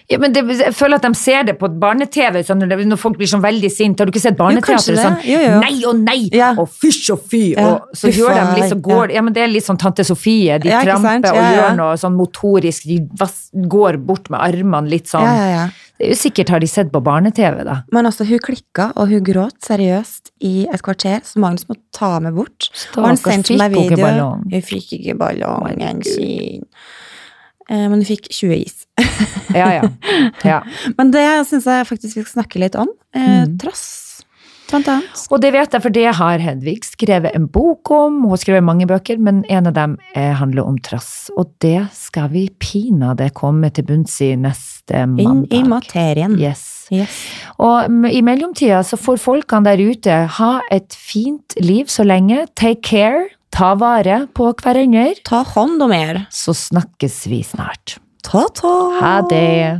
[SPEAKER 1] Ja, men det, jeg føler at de ser det på barne-TV, sånn, når det- når folk blir sånn veldig sinte. Har du ikke sett
[SPEAKER 2] kanskje
[SPEAKER 1] barneteater?
[SPEAKER 2] det.
[SPEAKER 1] Sånn,
[SPEAKER 2] Jo, jo.
[SPEAKER 1] Nei og nei!
[SPEAKER 2] Ja.
[SPEAKER 1] Og fysj og fy!
[SPEAKER 2] Ja.
[SPEAKER 1] Og så
[SPEAKER 2] Fy
[SPEAKER 1] gjør de litt,
[SPEAKER 2] faen,
[SPEAKER 1] så går ja. men Det er litt sånn Tante Sofie. De
[SPEAKER 2] Ja, ikke sant?
[SPEAKER 1] tramper og
[SPEAKER 2] Ja, ja.
[SPEAKER 1] gjør noe sånn motorisk. De vas- går bort med armene litt sånn.
[SPEAKER 2] Ja, ja, ja.
[SPEAKER 1] Det er jo sikkert har de sett på barne-TV, da.
[SPEAKER 2] Men også, hun klikka, og hun gråt seriøst i et kvarter, så Magnus måtte ta med bort. Og han
[SPEAKER 1] Stakkars,
[SPEAKER 2] sendte meg
[SPEAKER 1] fikk hun ikke
[SPEAKER 2] video.
[SPEAKER 1] ballong?
[SPEAKER 2] Hun fikk ikke ballongen sin. Eh, Men hun fikk 20 is.
[SPEAKER 1] Ja, ja. ja.
[SPEAKER 2] Men det syns jeg faktisk vi skal snakke litt om. Eh,
[SPEAKER 1] Mm.
[SPEAKER 2] Trass, blant annet.
[SPEAKER 1] Og det vet jeg, for det har Hedvig skrevet en bok om. Hun har skrevet mange bøker, men en av dem eh, handler om trass. Og det skal vi pinadø komme til bunns i neste
[SPEAKER 2] Inn
[SPEAKER 1] mandag.
[SPEAKER 2] i materien.
[SPEAKER 1] Yes.
[SPEAKER 2] Yes.
[SPEAKER 1] Og m- i mellomtida så får folkene der ute ha et fint liv så lenge. Take care. Ta vare på hverandre.
[SPEAKER 2] Ta hånd om mer.
[SPEAKER 1] Så snakkes vi snart.
[SPEAKER 2] Ta-ta.
[SPEAKER 1] Ha det.